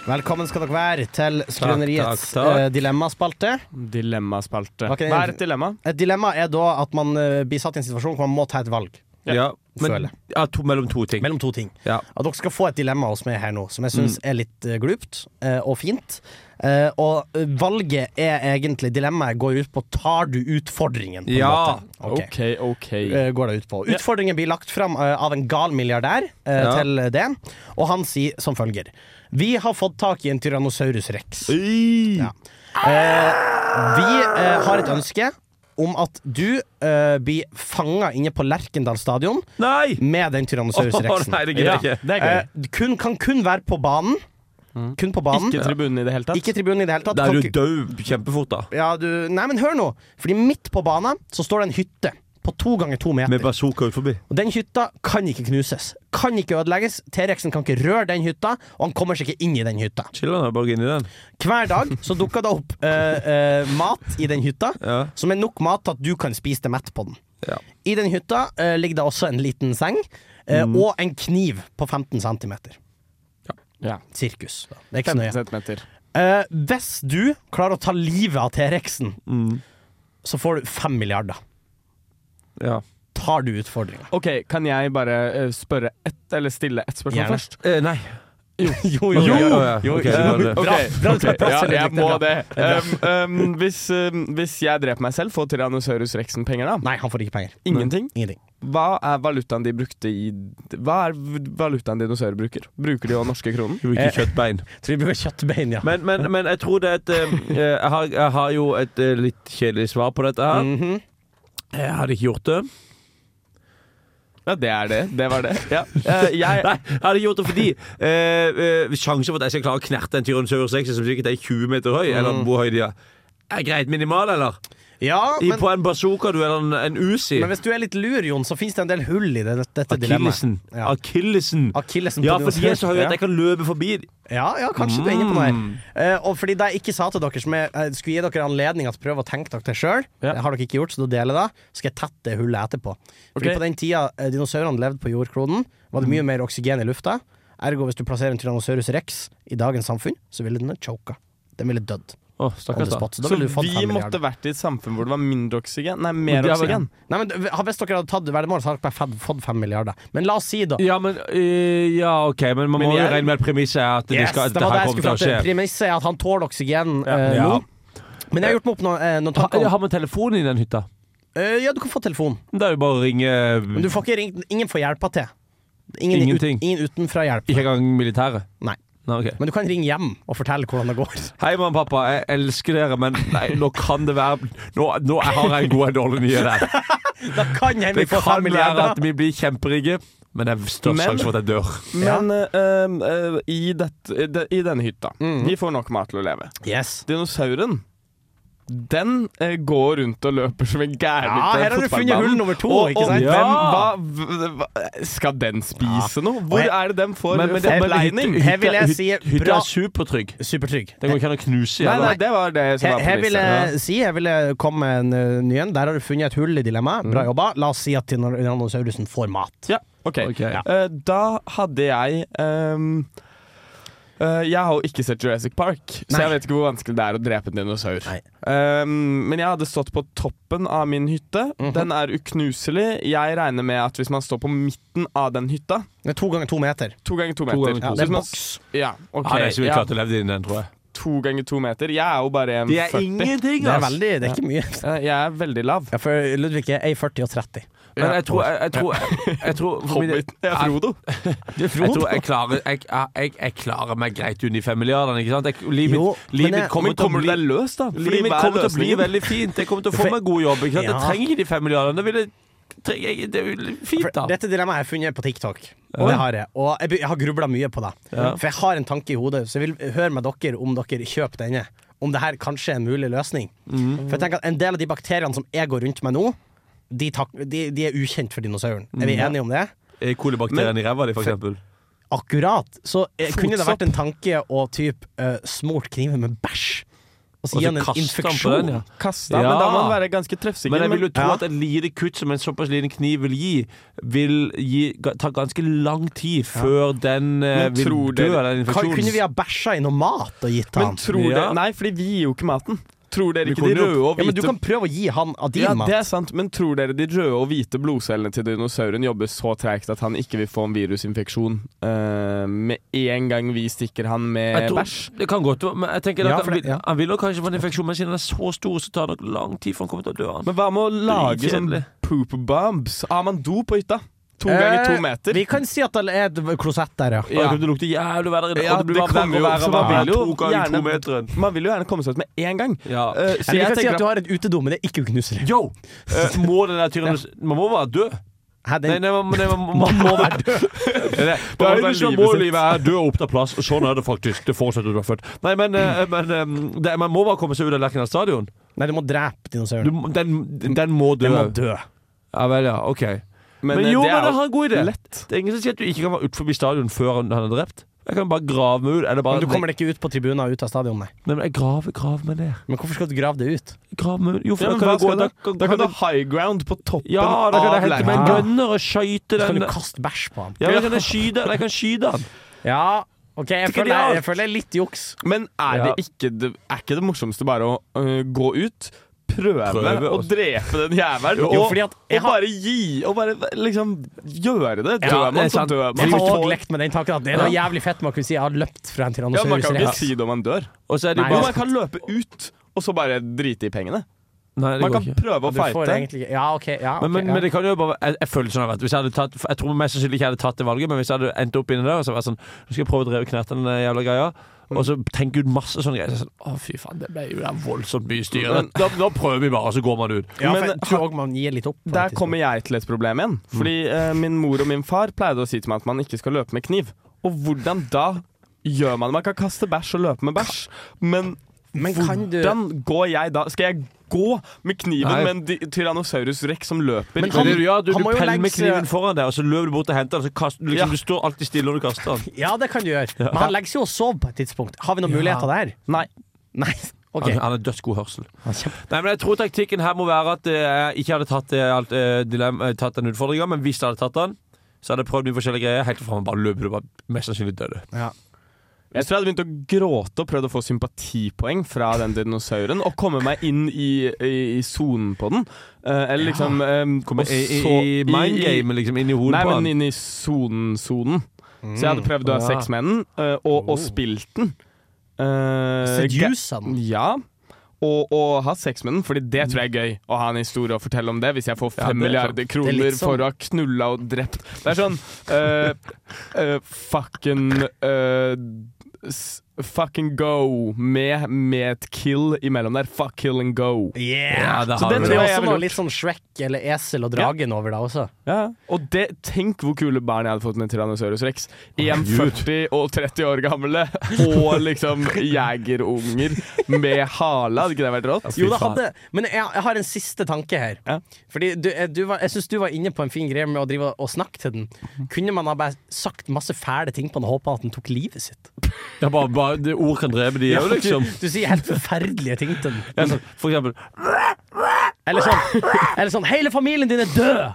Speaker 4: Velkommen skal dere være til
Speaker 13: Takk,
Speaker 4: Skrøneriets
Speaker 13: takk, takk.
Speaker 4: eh, dilemmaspalte.
Speaker 13: Dilemmaspalte.
Speaker 4: Var ikke det-
Speaker 13: Hva er et dilemma?
Speaker 4: Et dilemma er da at man eh, blir satt i en situasjon hvor man må ta et valg.
Speaker 3: Ja. Men,
Speaker 4: Føler.
Speaker 3: ja, to, mellom to ting.
Speaker 4: Mellom to ting.
Speaker 3: Ja.
Speaker 4: At dere skal få et dilemma hos meg her nå, som jeg syns er litt eh, glupt eh, og fint. Eh, og eh, valget er egentlig Dilemmaet går ut på tar du utfordringen, på en
Speaker 13: Ja.
Speaker 4: måte. Ok.
Speaker 13: OK, OK.
Speaker 4: Eh, går det ut på. Utfordringen blir lagt fram eh, av en gal milliardær eh,
Speaker 13: Ja.
Speaker 4: til det, og han sier som følger Vi har fått tak i en Tyrannosaurus rex. Ja. Eh, vi eh, har et ønske om at du eh, blir fanga inne på Lerkendal stadion med den Tyrannosaurus
Speaker 3: Åh,
Speaker 4: rexen.
Speaker 3: nei, det gidder jeg ikke. Det er Mm.
Speaker 4: Eh, kun, kan kun være på banen. Kun på banen.
Speaker 13: Ikke tribunen i det hele tatt?
Speaker 4: Ikke tribunen i det hele tatt.
Speaker 3: Da
Speaker 4: Kan
Speaker 3: er du
Speaker 4: ikke-
Speaker 3: død kjempefort, da.
Speaker 4: ja, du, nei, men hør nå. Fordi midt på banen så står det en hytte på to ganger to meter.
Speaker 3: Med bazooka ut forbi.
Speaker 4: Og den hytta kan ikke knuses. Kan ikke ødelegges. T-rexen kan ikke røre den hytta, og han kommer seg ikke inn i den hytta.
Speaker 3: Chiller'n er bare inni den.
Speaker 4: Hver dag så dukker det opp eh, eh, mat i den hytta, som er nok mat til at du kan spise deg mett på den.
Speaker 3: Ja.
Speaker 4: I den hytta eh, ligger det også en liten seng, eh,
Speaker 3: Mm.
Speaker 4: og en kniv på 15 cm.
Speaker 13: Ja.
Speaker 4: Sirkus. da. Det er ikke så
Speaker 13: 15
Speaker 4: nøye.
Speaker 13: centimeter.
Speaker 4: Eh, hvis du klarer å ta livet av T-rexen,
Speaker 3: Mm.
Speaker 4: så får du fem milliarder.
Speaker 3: Ja.
Speaker 4: Tar du utfordringa?
Speaker 13: OK, kan jeg bare eh, spørre ett, eller stille ett spørsmål
Speaker 4: Gjerne.
Speaker 13: først?
Speaker 3: Eh, nei.
Speaker 4: Jo,
Speaker 13: [LAUGHS] jo, jo,
Speaker 3: ja,
Speaker 13: jo,
Speaker 3: ok,
Speaker 13: eh,
Speaker 3: så det.
Speaker 13: ok,
Speaker 3: Bra, bra,
Speaker 13: ok,
Speaker 3: bra, bra,
Speaker 13: ja,
Speaker 3: bra,
Speaker 13: jeg må
Speaker 3: bra.
Speaker 13: det.
Speaker 3: Det er
Speaker 13: Um, um, hvis, um, hvis jeg dreper meg selv, får Tyrannosaurus rexen penger da?
Speaker 4: Nei, han får ikke penger.
Speaker 13: Ingenting?
Speaker 4: Ingenting.
Speaker 13: Hva er valutaen de brukte i Hva er valutaen dinosaurer bruker? Bruker de jo norske kronen?
Speaker 3: Du bruker kjøttbein.
Speaker 4: Tror vi bruker kjøttbein, ja.
Speaker 3: Men, men, men jeg tror det er et eh, jeg, har, jeg har jo et eh,
Speaker 4: Mm. Mhm.
Speaker 3: litt kjedelig svar på dette her. Jeg hadde ikke gjort det.
Speaker 13: Ja, det er det. Det var det. Ja.
Speaker 3: Eh,
Speaker 4: [LAUGHS]
Speaker 3: jeg, Nei, jeg hadde gjort det fordi eh, eh, Sjansen for at jeg skal klare å knerte en Tyrannosaurus rex som sikkert er 20 meter høy, eller hvor høy de er, er greit minimal, eller?
Speaker 4: Mm. Ja,
Speaker 3: I, på en bazooka du, eller en, en Uzi.
Speaker 4: Men hvis du er litt lur, Jon, så fins det en del hull i det, dette
Speaker 3: Akillesen.
Speaker 4: dilemmaet. Ja.
Speaker 3: Akillesen.
Speaker 4: Akillesen
Speaker 3: Ja, for de er så høye at jeg kan løpe forbi dem.
Speaker 4: Ja, ja, kanskje du er inne på noe her.
Speaker 3: Mm.
Speaker 4: Eh, og fordi det jeg ikke sa til dere, som jeg eh, skulle gi dere anledning til å prøve å tenke dere det sjøl, det har dere ikke gjort, så da deler jeg det, så skal jeg tette det hullet etterpå. Fordi
Speaker 13: Ok.
Speaker 4: på den tida eh, dinosaurene levde på jordkloden, var
Speaker 3: Mm.
Speaker 4: det mye mer oksygen i lufta. Ergo, hvis du plasserer en Tyrannosaurus rex i dagens samfunn, så ville den ha choka. Den ville dødd.
Speaker 3: Oh,
Speaker 13: Stakkars da.
Speaker 4: Da
Speaker 13: Så
Speaker 4: ville du fått
Speaker 13: vi
Speaker 4: fem
Speaker 13: måtte
Speaker 4: milliarder.
Speaker 13: vært i et samfunn hvor det var mindre oksygen? Nei, mer oksygen.
Speaker 4: Nei, men d- Hvis dere hadde tatt verdemål, så hadde dere bare fått- fått fem milliarder. Men la oss si, da.
Speaker 3: Ja, men, eh, ja, OK, men man må
Speaker 4: Men
Speaker 3: jo
Speaker 4: jeg-
Speaker 3: regne med at premisset er at det,
Speaker 4: Yes,
Speaker 3: skal, dette
Speaker 4: det var det
Speaker 3: her
Speaker 4: jeg
Speaker 3: kommer til
Speaker 4: skulle
Speaker 3: å
Speaker 4: fram til.
Speaker 3: skje.
Speaker 4: Premisset er at han tåler oksygen eh,
Speaker 3: Ja.
Speaker 4: nå. Men jeg har gjort meg opp noen, eh, noen
Speaker 3: Ha,
Speaker 4: tanker om
Speaker 3: har man telefon i den hytta?
Speaker 4: Eh, Ja, du kan få telefon.
Speaker 3: Det er jo bare å ringe
Speaker 4: Men du får ikke ringt Ingen får hjelpa til. Ingen,
Speaker 3: Ingenting.
Speaker 4: Ut, ingen utenfra hjelp.
Speaker 3: Ikke engang militæret?
Speaker 4: Nei.
Speaker 3: Nei, ok.
Speaker 4: Men du kan ringe hjem og fortelle hvordan det
Speaker 3: [LAUGHS]
Speaker 4: går.
Speaker 3: Hei, mamma og pappa. Jeg elsker dere, men nei, nå kan det være Nå, nå har jeg en god og en dårlig nyhet her.
Speaker 4: Da kan hende
Speaker 3: Det
Speaker 4: vi får
Speaker 3: kan være
Speaker 4: fem milliarder.
Speaker 3: at vi blir kjemperike, men det er størst
Speaker 13: Men-
Speaker 3: sjanse for at jeg dør.
Speaker 13: Men eh, eh, i, dette- de, i denne hytta
Speaker 4: Mm.
Speaker 13: De får nok mat til å leve.
Speaker 4: Yes.
Speaker 13: Dinosauren den eh, går rundt og løper som en gæren
Speaker 4: Ja,
Speaker 13: ut på
Speaker 4: her har du funnet
Speaker 13: fotballbanen.
Speaker 4: hull nummer to,
Speaker 13: Og,
Speaker 4: ikke
Speaker 13: og
Speaker 4: sant? Ja.
Speaker 13: hvem, hva, hva, skal den spise noe?
Speaker 4: Og
Speaker 13: Hvor
Speaker 4: jeg-
Speaker 13: er det den får
Speaker 3: Men- men det- men
Speaker 13: forpleining?
Speaker 3: hytta-
Speaker 4: Her vil jeg si
Speaker 3: Hytta
Speaker 4: bra
Speaker 3: er supertrygg.
Speaker 4: Supertrygg.
Speaker 3: Den går ikke an å knuse
Speaker 13: Nei,
Speaker 3: igjen.
Speaker 13: nei, det var det som
Speaker 4: Her,
Speaker 13: var
Speaker 4: her
Speaker 13: på
Speaker 4: vil
Speaker 13: lista.
Speaker 4: jeg si Jeg vil eh, komme med en eh, ny en. Der har du funnet et hull i dilemmaet.
Speaker 3: Mm.
Speaker 4: Bra jobba. La oss si at Tyrannosaurusen får mat.
Speaker 13: Ja, ok.
Speaker 3: Ok.
Speaker 13: Eh, da hadde jeg ehm, eh, Jeg har jo ikke sett Jurassic Park,
Speaker 4: Nei.
Speaker 13: så jeg vet ikke hvor vanskelig det er å drepe en dinosaur. Ehm, men jeg hadde stått på toppen av min hytte.
Speaker 3: Mhm.
Speaker 13: Den er uknuselig. Jeg regner med at hvis man står på midten av den hytta
Speaker 4: Det er to ganger to meter.
Speaker 13: To ganger to meter.
Speaker 3: ganger to. Ja, det er
Speaker 13: Hvis man-
Speaker 4: boks.
Speaker 13: Ja, ok.
Speaker 3: Ja, det er så vidt
Speaker 13: Ja,
Speaker 3: klart å leve i den, tror jeg.
Speaker 13: to ganger to meter. Jeg er jo bare en
Speaker 3: Det er
Speaker 13: 40.
Speaker 3: ingenting,
Speaker 4: Det er
Speaker 3: ass!
Speaker 4: veldig Det er ikke mye.
Speaker 13: Eh, Jeg er veldig lav.
Speaker 4: Ja, for Ludvig er 1,40 og 30.
Speaker 3: Men jeg tror Jeg, jeg tror, jeg, jeg tror for min-
Speaker 13: Hobbit. Jeg er Frodo.
Speaker 4: Det er
Speaker 3: Jeg tror
Speaker 4: Frodo.
Speaker 3: jeg klarer, jeg, jeg, jeg klarer meg greit under de fem milliardene. Ikke sant? Jeg, livet
Speaker 4: Jo,
Speaker 3: mitt- livet
Speaker 4: men
Speaker 3: mitt
Speaker 4: jeg-
Speaker 3: kommer
Speaker 13: Men
Speaker 3: til å
Speaker 13: kommer du
Speaker 3: bli
Speaker 13: deg løs, da? Fordi
Speaker 3: Livet mitt
Speaker 13: hva er
Speaker 3: kommer til å bli
Speaker 13: løsningen?
Speaker 3: veldig fint. Jeg kommer til å få meg god jobb. Ikke sant? Jeg
Speaker 4: Ja.
Speaker 3: trenger ikke de fem milliardene. Det, ville, trenger jeg, det er jo fint,
Speaker 4: For
Speaker 3: da.
Speaker 4: dette dilemmaet har jeg funnet på TikTok. Det har jeg. Og jeg, be- jeg har grubla mye på det.
Speaker 3: Ja.
Speaker 4: For jeg har en tanke i hodet, så jeg vil høre med dere om dere kjøper denne. Om det her kanskje er en mulig løsning.
Speaker 3: Mm.
Speaker 4: For jeg tenker at En del av de bakteriene som jeg går rundt med nå, de, tak de, de er ukjent for dinosauren. Er vi
Speaker 3: Mm.
Speaker 4: enige om det?
Speaker 3: Er kolibakterien i ræva di, for eksempel?
Speaker 4: Akkurat. Så eh, kunne det
Speaker 13: Fotsopp.
Speaker 4: vært en tanke å typ eh, smurt kniven med bæsj. Og så
Speaker 3: Og
Speaker 4: gi
Speaker 3: så
Speaker 4: han en
Speaker 3: Altså, kaste han på
Speaker 4: infeksjon.
Speaker 3: den, ja.
Speaker 13: Kasta, men da må man
Speaker 3: Ja.
Speaker 13: være ganske treffsikker.
Speaker 3: Men jeg vil jo tro
Speaker 4: Ja.
Speaker 3: at et lite kutt som en såpass liten kniv vil gi, vil gi, ga- ta ganske lang tid før den eh,
Speaker 13: Men
Speaker 3: vil
Speaker 13: tror
Speaker 3: dø
Speaker 13: dere-
Speaker 3: av den
Speaker 4: Kan, kunne vi
Speaker 3: infeksjonen.
Speaker 4: ha bæsja i noe mat og gitt han?
Speaker 13: Men tror
Speaker 3: Ja.
Speaker 13: dere Nei, fordi vi gir jo ikke maten. Tror dere
Speaker 3: Vi
Speaker 13: ikke de
Speaker 3: kommer jo-
Speaker 13: røde og
Speaker 4: Ja, men du
Speaker 13: hvite
Speaker 4: kan prøve å gi han av din
Speaker 13: ja,
Speaker 4: mat.
Speaker 13: det er sant, men tror dere de røde og hvite blodcellene til dinosauren jobber så tregt at han ikke vil få en virusinfeksjon eh, med en gang vi stikker han
Speaker 3: Jeg
Speaker 13: med
Speaker 3: tror,
Speaker 13: bæsj?
Speaker 3: Eh, det kan godt være, men jeg tenker
Speaker 4: Ja,
Speaker 3: at
Speaker 4: for
Speaker 3: han,
Speaker 4: det-
Speaker 3: vil,
Speaker 4: ja.
Speaker 3: han vil nok kanskje få en infeksjon, men siden den er så stor, så tar det nok lang tid før han kommer til å dø. Han.
Speaker 13: Men hva med å lage sånn
Speaker 3: Dritkjedelig.
Speaker 13: poop bombs? Har man do på hytta? To
Speaker 4: Eh,
Speaker 13: ganger to meter?
Speaker 4: Vi kan si at det er et klosett der, ja.
Speaker 3: Og det
Speaker 13: Ja.
Speaker 3: kommer til å lukte jævlig verre.
Speaker 13: Ja,
Speaker 3: og det blir
Speaker 13: det
Speaker 3: bare verre
Speaker 13: kommer
Speaker 3: og
Speaker 13: jo-
Speaker 3: verre
Speaker 13: så
Speaker 3: og
Speaker 13: man
Speaker 3: verre.
Speaker 13: vil jo
Speaker 3: To ganger to
Speaker 13: gjerne-
Speaker 3: meteren.
Speaker 13: Man vil jo gjerne komme seg ut med en gang.
Speaker 3: Ja.
Speaker 13: Eh, så
Speaker 4: Eller vi
Speaker 13: jeg
Speaker 4: kan si
Speaker 13: tenker
Speaker 4: at du har et utedo, men det er ikke uknuselig.
Speaker 3: Yo! Eh, Må den der tyrannos... Man må være død.
Speaker 4: Hæ,
Speaker 3: Nei,
Speaker 4: den,
Speaker 3: nei, man, nei, man, man må være død. Det
Speaker 13: Bare
Speaker 3: eneste
Speaker 13: livet
Speaker 3: må
Speaker 13: sitt.
Speaker 3: livet er død og oppta plass. og Sånn er det faktisk. Det fortsetter du er født. Nei, men, eh, men eh, det, man må bare komme seg ut av Lerkendal stadion.
Speaker 4: nei, du må drepe
Speaker 3: Du,
Speaker 4: dinosauren.
Speaker 3: må- den, den må dø.
Speaker 4: Den må dø.
Speaker 3: Ja vel, ja. OK. Men,
Speaker 13: eh,
Speaker 3: jo,
Speaker 13: det
Speaker 3: men jeg
Speaker 13: er jo-
Speaker 3: har en god idé.
Speaker 13: lett.
Speaker 3: Det er ingen som sier at du ikke kan være utenfor stadion før han, han er drept. Jeg kan bare grave meg ut. Eller bare
Speaker 4: Men du kommer deg ikke ut på tribunen og ut av stadion, nei.
Speaker 3: Nei, men jeg graver, graver meg ned.
Speaker 4: Men hvorfor skal du grave det ut?
Speaker 3: Graver meg ut. Jo, for
Speaker 13: Ja,
Speaker 3: da
Speaker 13: men
Speaker 3: kan
Speaker 13: hva
Speaker 3: jeg gå
Speaker 13: skal
Speaker 3: da,
Speaker 13: du-
Speaker 3: kan-
Speaker 13: Da kan
Speaker 3: kan
Speaker 13: du
Speaker 3: jeg-
Speaker 13: high ground på toppen
Speaker 3: Ja, da kan jeg
Speaker 13: av
Speaker 3: hente meg en
Speaker 13: leirene.
Speaker 3: gunner og skøyte
Speaker 4: Så kan
Speaker 3: den.
Speaker 4: du kaste bæsj på han.
Speaker 3: eh, Ja, men jeg kan skyte, eller jeg kan skyte han.
Speaker 4: Ja, OK, jeg
Speaker 3: Ikke
Speaker 4: føler
Speaker 3: idealt.
Speaker 4: jeg føler det er litt juks.
Speaker 13: Men er,
Speaker 3: Ja.
Speaker 13: det ikke det, er ikke det morsomste bare å øh, gå ut, prøve,
Speaker 3: Prøve
Speaker 13: å
Speaker 3: og-
Speaker 13: drepe den jævelen,
Speaker 4: Jo,
Speaker 13: og,
Speaker 4: fordi at jeg
Speaker 13: og
Speaker 4: har-
Speaker 13: bare gi Og bare liksom gjøre
Speaker 3: Ja,
Speaker 13: det? Dør
Speaker 3: det er
Speaker 13: man, så
Speaker 3: sant.
Speaker 13: dør
Speaker 4: Jeg
Speaker 13: man.
Speaker 4: har
Speaker 13: Du
Speaker 4: òg
Speaker 13: får-
Speaker 4: lekt med den tanken at det er noe jævlig fett man kunne si jeg har løpt fra en
Speaker 13: Ja, man
Speaker 4: tyrannosaurus
Speaker 13: kan ikke
Speaker 4: rex.
Speaker 13: si det om man dør.
Speaker 3: Og så er det
Speaker 4: Nei,
Speaker 3: jo
Speaker 13: Jo,
Speaker 3: bare
Speaker 13: man kan løpe ut, og så bare drite i pengene.
Speaker 3: Nei, det
Speaker 13: Man
Speaker 3: går
Speaker 13: kan
Speaker 3: ikke.
Speaker 13: prøve å
Speaker 4: Du får
Speaker 13: fighte.
Speaker 4: egentlig ikke- Ja, OK. Ja,
Speaker 3: Men,
Speaker 4: ok,
Speaker 3: men,
Speaker 4: ja.
Speaker 3: men det kan jo bare Jeg, jeg føler sånn at hvis jeg hadde tatt Jeg tror mest sannsynlig ikke jeg hadde tatt det valget, men hvis jeg hadde endt opp inni der og så vært sånn Nå skal jeg prøve å dreve knerte den eh, jævla greia. Og så tenker ut masse sånne greier. Så jeg sånn, Å, fy faen, det ble jo det er voldsomt mye styr.
Speaker 13: Men-
Speaker 3: Da, da prøver vi bare, og så går man ut.
Speaker 13: Ja, for
Speaker 3: Men-
Speaker 13: jeg tror Der kommer jeg til et problem igjen. Fordi eh, min mor og min far pleide å si til meg at man ikke skal løpe med kniv. Og hvordan da gjør man det? Man kan kaste bæsj og løpe med bæsj, men,
Speaker 4: kan du-
Speaker 13: hvordan går jeg da? Skal jeg gå med kniven
Speaker 3: Nei.
Speaker 13: med en di- tyrannosaurus rex som løper?
Speaker 3: Men det du gjør, du, du peller med kniven foran deg, og så løper du bort og henter den. Så kaster, du liksom, Du står alltid stille når du kaster den.
Speaker 4: Ja, det kan du gjøre.
Speaker 3: Ja.
Speaker 4: Men han legger seg jo og sover på et tidspunkt. Har vi noen
Speaker 3: Ja.
Speaker 4: muligheter der?
Speaker 13: Nei.
Speaker 4: Nei. OK.
Speaker 3: Altså, Han, han har dødsgod hørsel. Nei, men Jeg tror taktikken her må være at eh, jeg ikke hadde tatt, eh, alt, eh, dilem, eh, tatt den utfordringa, men hvis jeg hadde tatt den, så hadde jeg prøvd mye forskjellige greier. Helt til framme bare løper du bare mest sannsynlig døde.
Speaker 13: Jeg tror jeg hadde begynt å gråte og prøvd å få sympatipoeng fra den dinosauren. Og komme meg inn i, i, i sonen på den. Eh, eller liksom eh,
Speaker 3: Komme
Speaker 13: og
Speaker 3: i- i-
Speaker 13: så-
Speaker 3: i mind game, liksom, inn i hodet
Speaker 13: Nei,
Speaker 3: på den. Mm.
Speaker 13: men inn i sonen-sonen. Så jeg hadde prøvd å ha
Speaker 3: Ja. Oh.
Speaker 13: sex med den, eh, og, og spilt den.
Speaker 3: eh,
Speaker 13: Uh,
Speaker 4: Seduce han?
Speaker 13: Ja. Og, og ha sex med den, Fordi det tror jeg er gøy å ha en historie å fortelle om det. Hvis jeg får
Speaker 3: Ja, det er
Speaker 13: fem
Speaker 3: sant.
Speaker 13: milliarder
Speaker 3: Det er
Speaker 13: kroner
Speaker 3: litt sånn.
Speaker 13: for å ha knulla og drept. Det er sånn eh, eh, Fucking eh, s- Fucking go med, med et kill imellom der. Fuck, kill and go.
Speaker 4: Yeah! så
Speaker 13: Så
Speaker 4: den tror
Speaker 13: det tror
Speaker 4: jeg
Speaker 13: jeg
Speaker 4: også
Speaker 13: ville
Speaker 4: var
Speaker 13: gjort.
Speaker 4: litt sånn Shrek eller Esel og Dragen over deg også.
Speaker 13: Ja. Og det, tenk hvor kule barn jeg hadde fått med Tyrannosaurus rex.
Speaker 4: Herregud.
Speaker 13: 1,40 og 30 år gamle, og
Speaker 3: [LAUGHS]
Speaker 13: liksom jegerunger med hale. Hadde ikke det vært
Speaker 3: Altså,
Speaker 13: rått?
Speaker 4: Jo, det hadde Men jeg, jeg har en siste tanke her. Fordi du, eh, du var, Jeg syns du var inne på en fin greie med å drive og snakke til
Speaker 3: Mhm.
Speaker 4: den. Kunne man ha bare sagt masse fæle ting på den og håpa at den tok livet sitt?
Speaker 3: Ja, bare, bare, det, ord kan drepe de
Speaker 4: Ja,
Speaker 3: òg,
Speaker 4: du,
Speaker 3: liksom.
Speaker 4: du sier helt forferdelige ting til den.
Speaker 3: Ja, så, for eksempel
Speaker 4: Eller sånn, eller sånn 'Hele familien din er død'!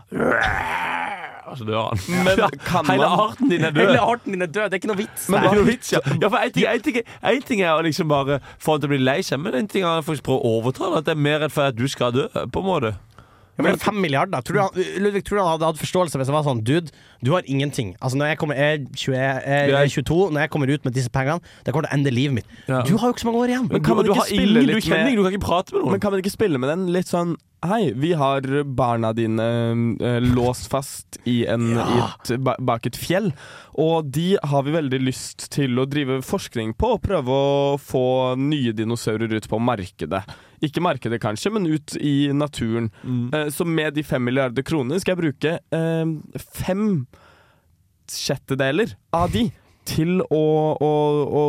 Speaker 3: Og så dør han.
Speaker 13: Men
Speaker 3: [LAUGHS] Ja,
Speaker 13: kan
Speaker 3: Hele
Speaker 13: man-
Speaker 3: arten din er død.
Speaker 4: Hele arten din er død, det er ikke noe vits.
Speaker 3: Men det
Speaker 4: der.
Speaker 3: er noe vits, ja. ja for en ting, en, ting, en ting er å liksom bare få han til å bli lei seg, men en ting er å faktisk prøve å overta det. At det er mer redd for at du skal dø, på en måte.
Speaker 4: Ja, men fem milliarder. Tror du han, Ludvig, tror du han hadde hatt forståelse hvis jeg var sånn Dude, du har ingenting. Altså, når jeg, kommer, jeg, er 20, jeg,
Speaker 3: Ja.
Speaker 4: er 22, når jeg kommer ut med disse pengene, det kommer til å ende livet mitt. Du har jo ikke så mange år igjen.
Speaker 13: Men kan man ikke spille litt med-
Speaker 3: prate med noen.
Speaker 13: Men kan man ikke spille med den litt sånn Hei, vi har barna dine eh, låst fast i en, i et, ba, bak et fjell, og de har vi veldig lyst til å drive forskning på og prøve å få nye dinosaurer ut på markedet. Ikke markedet kanskje, men ut i naturen.
Speaker 3: Mm.
Speaker 13: Eh, så med de fem milliarder kronene skal jeg bruke eh, fem sjettedeler av de til å, å, å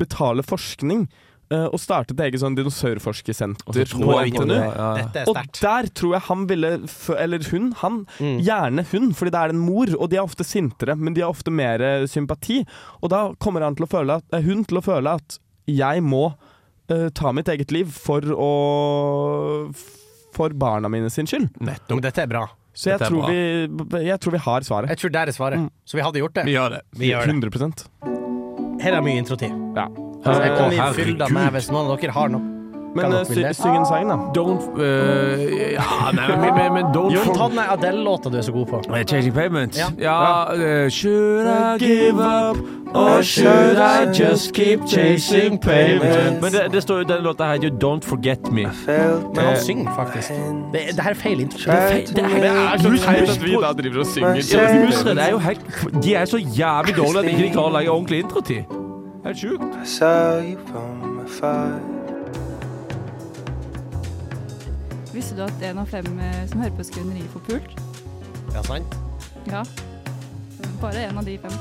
Speaker 13: betale forskning. eh, Og starte et eget sånn
Speaker 3: Og
Speaker 13: dinosaurforskersenter
Speaker 3: så tror jeg på det, ja. Dette er
Speaker 13: Og der tror jeg han ville f- Eller hun, han.
Speaker 3: Mm.
Speaker 13: Gjerne hun, fordi det er en mor, og de er ofte sintere, men de har ofte mer eh, sympati. Og da kommer han til å føle at, eh, hun til å føle at jeg må eh, ta mitt eget liv for å For barna mine sin skyld.
Speaker 4: Men dette er bra.
Speaker 13: Så jeg
Speaker 4: Dette er
Speaker 13: tror,
Speaker 4: bra.
Speaker 13: vi, jeg tror vi har svaret.
Speaker 4: Jeg tror der er
Speaker 3: Mm.
Speaker 4: svaret. Så vi hadde gjort det.
Speaker 13: Vi gjør det.
Speaker 4: Vi gjør det.
Speaker 13: 100
Speaker 4: Her er mye introtid.
Speaker 13: Ja.
Speaker 4: Altså, jeg kommer i
Speaker 3: Herregud.
Speaker 4: fylda med hvis noen av dere har noe.
Speaker 13: Men,
Speaker 4: Kan dere
Speaker 13: eh, sy-
Speaker 4: spille?
Speaker 13: syng en sang, da.
Speaker 3: Don't eh, Ja, nei, men, men, men don't
Speaker 4: Jon,
Speaker 3: for-
Speaker 4: ta den der Adele-låta du er så god på.
Speaker 3: Eh, Changing Pavements?
Speaker 4: Ja.
Speaker 3: Ja. eh, should I give up? Or should I just keep chasing pavements? Men det, det står jo den låta her, jo Don't Forget Me.
Speaker 4: Men han synger faktisk. Det, det her er feil intro.
Speaker 3: Det er feil- det er- Mus- mus- Ja, men Musredd er jo helt De er så jævlig dårlige at de ikke klarer å legge ordentlig introtid. Helt sjukt.
Speaker 15: Visste du at en av fem eh, som hører på Skrøneriet, får pult?
Speaker 4: Ja, sant?
Speaker 15: Ja. Bare en av de fem.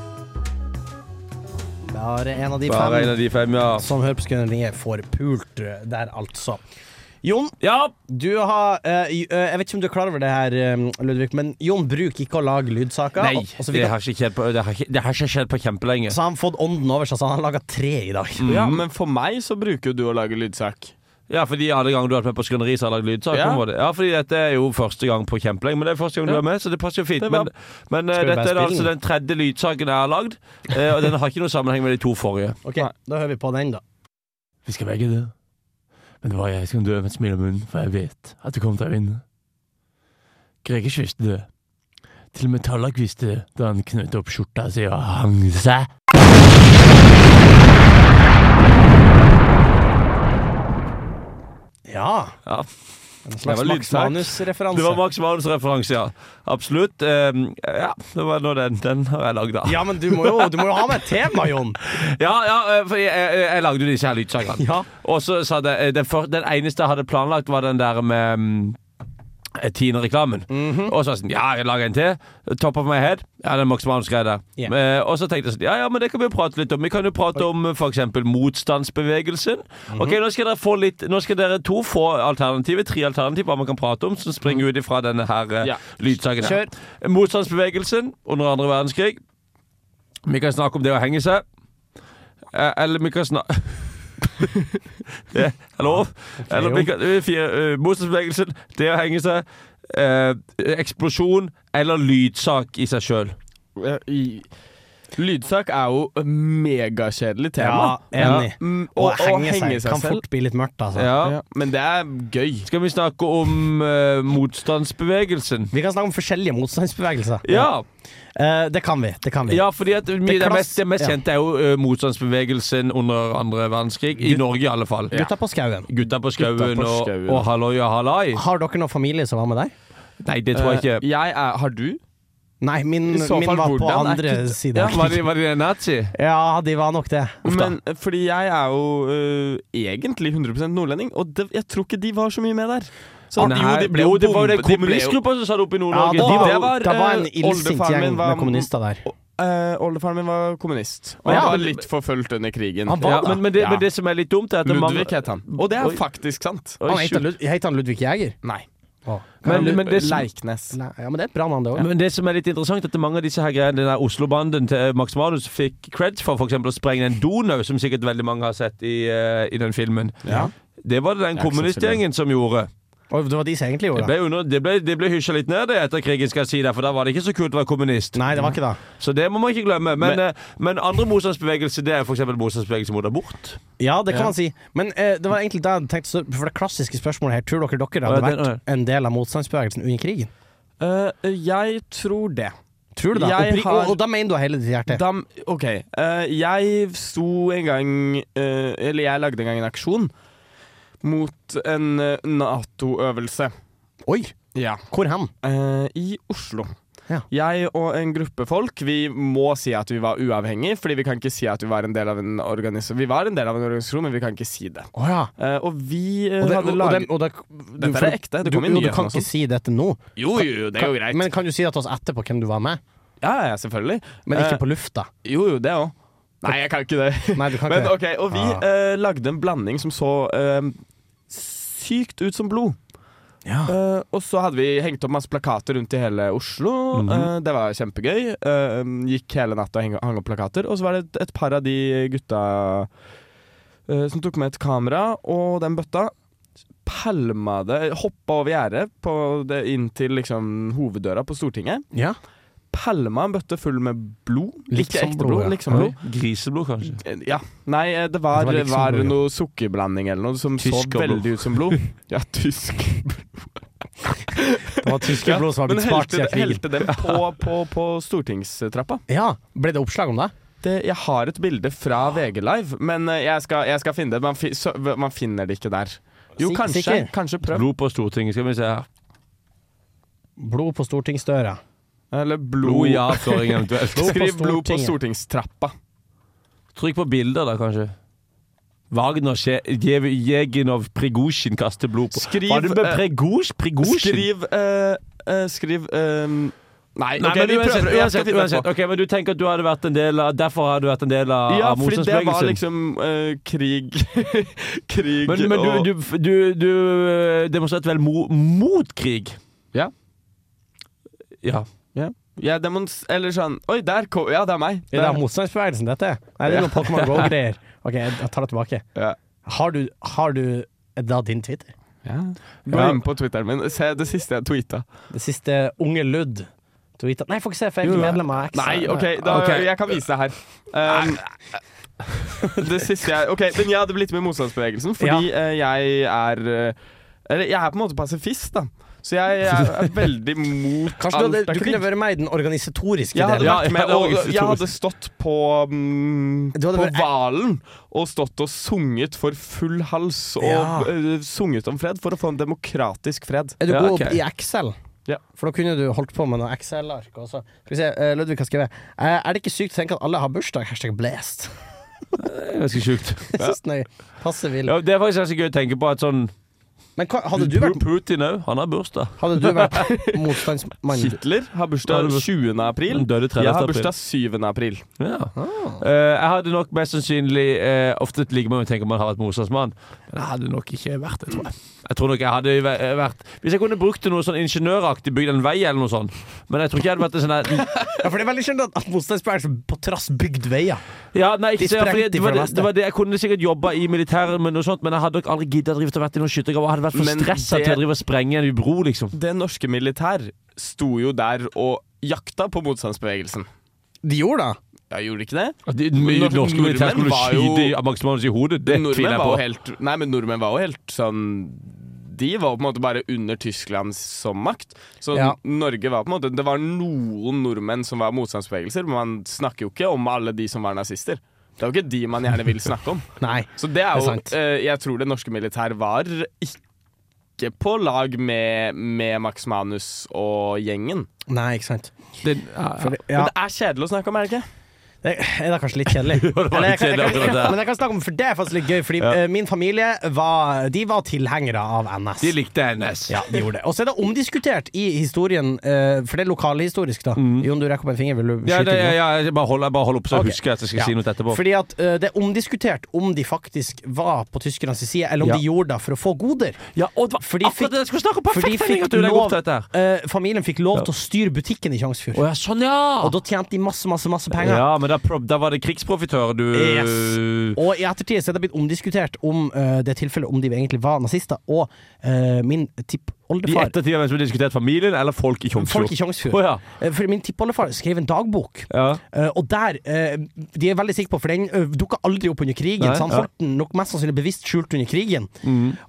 Speaker 4: Bare en av de
Speaker 3: Bare
Speaker 4: fem.
Speaker 3: en av de fem, ja.
Speaker 4: Som hører på Skrøneriet, får pult eh, der, altså. Jon, du har eh, i- eh, Jeg vet ikke om du er klar over det her, eh, Ludvig, men Jon bruker ikke å lage lydsaker.
Speaker 3: Nei,
Speaker 4: og- og så fikk
Speaker 3: det
Speaker 4: han-
Speaker 3: har ikke skjedd på, det har ikke, det har ikke skjedd på kjempelenge.
Speaker 4: så har han fått ånden over seg, så han har laga tre i dag.
Speaker 3: Mm.
Speaker 13: Ja, men for meg så bruker jo du å lage lydsak.
Speaker 3: Ja, fordi alle ganger du har vært med på Skrøneri, så har jeg lagd lydsak.
Speaker 13: Ja.
Speaker 3: på en måte. ja, fordi dette er jo første gang på kjempelenge, men det er første gang du
Speaker 13: Ja.
Speaker 3: er med, så det passer jo fint.
Speaker 13: Det var-
Speaker 3: Men, men eh,
Speaker 13: Skal vi bare
Speaker 3: dette er
Speaker 13: spille
Speaker 3: altså den
Speaker 13: den?
Speaker 3: tredje lydsaken jeg har lagd, eh, og den har ikke noe sammenheng med de to forrige.
Speaker 4: Ok, da hører vi på den, da.
Speaker 3: Vi skal begge dø, men det var jeg som dø med et smil om munnen, for jeg vet at du kom til å vinne. Gregers visste det. Til og med Tallak visste det da han knøt opp skjorta si og hang seg.
Speaker 4: Ja.
Speaker 3: Ja.
Speaker 4: En
Speaker 3: Det var
Speaker 4: slags Max
Speaker 3: lydsak.
Speaker 4: Manus-referanse.
Speaker 3: Det var Max Manus-referanse, ja. Absolutt. Ehm, ja, det var nå den. Den har jeg lagd, da.
Speaker 4: Ja, men du må jo, du må jo ha med et tema, Jon!
Speaker 3: ja, ja, eh, for jeg, jeg, jeg lagde jo disse her lydsakene.
Speaker 4: Ja.
Speaker 3: Og så sa det eh, den, for, den eneste jeg hadde planlagt, var den der med mm, eh, Tine-reklamen. Og så var jeg sånn, ja, jeg lager en til. Top of my head. Ja, den Max Manus-greia der. Eh, og så tenkte jeg sånn, ja, ja, men det kan vi jo prate litt om. Vi kan jo prate om eh, for eksempel motstandsbevegelsen. Ok, nå skal dere få litt, nå skal dere to få alternativer, tre alternativer hva man kan prate om, som springer ut ifra denne her eh,
Speaker 11: Ja.
Speaker 3: lydsaken her. Motstandsbevegelsen under andre verdenskrig. Vi kan snakke om det å henge seg. Eh, eller vi kan [LAUGHS] snakke Hallo? Eller vi kan, eh, fire, eh, Motstandsbevegelsen, det å henge seg, eh, eksplosjon eller lydsak i seg sjøl.
Speaker 13: Eh, i- Lydsak er jo et megakjedelig tema.
Speaker 4: Ja, enig.
Speaker 13: Mm,
Speaker 4: Å henge seg kan fort bli litt mørkt, altså.
Speaker 3: Ja.
Speaker 13: Men det er gøy.
Speaker 3: Skal vi snakke om eh, motstandsbevegelsen?
Speaker 4: Vi kan snakke om forskjellige motstandsbevegelser.
Speaker 3: Ja.
Speaker 4: Eh, det kan vi. Det kan vi.
Speaker 3: Ja, fordi at det,
Speaker 4: klass-
Speaker 3: mest, det mest
Speaker 4: ja.
Speaker 3: kjente er jo eh, motstandsbevegelsen under andre verdenskrig. I Norge, i alle fall.
Speaker 4: Gutta på skauen.
Speaker 3: Gutta på
Speaker 4: Gutta
Speaker 3: skauen
Speaker 4: på
Speaker 3: og,
Speaker 4: skauen.
Speaker 3: og halloi og hallai.
Speaker 4: Har dere noen familie som var med der?
Speaker 3: Nei, det tror jeg ikke.
Speaker 13: Eh, Jeg er, har du?
Speaker 4: Nei, min,
Speaker 13: I
Speaker 4: min
Speaker 13: så fall,
Speaker 4: var på
Speaker 13: hvordan er
Speaker 4: andre
Speaker 13: ikke-
Speaker 4: siden.
Speaker 3: Ja, var, de, var de nazi?
Speaker 4: [LAUGHS] Ja, de var nok det. Uff da.
Speaker 13: Men eh, fordi jeg er jo eh, egentlig 100 nordlending, og det, jeg tror ikke de var så mye med der. Så,
Speaker 3: Nei, jo, det var jo den kommunistgruppa som satt opp i Nord-Norge.
Speaker 13: Ja,
Speaker 3: De var
Speaker 13: det
Speaker 3: jo-
Speaker 13: var,
Speaker 4: det var en
Speaker 13: eh,
Speaker 4: illsint
Speaker 13: oldefaren
Speaker 4: gjeng
Speaker 13: min var-
Speaker 4: med kommunister der.
Speaker 13: eh, Oldefaren min var kommunist, og
Speaker 3: Ja,
Speaker 13: han var
Speaker 3: men-
Speaker 13: litt forfulgt under krigen.
Speaker 3: Han var Ja, det. men- men det- men det som er litt dumt, er at det
Speaker 13: Ludvig
Speaker 3: mange-
Speaker 13: het han. Og det
Speaker 3: Oi.
Speaker 13: er faktisk sant.
Speaker 3: Oi,
Speaker 4: Han heter, Lud heter han Ludvig Jæger?
Speaker 13: Nei.
Speaker 4: Å.
Speaker 3: Men- men det som-
Speaker 13: Leiknes.
Speaker 4: Nei, Ja, men det er et bra navn, det òg.
Speaker 3: Men det som er litt interessant, er at mange av disse her greiene, den der Oslo-banden til Max Manus fikk creds for, f.eks. å sprenge den Donau, som sikkert veldig mange har sett i, eh, i den filmen.
Speaker 13: Ja.
Speaker 3: Det var det den
Speaker 13: Jeg har ikke sett
Speaker 3: kommunistgjengen som gjorde.
Speaker 4: Og det var de som
Speaker 3: Det
Speaker 4: egentlig gjorde det.
Speaker 3: ble, under, det ble, det ble hysja litt ned det etter krigen, skal jeg si deg, for da var det ikke så kult å være kommunist.
Speaker 4: Nei, det var ikke det.
Speaker 3: Så det må man ikke glemme. Men,
Speaker 13: Men-
Speaker 3: eh, men andre motstandsbevegelser, det er f.eks. motstandsbevegelse mot abort.
Speaker 4: Ja, det kan
Speaker 3: Ja.
Speaker 4: man si. Men eh, det var egentlig det jeg tenkte så- For det klassiske spørsmålet her, tror dere dere
Speaker 3: Ja,
Speaker 4: hadde
Speaker 3: den-
Speaker 4: vært en del av motstandsbevegelsen under krigen?
Speaker 13: Eh, jeg tror det.
Speaker 4: Tror du det?
Speaker 13: Jeg
Speaker 4: Oppri-
Speaker 13: har-
Speaker 4: og, og da mener du av hele ditt hjerte?
Speaker 13: Dam, ok, eh, jeg sto en gang eh, Eller jeg lagde en gang en aksjon mot en eh, Nato-øvelse.
Speaker 4: Oi!
Speaker 13: Ja.
Speaker 4: Hvor hen?
Speaker 13: Eh, I Oslo.
Speaker 4: Ja.
Speaker 13: Jeg og en gruppe folk Vi må si at vi var uavhengige, Fordi vi kan ikke si at vi var en del av en organisasjon. Vi var en del av en organisasjon, men vi kan ikke si det.
Speaker 4: Å ja.
Speaker 13: Eh, og vi eh,
Speaker 4: Og det,
Speaker 13: hadde
Speaker 4: og, og
Speaker 13: laget
Speaker 4: den, og det, du,
Speaker 13: Dette er
Speaker 4: for-
Speaker 13: ekte, det
Speaker 4: du,
Speaker 13: kom i
Speaker 4: jo, du
Speaker 13: nyhetene
Speaker 4: kan
Speaker 13: og
Speaker 4: ikke
Speaker 13: sånn.
Speaker 4: si dette nå.
Speaker 13: Jo, jo, det er jo greit.
Speaker 4: Men kan du si det til oss etterpå hvem du var med?
Speaker 13: Ja, ja, selvfølgelig.
Speaker 4: Men
Speaker 13: Eh,
Speaker 4: ikke på lufta.
Speaker 13: Jo, jo, det òg. Nei, jeg kan ikke det. [LAUGHS]
Speaker 4: Nei, du kan
Speaker 13: Men
Speaker 4: ikke
Speaker 13: ok, Og vi eh, lagde en blanding som så eh, sykt ut som blod.
Speaker 4: Ah.
Speaker 13: Eh, og så hadde vi hengt opp masse plakater rundt i hele Oslo.
Speaker 3: Mhm.
Speaker 13: Eh, det var kjempegøy. Eh, gikk hele natta og heng- hang opp plakater. Og så var det et, et par av de gutta eh, som tok med et kamera og den bøtta. Pælma det Hoppa over gjerdet på det- inn til liksom, hoveddøra på Stortinget.
Speaker 4: Ja.
Speaker 13: Pælma en bøtte full med blod.
Speaker 4: Liksom
Speaker 13: ikke ekte
Speaker 4: blod,
Speaker 13: blod,
Speaker 4: ja.
Speaker 13: liksom blod.
Speaker 3: Griseblod, kanskje.
Speaker 13: Ja. Nei, eh, det
Speaker 4: Det
Speaker 13: var,
Speaker 4: var
Speaker 13: var,
Speaker 4: liksom blod, ja.
Speaker 13: noe sukkerblanding eller noe som
Speaker 3: Tysk
Speaker 13: så
Speaker 3: og blod.
Speaker 13: veldig ut som
Speaker 4: [LAUGHS]
Speaker 13: blod. Ja, tysk blod.
Speaker 4: Det var tyske blod som var blitt
Speaker 13: Men
Speaker 4: spart
Speaker 13: helte,
Speaker 4: siden krigen.
Speaker 13: helte den
Speaker 4: [LAUGHS]
Speaker 13: på, på, på stortingstrappa.
Speaker 4: Ja, Ble det oppslag om det?
Speaker 13: Det, jeg har et bilde
Speaker 4: Ah.
Speaker 13: fra VG Live, men eh, jeg skal, jeg skal finne det. Man, fi, så, man finner det ikke der. Jo,
Speaker 4: Sik-
Speaker 13: kanskje.
Speaker 4: sikker?
Speaker 13: Kanskje prøv.
Speaker 3: Blod på Stortinget, skal vi se her.
Speaker 4: Blod på stortingsdøra.
Speaker 13: Eller blod,
Speaker 3: Blod i avføring eventuelt.
Speaker 13: [LAUGHS]
Speaker 4: Blod på
Speaker 13: Skriv blod på
Speaker 4: Stortinget.
Speaker 13: stortingstrappa.
Speaker 3: Trykk på bilder, da, kanskje. Wagner, Sje- Jev- Jegenov, Prigozjin kaster blod på
Speaker 13: Skriv,
Speaker 3: Var det med
Speaker 13: eh,
Speaker 3: Prigozj? Prigozjin?
Speaker 13: Skriv eh, eh, Skriv eh, Nei,
Speaker 3: Nei,
Speaker 13: ok,
Speaker 3: men
Speaker 13: vi
Speaker 3: uansett,
Speaker 13: prøver. Jeg skal
Speaker 3: uansett,
Speaker 13: finne det
Speaker 3: uansett.
Speaker 13: på.
Speaker 3: Ok, men du tenker at du hadde vært en del av Derfor har du vært en del av,
Speaker 13: Ja,
Speaker 3: av
Speaker 13: fordi det var
Speaker 3: motstandsbevegelsen?
Speaker 13: liksom eh, krig [LAUGHS] Krig
Speaker 3: men men
Speaker 13: og
Speaker 3: du, du, du, du eh, demonstrerte vel mo, mot krig?
Speaker 13: Ja.
Speaker 3: Ja.
Speaker 13: ja. Jeg demons... Eller sånn Oi, der kom Ja, det er meg.
Speaker 4: Er det
Speaker 13: Der.
Speaker 4: motstandsbevegelsen, dette? Nei, det er noe Pokémon
Speaker 13: [LAUGHS]
Speaker 4: GO-greier. OK, jeg jeg tar det tilbake.
Speaker 13: Ja.
Speaker 4: Har du, har du Er det da din Twitter?
Speaker 13: Ja. Gå
Speaker 4: Ja.
Speaker 13: inn på Twitteren min. Se det siste jeg tweeta.
Speaker 4: Det siste Unge Ludd tweeta Nei, jeg får ikke se, for jeg er
Speaker 13: Jo,
Speaker 4: ikke
Speaker 13: ja.
Speaker 4: medlem av X.
Speaker 13: Nei, OK, da,
Speaker 3: Ok.
Speaker 13: jeg kan vise det her. Um, det siste jeg OK, men jeg hadde blitt med i motstandsbevegelsen fordi eh, jeg er eh, Eller jeg er på en måte pasifist, da. Så jeg, jeg er veldig mot
Speaker 4: Kanskje du,
Speaker 13: alt
Speaker 4: hadde,
Speaker 13: av
Speaker 4: du kunne
Speaker 13: kritikk.
Speaker 4: vært med i den organisatoriske
Speaker 13: Jeg hadde,
Speaker 4: delen.
Speaker 13: vært med, og, jeg hadde stått på, mm, på
Speaker 4: vært-
Speaker 13: Hvalen og stått og sunget for full hals og
Speaker 4: Ja.
Speaker 13: eh, sunget om fred for å få en demokratisk fred.
Speaker 4: Er du god i Excel?
Speaker 13: Ja.
Speaker 4: For da kunne du holdt på med noen Excel-ark. og så- Skal vi se, eh, Ludvig har skrevet eh, Er det ikke sykt å tenke at alle har bursdag? Hashtag [LAUGHS] blessed.
Speaker 3: Ganske sjukt.
Speaker 4: Jeg synes den er passe vill.
Speaker 3: Ja, det er faktisk ganske gøy å tenke på at sånn
Speaker 4: Men hva, hadde du vært-
Speaker 3: Putin òg, han har bursdag.
Speaker 4: Hadde du vært [LAUGHS] motstandsmann?
Speaker 13: Hitler har bursdag 20. april.
Speaker 3: Han døde 30.
Speaker 13: Jeg har
Speaker 3: april.
Speaker 13: bursdag 7. april.
Speaker 3: Ja. Eh, jeg hadde nok mest sannsynlig eh, Ofte liker man jo å tenke om man har vært motstandsmann. Men jeg hadde nok ikke vært det, tror jeg. Jeg tror nok jeg hadde væ- eh, vært Hvis jeg kunne brukt det noe sånn ingeniøraktig, bygd en vei eller noe sånt. Men jeg tror ikke jeg hadde vært en sånn der
Speaker 4: Ja, for det er veldig sjelden at- at motstandsmenn som på trass bygd veier.
Speaker 3: ja, nei, ikke,
Speaker 4: De
Speaker 3: så- ja, fordi
Speaker 4: sprengte
Speaker 3: det, var
Speaker 4: fra
Speaker 3: det,
Speaker 4: lastet.
Speaker 3: det var det Jeg kunne sikkert jobba i militæret, med noe sånt, men jeg hadde nok aldri giddet å drive til å vært i noen skyttergrav. Jeg hadde vært for
Speaker 13: Men
Speaker 3: stressa
Speaker 13: det-
Speaker 3: til å drive og sprenge en bro, liksom.
Speaker 13: Det norske militær sto jo der og jakta på motstandsbevegelsen.
Speaker 4: De gjorde det?
Speaker 13: Ja, gjorde de ikke det?
Speaker 3: At de, norske militære skulle skyte i- Maximanus i hodet, det
Speaker 13: Nordmenn
Speaker 3: tviler jeg
Speaker 13: var jo
Speaker 3: på.
Speaker 13: Helt, nei, men nordmenn var jo helt sånn De var på en måte bare under Tyskland som makt. Så
Speaker 4: Ja.
Speaker 13: Norge var på en måte Det var noen nordmenn som var motstandsbevegelser, men man snakker jo ikke om alle de som var nazister. Det er jo ikke de man gjerne vil snakke om.
Speaker 4: Nei,
Speaker 13: Så det er
Speaker 4: det er
Speaker 13: jo
Speaker 4: sant.
Speaker 13: eh, Jeg tror det norske militær var ikke på lag med, med Max Manus og gjengen.
Speaker 4: Nei, ikke sant. For det- ja.
Speaker 13: Men det er kjedelig å snakke om, er det ikke?
Speaker 4: Det er da kanskje litt kjedelig.
Speaker 13: var
Speaker 4: Eller jeg kan-
Speaker 13: litt
Speaker 4: jeg
Speaker 13: kjedelig
Speaker 4: kan- [LAUGHS]
Speaker 13: akkurat der.
Speaker 4: Men jeg kan snakke om, for det er faktisk litt gøy, fordi eh, min familie var, de var tilhengere av NS.
Speaker 3: De likte NS.
Speaker 4: Ja, de gjorde det. Og så er det omdiskutert i historien, eh, for det er lokalhistorisk, da. Jon, du rekker opp en finger, vil du skyte
Speaker 3: Ja, det,
Speaker 4: inn
Speaker 3: ja,
Speaker 4: noe?
Speaker 3: ja, jeg bare holder hold opp, så jeg
Speaker 4: Ok.
Speaker 3: husker at jeg skal
Speaker 4: Ja.
Speaker 3: si noe etterpå.
Speaker 4: Fordi at eh, det er omdiskutert om de faktisk var på tyskernes side, eller om
Speaker 3: Ja.
Speaker 4: de gjorde det for å få goder.
Speaker 3: Ja, og
Speaker 4: for de fikk,
Speaker 3: jeg skulle snakke om
Speaker 4: for de
Speaker 3: perfekt
Speaker 4: fikk
Speaker 3: at du legger
Speaker 4: lov,
Speaker 3: opp til dette her.
Speaker 4: eh, familien fikk lov til å styre butikken i Tjongsfjord.
Speaker 3: Å ja, sånn, ja.
Speaker 4: Og da tjente de masse, masse, masse penger.
Speaker 3: Ja, men da, pro- da var det krigsprofitør du
Speaker 4: Yes. Og i ettertid så er det blitt omdiskutert om eh, det tilfellet om de egentlig var nazister, og eh, min
Speaker 3: I
Speaker 4: tippoldefar
Speaker 3: ettertid hvem som har liksom diskutert familien eller folk i Tjongsfjord?
Speaker 4: Folk i Tjongsfjord.
Speaker 3: Å, ja.
Speaker 4: Eh, For min tippoldefar skrev en dagbok,
Speaker 3: Ja.
Speaker 4: eh, og der eh, De er veldig sikre på, for den uh, dukka aldri opp under krigen,
Speaker 3: Nei, Mm.
Speaker 4: så han
Speaker 3: ja.
Speaker 4: holdt den nok mest sannsynlig bevisst skjult under krigen.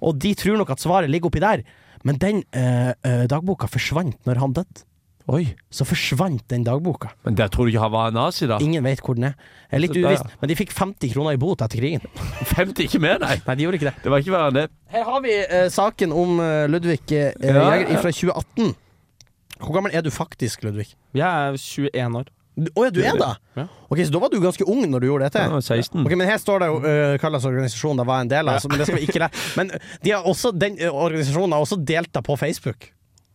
Speaker 4: Og de tror nok at svaret ligger oppi der, men den eh, eh, dagboka forsvant når han døde.
Speaker 3: Oi.
Speaker 4: Så forsvant den dagboka.
Speaker 3: Men der tror du ikke han var nazi, da?
Speaker 4: Ingen vet hvor den er. Det er litt
Speaker 3: Så der,
Speaker 4: uvisst,
Speaker 3: ja.
Speaker 4: men de fikk 50 kroner i bot etter krigen.
Speaker 3: 50 ikke mer, nei.
Speaker 4: Nei, de gjorde ikke det.
Speaker 3: Det var ikke verre enn det.
Speaker 4: Her har vi eh, saken om eh, Ludvig eh,
Speaker 3: Ja,
Speaker 4: Jæger
Speaker 3: ja.
Speaker 4: fra 2018. Hvor gammel er du faktisk, Ludvig?
Speaker 13: Jeg er 21 år.
Speaker 4: Å ja, du er det?
Speaker 13: Ja. mm.
Speaker 4: Ok, Så da var du ganske ung når du gjorde dette?
Speaker 3: Ja, jeg var 16.
Speaker 4: Ok, Men her står det jo eh, hva slags organisasjon det var en del av, så, men det skal vi ikke
Speaker 13: [LAUGHS]
Speaker 4: lære. Men de har også, den eh, organisasjonen har også delt det på Facebook.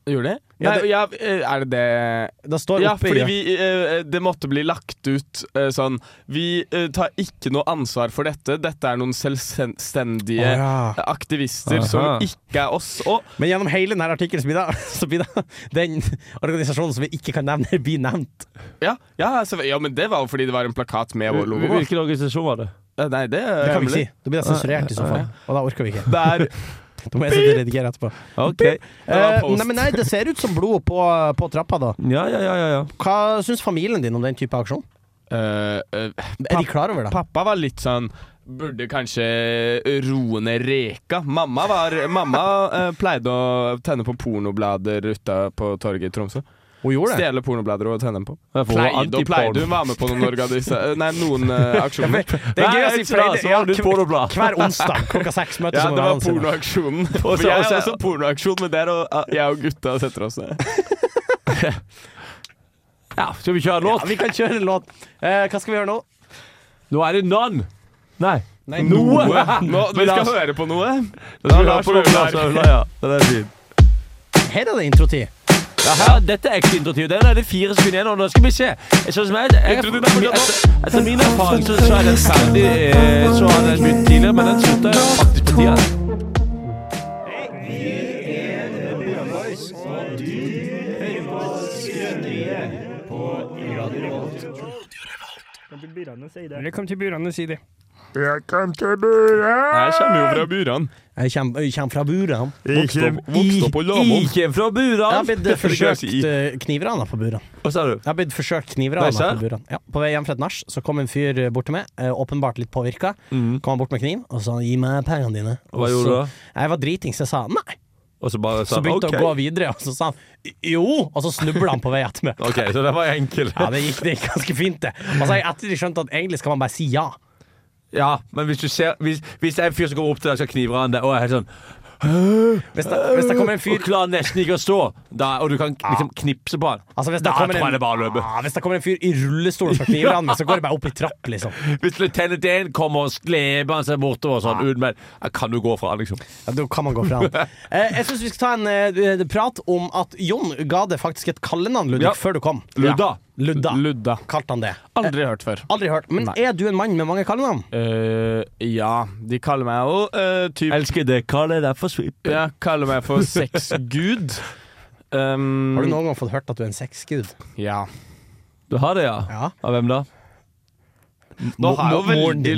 Speaker 13: Gjorde de?
Speaker 4: Ja,
Speaker 13: Nei,
Speaker 4: det-
Speaker 13: ja, eh, er det det
Speaker 4: Det står
Speaker 13: Ja,
Speaker 4: oppe
Speaker 13: fordi
Speaker 4: i
Speaker 13: vi, eh, det måtte bli lagt ut eh, sånn Vi eh, tar ikke noe ansvar for dette. Dette er noen selvstendige
Speaker 4: Å, ja.
Speaker 13: aktivister som
Speaker 4: Aha.
Speaker 13: ikke er oss. Og
Speaker 4: Men gjennom hele denne artikkelen så blir det- [LAUGHS] så blir det den organisasjonen som vi ikke kan nevne, [LAUGHS] blir nevnt.
Speaker 13: ja, ja, altså, ja, men det var jo fordi det var en plakat med vår logo. på.
Speaker 3: Hvilken organisasjon var det?
Speaker 13: Eh, Nei, det,
Speaker 4: Det kan vi ikke si. Da blir det sensurert i så fall, og da orker vi ikke.
Speaker 13: Det er
Speaker 4: Da må jeg sitte og redigere etterpå.
Speaker 3: OK.
Speaker 4: Eh, nei, men nei, det ser ut som blod på, på trappa, da.
Speaker 3: Ja, ja, ja. ja, ja.
Speaker 4: Hva syns familien din om den type aksjon?
Speaker 13: Eh, eh,
Speaker 4: Er de klar over det?
Speaker 13: Pappa var litt sånn Burde kanskje roe ned reka. Mamma, var, mamma eh, pleide å tenne på pornoblader ute på torget i Tromsø.
Speaker 4: Hun gjorde det.
Speaker 13: Stjele pornoblader og tenne dem på.
Speaker 3: Ja, for hun var
Speaker 13: Pleide og
Speaker 3: antiporn.
Speaker 13: pleide. Hun var med på noen, [LAUGHS] organisa- nei, noen eh, aksjoner.
Speaker 4: Det er gøy å si
Speaker 3: Nei,
Speaker 4: flere-
Speaker 3: så var det
Speaker 4: ja,
Speaker 3: pornoblad.
Speaker 4: Hver onsdag klokka seks møtes
Speaker 13: Ja,
Speaker 4: hun med
Speaker 13: altså, det var
Speaker 4: vennene sine.
Speaker 13: pornoaksjonen.
Speaker 3: Og
Speaker 13: [LAUGHS] For
Speaker 3: så-
Speaker 13: jeg
Speaker 3: og så-
Speaker 13: er også pornoaksjon, men der og, ah, jeg og gutta setter oss ned.
Speaker 3: Ja, skal vi kjøre en låt?
Speaker 4: Ja, vi kan kjøre en låt. Eh, hva skal vi gjøre nå?
Speaker 3: Nå er det None. Nei.
Speaker 4: Nei,
Speaker 3: Noe.
Speaker 13: [LAUGHS] Nå, vi
Speaker 3: Men
Speaker 13: skal
Speaker 3: Lars-
Speaker 13: høre på noe.
Speaker 3: Da skal vi høre
Speaker 13: Lars
Speaker 3: på Lars
Speaker 13: Vaular.
Speaker 3: Vaular, ja. Den er fin.
Speaker 4: Her er det introtid.
Speaker 3: Ja, her- dette er ekte introtiv. Den er det fire sekunder igjen, og nå skal vi se. Sånn som jeg, jeg,
Speaker 13: Introduksjonen er fortsatt
Speaker 3: etter, etter min erfaring så, så er den ferdig eh, Så har den begynt tidligere, men den slutta faktisk på tida.
Speaker 4: Velkommen til burene, si det.
Speaker 13: Jeg kommer jo fra Buran.
Speaker 4: Jeg kommer, jeg kommer fra burene.
Speaker 13: Vokste opp, vokste opp på Lamoen.
Speaker 3: Ikke fra
Speaker 4: Jeg
Speaker 3: Buran.
Speaker 4: har blitt forsøkt eh, knivrana på burene.
Speaker 3: Hva sa du?
Speaker 4: Jeg har blitt forsøkt
Speaker 3: Nei,
Speaker 4: knivrana
Speaker 3: serr?
Speaker 4: på burene. Ja, på vei hjem fra et nach så kom en fyr eh, bort til meg, eh, åpenbart litt påvirka. Kom han bort med kniv og sa 'gi meg pengene dine'.
Speaker 3: Hva gjorde du da?
Speaker 4: Jeg var dritings, jeg sa nei.
Speaker 3: Og så bare sa
Speaker 4: Så
Speaker 3: han
Speaker 4: begynte
Speaker 3: OK.
Speaker 4: han å gå videre, og så sa han jo, og så snubla han på vei attmed.
Speaker 3: Ok, Så det var enkel.
Speaker 4: Ja, det gikk, det gikk ganske fint, det. Altså, jeg etter de skjønte at egentlig skal man bare si ja.
Speaker 3: Ja, men hvis du ser Hvis, hvis det er en fyr som kommer opp til deg og skal knivre han deg, og er helt sånn
Speaker 4: Hvis det, hvis det kommer en fyr
Speaker 3: Og klarer nesten ikke å stå, da, og du kan liksom knipse på han
Speaker 4: Altså, hvis det
Speaker 3: Da
Speaker 4: kommer
Speaker 3: tror
Speaker 4: en-
Speaker 3: jeg det bare løper.
Speaker 4: Ja, hvis det kommer en fyr i rullestol og skal knive han, så går det bare opp i trapp, liksom.
Speaker 3: Hvis lieutenant Dane kommer og sleper han seg bortover sånn uten meg, ja, kan du gå fra han, liksom?
Speaker 4: Ja, da kan man gå fra han. Eh, jeg syns vi skal ta en eh, prat om at Jon ga det faktisk et kallenavn, Ludvig,
Speaker 13: Ja.
Speaker 4: før du kom.
Speaker 13: Ludda.
Speaker 4: Ja. Ludda.
Speaker 13: Ludda.
Speaker 4: Kalte han det.
Speaker 13: Aldri hørt før.
Speaker 4: Aldri hørt. Men
Speaker 13: Nei.
Speaker 4: er du en mann med mange kallenavn?
Speaker 13: Eh, ja, de kaller meg jo eh, typ
Speaker 3: Elsker det, kall det derfor sweep.
Speaker 13: Ja, kaller meg [LAUGHS] for sexgud. Um,
Speaker 4: Har du noen gang fått hørt at du er en sexgud?
Speaker 13: Ja.
Speaker 3: Du har det, ja? Av hvem da?
Speaker 13: Nå har jeg jo
Speaker 3: Mo-
Speaker 13: veldig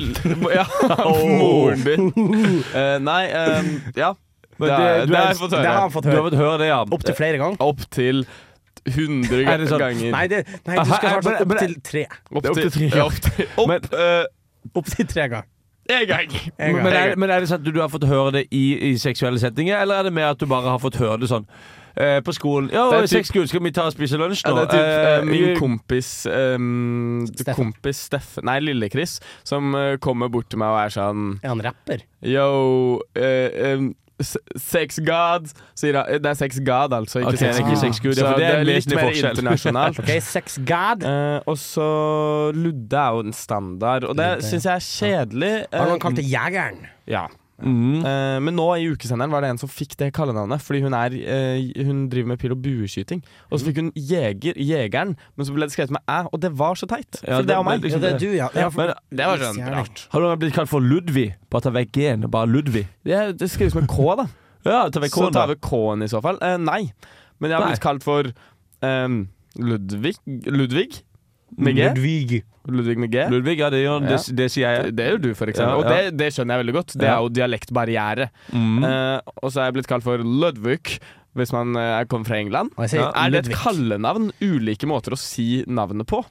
Speaker 13: [LAUGHS] Ja, moren din. Eh, nei, um, ja.
Speaker 3: Men
Speaker 13: Det,
Speaker 3: det-
Speaker 13: er-
Speaker 3: du
Speaker 13: det har
Speaker 3: er-
Speaker 13: jeg fått
Speaker 3: det
Speaker 13: høre.
Speaker 4: har han fått høre. Du har fått
Speaker 3: høre det, ja.
Speaker 4: Opptil flere ganger?
Speaker 13: Opptil 100
Speaker 3: Er det sånn-
Speaker 13: ganger.
Speaker 4: Nei, det, nei, du skal
Speaker 13: Aha,
Speaker 4: svare sånn
Speaker 13: men-
Speaker 4: opptil tre.
Speaker 13: Opp
Speaker 3: Det er opp til tre.
Speaker 13: Ja, [LAUGHS] opp til, opp,
Speaker 3: Men-
Speaker 13: eh,
Speaker 4: Opptil tre ganger.
Speaker 13: en gang.
Speaker 4: En gang.
Speaker 3: Men er, men er det sånn at du, du har fått høre det i, i seksuelle settinger, eller er det mer at du bare har fått høre det sånn eh, på skolen? Ja,
Speaker 13: Det er typ-
Speaker 3: seks gull, skal vi ta og spise lunsj
Speaker 13: Ja,
Speaker 3: nå?
Speaker 13: det er typ eh,
Speaker 3: Eh,
Speaker 13: min
Speaker 3: i-
Speaker 13: kompis um, Kompis Steffen Nei, Lille-Chris, som eh, kommer bort til meg og er sånn
Speaker 4: Er han rapper?
Speaker 13: Yo eh, em, s- Sex God sier han. Eh, Det er Sex God, altså. Ikke
Speaker 3: Ok, ikke
Speaker 13: sex
Speaker 3: Sex Gud, ja,
Speaker 13: Så
Speaker 3: for
Speaker 13: det er litt
Speaker 3: vesentlig
Speaker 13: mer
Speaker 3: forskjell.
Speaker 13: internasjonalt.
Speaker 4: Ok, Sex God.
Speaker 13: [LAUGHS] Eh, og så Ludde er jo en standard, og det
Speaker 4: Ludde,
Speaker 13: syns jeg er kjedelig.
Speaker 4: Har
Speaker 13: Eh,
Speaker 4: noen kalt det Jegeren?
Speaker 13: Ja.
Speaker 3: Mm.
Speaker 13: Eh, men nå i ukesenderen var det en som fikk det kallenavnet, fordi hun, er, eh, hun driver med pil- og bueskyting. Og så fikk hun jeger, Jegeren, men så ble det skrevet med æ, og det var så teit.
Speaker 3: Ja,
Speaker 13: for det er meg.
Speaker 3: liksom- Men-
Speaker 13: det var sånn rart.
Speaker 3: Har du noen gang blitt kalt for Ludvig? Bare ta vekk G-en. Bare Ludvig.
Speaker 13: Det, det skrives med K, [LAUGHS] da.
Speaker 3: Ja, ta vekk
Speaker 13: så
Speaker 3: K-en,
Speaker 13: tar
Speaker 3: da.
Speaker 13: vi K-en i så fall. Eh, Sånn, nei. Men jeg har
Speaker 3: Nei.
Speaker 13: blitt kalt for ehm, Ludvig Ludvig? Med G?
Speaker 4: Ludvig.
Speaker 13: Ludvig med G.
Speaker 3: Ludvig, ja, det, gjør,
Speaker 13: Ja.
Speaker 3: det, det sier jeg.
Speaker 13: Det, det gjør du, for
Speaker 3: Ja, ja.
Speaker 13: eksempel. Og det, det skjønner jeg veldig godt. Det
Speaker 3: Ja.
Speaker 13: er jo dialektbarriere.
Speaker 3: Mm.
Speaker 13: Eh, og så er jeg blitt kalt for Ludvig hvis man eh, kommer fra England.
Speaker 4: Og jeg sier
Speaker 13: Er det et
Speaker 4: Ludvig.
Speaker 13: kallenavn? Ulike måter å si navnet på?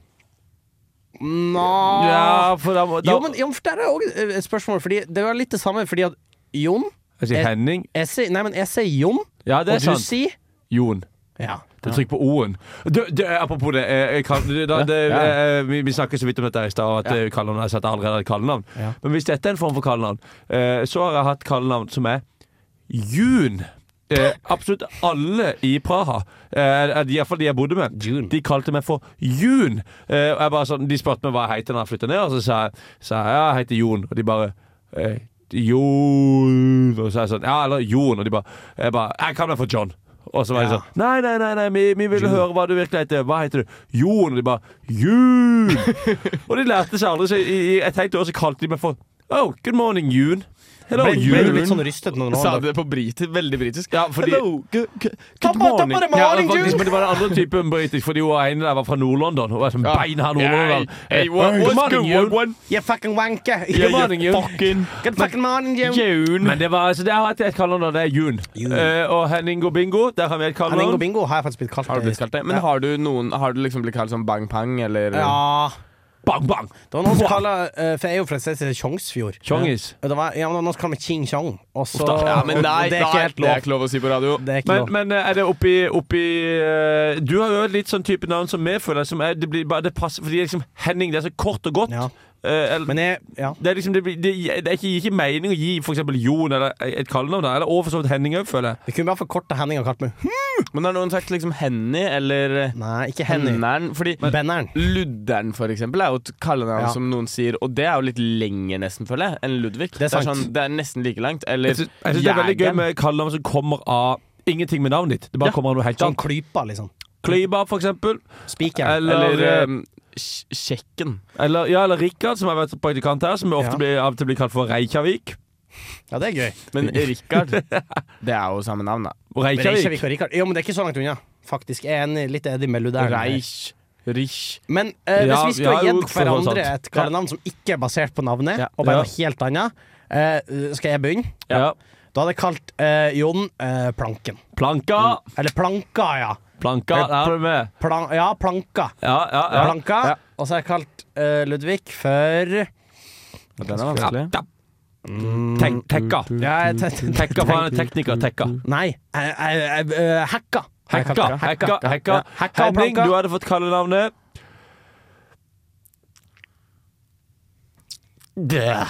Speaker 4: Nå
Speaker 13: Ja, for da må- da-
Speaker 4: Jo, men jo, men for der er òg et spørsmål. Fordi det var litt det samme, fordi at Jon
Speaker 3: Jeg sier Henning.
Speaker 4: Jeg sier, nei, men jeg sier Jon,
Speaker 3: Ja, det er
Speaker 4: og du
Speaker 3: sant.
Speaker 4: sier
Speaker 3: Jon.
Speaker 4: Ja.
Speaker 3: Du trykker på O-en. Du, du, apropos det, eh, jeg kan, du, da, det
Speaker 13: Ja.
Speaker 3: eh, vi, vi snakket så vidt om dette her i stad, og at, eh, kallenavn- altså at jeg allerede hadde kallenavn.
Speaker 13: Ja.
Speaker 3: Men hvis dette er en form for kallenavn, eh, så har jeg hatt kallenavn som er Jun. Eh, absolutt alle i Praha, eh, iallfall de jeg bodde med, de kalte meg for Jun. Eh, og jeg bare sånn, de spurte meg hva jeg heter når jeg flytta ned, og så sa jeg, sa jeg ja, jeg heter Jon. Og de bare eh, Jon Og så er jeg sånn, ja, eller Jon. Og de bare Jeg, bare, jeg kan meg for John. Og så var de sånn Nei, nei, nei, nei vi, vi vil høre hva du virkelig heter. Hva heter du? Jon. Og de bare
Speaker 4: [LAUGHS]
Speaker 3: Jun! og de lærte seg aldri, så i, i et helt år så kalte de meg for Oh, good morning, Jun. Hello,
Speaker 4: Ble- ble
Speaker 3: Jun.
Speaker 4: du litt sånn rystet når du
Speaker 13: Sa
Speaker 4: var-
Speaker 13: du det på briti veldig britisk?
Speaker 3: Ja, fordi-
Speaker 13: Hello, good, good,
Speaker 4: Tappa,
Speaker 13: good morning.
Speaker 4: tappa, det
Speaker 3: Ja,
Speaker 4: morning,
Speaker 3: faktisk,
Speaker 4: Jun!
Speaker 3: men det var den andre typen britisk, fordi hun ene der var fra Nord-London. Hun var sånn
Speaker 13: Ja.
Speaker 3: beinhard nordlender.
Speaker 13: Hey, hey, what- what's going on?
Speaker 4: You fucking wanker.
Speaker 3: Good
Speaker 4: [LAUGHS]
Speaker 3: morning, Jun.
Speaker 4: Good fucking morning, Jon.
Speaker 3: Men det var, så det har jeg et kallenavn, det er Jun. Eh, og Henning og Bingo, der har vi et kallenavn.
Speaker 4: Henning og Bingo har jeg faktisk blitt kalt.
Speaker 13: Har du blitt kalt det? Men
Speaker 4: ja.
Speaker 13: har du noen Har du liksom blitt kalt sånn bang pang, eller
Speaker 4: ja.
Speaker 3: Bang, bang!
Speaker 4: Det var noen som kaller eh, For jeg er jo fra et sted som heter Tjongsfjord.
Speaker 3: Tjongis.
Speaker 4: Ja, det var, ja, men det var noen som kaller meg Ching Chong. Og så
Speaker 13: Uff da. Ja,
Speaker 4: og-
Speaker 13: men
Speaker 4: og
Speaker 13: nei,
Speaker 4: det er ikke
Speaker 13: nei,
Speaker 4: helt
Speaker 13: det er
Speaker 4: lov.
Speaker 13: ikke lov å si på radio.
Speaker 4: Det er ikke
Speaker 3: Men,
Speaker 4: lov.
Speaker 3: men eh, er det oppi, oppi eh, Du har jo et litt sånn type navn som vi føler som er, det blir bare, det passer, Fordi liksom Henning, det er så kort og godt. Eh, eller-
Speaker 4: Men jeg Ja.
Speaker 3: det er liksom, det, blir- det, det er ikke, gir ikke mening å gi for eksempel Jon eller et kallenavn. der, Eller overfor så vidt Henning òg, føler jeg.
Speaker 4: Vi kunne bare forkorta Henning og kalt meg [LAUGHS]
Speaker 13: Men har noen sagt liksom Henny eller
Speaker 4: Nei, ikke Henny.
Speaker 13: Henneren? Fordi
Speaker 4: Benneren.
Speaker 13: Ludderen, for eksempel, er jo et kallenavn
Speaker 4: Ja.
Speaker 13: som noen sier, og det er jo litt lenger, nesten, føler jeg, enn Ludvig. Det
Speaker 4: er sant.
Speaker 13: sånn, det er nesten like langt. Eller
Speaker 3: Jeg syns jeg syns det er veldig gøy
Speaker 13: Jegeren.
Speaker 3: med kallenavn som kommer av ingenting med navnet ditt. Det bare
Speaker 13: Ja.
Speaker 3: kommer av noe helt
Speaker 4: Sånn
Speaker 3: annet.
Speaker 4: klypa, liksom.
Speaker 3: Klyba, for eksempel.
Speaker 4: Spiker.
Speaker 3: Eller,
Speaker 13: Eller
Speaker 3: eh,
Speaker 13: um, Sj- Sjekken.
Speaker 3: eller, ja, eller Rikard, som har vært praktikant her, som ofte
Speaker 13: Ja.
Speaker 3: blir, av og til blir kalt for Reykjavik.
Speaker 4: Ja, det er
Speaker 3: [LAUGHS]
Speaker 4: gøy.
Speaker 13: Men Rikard, det er jo samme navn, da.
Speaker 3: Og Reykjavik.
Speaker 4: Reykjavik og Rikard. Jo, men det er ikke så langt unna, faktisk. Jeg er enig litt Eddie med Ludern.
Speaker 13: Reich. Rich.
Speaker 4: Men eh,
Speaker 3: Ja,
Speaker 4: hvis vi
Speaker 3: ja,
Speaker 4: skulle
Speaker 3: jo,
Speaker 4: gitt
Speaker 3: for så vidt
Speaker 4: hverandre
Speaker 3: sant.
Speaker 4: et kallenavn som ikke er basert på navnet, og bare
Speaker 3: Ja.
Speaker 4: noe helt annet, eh, skal jeg begynne?
Speaker 3: Ja.
Speaker 4: Da hadde jeg kalt eh, Jon eh, Planken.
Speaker 3: Planka.
Speaker 4: Eller Planka, ja.
Speaker 3: Mm. Planka,
Speaker 4: Eh,
Speaker 3: der er du med.
Speaker 4: Plan ja, Planka.
Speaker 3: Ja, ja, ja.
Speaker 4: Planka. Og så har jeg kalt eh, Ludvig for
Speaker 13: Den er vanskelig.
Speaker 3: Ja, Tek- tekka.
Speaker 4: Ja, jeg
Speaker 3: [LAUGHS]
Speaker 4: te- te-
Speaker 3: Tekka, for han er tekniker. Tekka.
Speaker 4: Nei, jeg- jeg- jeg- eh, hacka. Jeg
Speaker 3: Hekka.
Speaker 4: kalte det.
Speaker 3: Hekka. hekka.
Speaker 4: Ja, hekka og
Speaker 3: Henning,
Speaker 4: planka.
Speaker 3: du hadde fått kallenavnet
Speaker 4: Ja.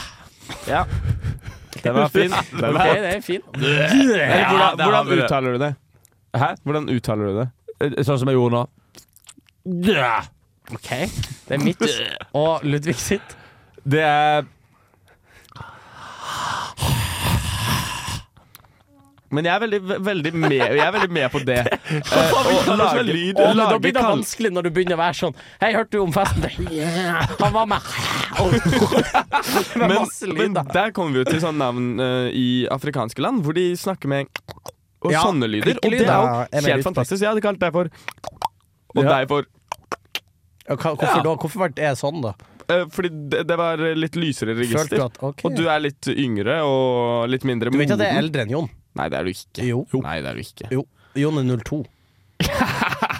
Speaker 13: [LAUGHS] Den var fin. Den var
Speaker 4: Ok,
Speaker 13: fin.
Speaker 4: det er fin.
Speaker 13: Eller
Speaker 3: Ja,
Speaker 13: hvordan,
Speaker 3: der har vi
Speaker 13: hvordan
Speaker 3: det.
Speaker 13: uttaler du det?
Speaker 3: Hæ?
Speaker 13: Hvordan uttaler du det?
Speaker 3: Sånn som jeg gjorde nå.
Speaker 4: OK. Det
Speaker 3: [LAUGHS]
Speaker 4: er mitt og Ludvig sitt.
Speaker 3: Det er
Speaker 13: Men jeg er veldig, veldig, med, jeg er veldig med på [LAUGHS] det. Eh,
Speaker 4: Faen, vi
Speaker 13: og
Speaker 4: kaller oss
Speaker 13: lage-
Speaker 4: vel lyd.
Speaker 13: og
Speaker 4: Å, men Da
Speaker 13: lage
Speaker 4: blir det
Speaker 13: kall-
Speaker 4: vanskelig når du begynner å være sånn Hei, hørte du om festen?
Speaker 3: [LAUGHS]
Speaker 4: Han var med. [LAUGHS] Det er
Speaker 13: men,
Speaker 4: [LAUGHS] masse lyd,
Speaker 13: men
Speaker 4: da.
Speaker 13: der kommer vi jo til sånne navn eh, i afrikanske land, hvor de snakker med og
Speaker 4: Ja,
Speaker 13: sånne lyder. Og det
Speaker 4: klikkelyder.
Speaker 13: er jo
Speaker 4: Ja, jeg er veldig
Speaker 13: helt fantastisk. Jeg hadde kalt deg for Og deg for
Speaker 4: Ja, hva- Hvorfor da? Hvorfor ble det sånn, da?
Speaker 13: eh, Fordi det, det var litt lysere
Speaker 4: Følte
Speaker 13: register.
Speaker 4: du at- ok.
Speaker 13: Og du er litt yngre og litt mindre
Speaker 4: Du vet at jeg er
Speaker 13: moden.
Speaker 4: eldre enn Jon?
Speaker 13: Nei, det er du ikke.
Speaker 4: Jo.
Speaker 13: Nei, det er du [LAUGHS] ikke.
Speaker 4: Jo. Jon er 02.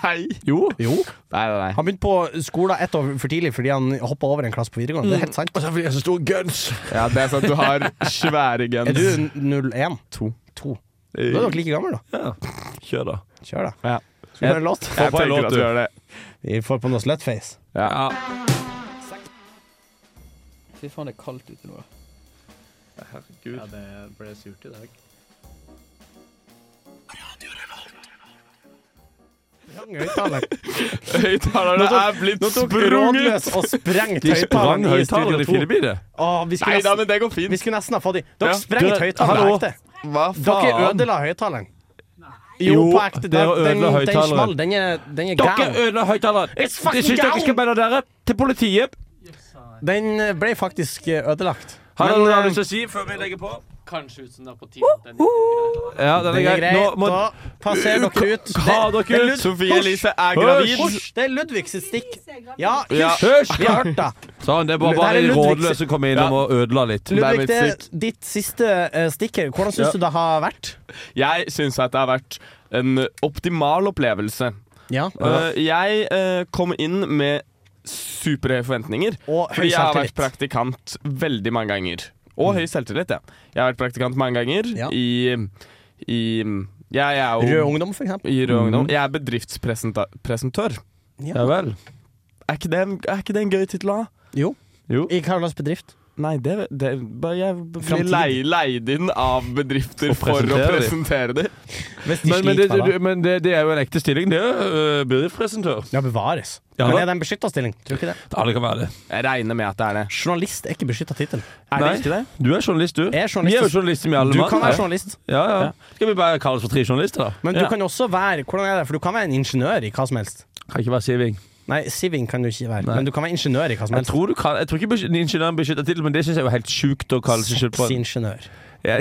Speaker 13: Hei.
Speaker 3: Jo.
Speaker 13: Nei, nei, nei.
Speaker 4: Han begynte på skolen ett år for tidlig fordi han hoppa over en klasse på videregående. Det er helt sant.
Speaker 3: Mm. Og så fordi jeg er så stor guns.
Speaker 13: Ja, det er sånn at du har svære guns.
Speaker 4: [LAUGHS] Er du n- 01?
Speaker 13: To.
Speaker 4: To. Da er dere like gamle, da.
Speaker 3: Kjør, da.
Speaker 4: Kjør, da.
Speaker 13: Ja.
Speaker 4: Skal vi høre en låt?
Speaker 13: Jeg, jeg tenker at du gjør det.
Speaker 4: Vi får på noe slutface.
Speaker 13: Ja.
Speaker 16: Fy faen, det er kaldt ute nå.
Speaker 3: Herregud.
Speaker 16: Ja, det ble surt i dag.
Speaker 13: [LAUGHS]
Speaker 3: [LAUGHS]
Speaker 13: Høyttalerne er blitt
Speaker 4: Nå tok
Speaker 13: sprunget!
Speaker 4: Rådløs og sprengt
Speaker 3: De sprang
Speaker 4: høyttalerne i
Speaker 3: høyttalerne i
Speaker 4: Studio 2.
Speaker 3: Filipine.
Speaker 4: Åh, vi skulle
Speaker 13: Nei da,
Speaker 4: nesten-
Speaker 13: men det går fint.
Speaker 4: Vi skulle nesten ha fått de Dere
Speaker 13: Ja.
Speaker 4: sprengte
Speaker 13: Dere-
Speaker 4: høyttaleren
Speaker 13: hallo.
Speaker 4: på ekte.
Speaker 13: Hva
Speaker 4: Dere
Speaker 13: faen?
Speaker 4: ødela høyttaleren.
Speaker 3: Jo,
Speaker 4: på ekte. Den-
Speaker 3: dere ødela
Speaker 4: den- Den
Speaker 3: høyttaleren.
Speaker 4: small, den er, den er
Speaker 3: Dere
Speaker 4: gal.
Speaker 3: ødela høyttaleren.
Speaker 4: It's fucking
Speaker 3: Jeg syns dere
Speaker 4: down.
Speaker 3: skal melde dere til politiet.
Speaker 4: Den eh, ble faktisk eh, ødelagt.
Speaker 3: Har dere
Speaker 4: Men,
Speaker 3: noe
Speaker 4: eh,
Speaker 3: annet å si før vi legger på?
Speaker 16: Kanskje ut som det er på tide. at Den
Speaker 3: Ja, den er grei. Nå må
Speaker 4: Da passerer dere ut.
Speaker 3: Ha dere
Speaker 4: Det- det er
Speaker 3: ut.
Speaker 4: Lud-
Speaker 13: Sofie Elise er
Speaker 3: Hysj!
Speaker 13: gravid.
Speaker 4: Hysj! Det er Ludvig sitt stikk. Ja,
Speaker 13: Ja.
Speaker 4: hysj! Vi har hørt det.
Speaker 3: Sånn, [LAUGHS] det er bare,
Speaker 4: Det her
Speaker 3: bare
Speaker 4: er
Speaker 3: de
Speaker 4: Ludvig
Speaker 3: rådløse som kommer innom og ødela litt.
Speaker 4: Ludvig, det
Speaker 13: mitt
Speaker 4: er ditt siste eh, stikk her. Hvordan syns
Speaker 13: Ja.
Speaker 4: du det har vært?
Speaker 13: Jeg syns at det har vært en optimal opplevelse.
Speaker 4: Ja.
Speaker 13: Eh, jeg eh, kom inn med superhøye forventninger.
Speaker 4: Og høy
Speaker 13: fordi jeg har
Speaker 4: selvtillit. Mm.
Speaker 13: vært praktikant veldig mange ganger. Og høy selvtillit, ja. Jeg har vært praktikant mange ganger i, i ja, jeg er jo
Speaker 4: Rød ungdom, Mm. for eksempel.
Speaker 13: I Rød Ungdom. Jeg er bedriftspresentør.
Speaker 4: Ja.
Speaker 3: vel.
Speaker 13: Er ikke det en, er ikke det en gøy tittel å ha?
Speaker 4: Jo.
Speaker 3: Jo.
Speaker 4: I hva slags bedrift?
Speaker 13: Nei, det, det bare Jeg blir
Speaker 4: Framtid.
Speaker 13: lei- leid inn av bedrifter
Speaker 3: Og
Speaker 13: for å
Speaker 3: presentere de.
Speaker 13: presentere dem.
Speaker 4: Hvis de
Speaker 3: Men, men, det,
Speaker 4: sliter med det.
Speaker 3: det, men det, det er jo en ekte stilling, det. Uh, Bedriftspresentør.
Speaker 4: Ja, bevares.
Speaker 3: Ja,
Speaker 4: men
Speaker 3: da.
Speaker 4: er det en beskytta stilling? Tror du ikke det?
Speaker 3: Ja, det kan være det.
Speaker 13: Jeg regner med at det er det.
Speaker 4: Journalist er ikke beskytta tittel.
Speaker 13: Er det
Speaker 3: Nei.
Speaker 13: ikke det?
Speaker 3: Du er journalist, du.
Speaker 4: Jeg er journalist.
Speaker 3: Vi er jo journalister, vi alle
Speaker 4: Du
Speaker 3: mann.
Speaker 4: kan være journalist.
Speaker 3: Ja, ja. Skal vi bare kalle oss for tre journalister, da?
Speaker 4: Men du
Speaker 13: Ja.
Speaker 4: kan også være Hvordan er det? For du kan være en ingeniør i hva som helst.
Speaker 3: Kan ikke være siving.
Speaker 4: Nei, siving kan du ikke være,
Speaker 3: Nei.
Speaker 4: men du kan være ingeniør i hva som
Speaker 3: Jeg
Speaker 4: helst.
Speaker 3: tror, du kan, jeg tror ikke besky- ingeniøren beskytter tittelen, men det syns jeg er helt sjukt å kalle seg skyld på.
Speaker 4: Sexingeniør.
Speaker 3: [LAUGHS] Ja,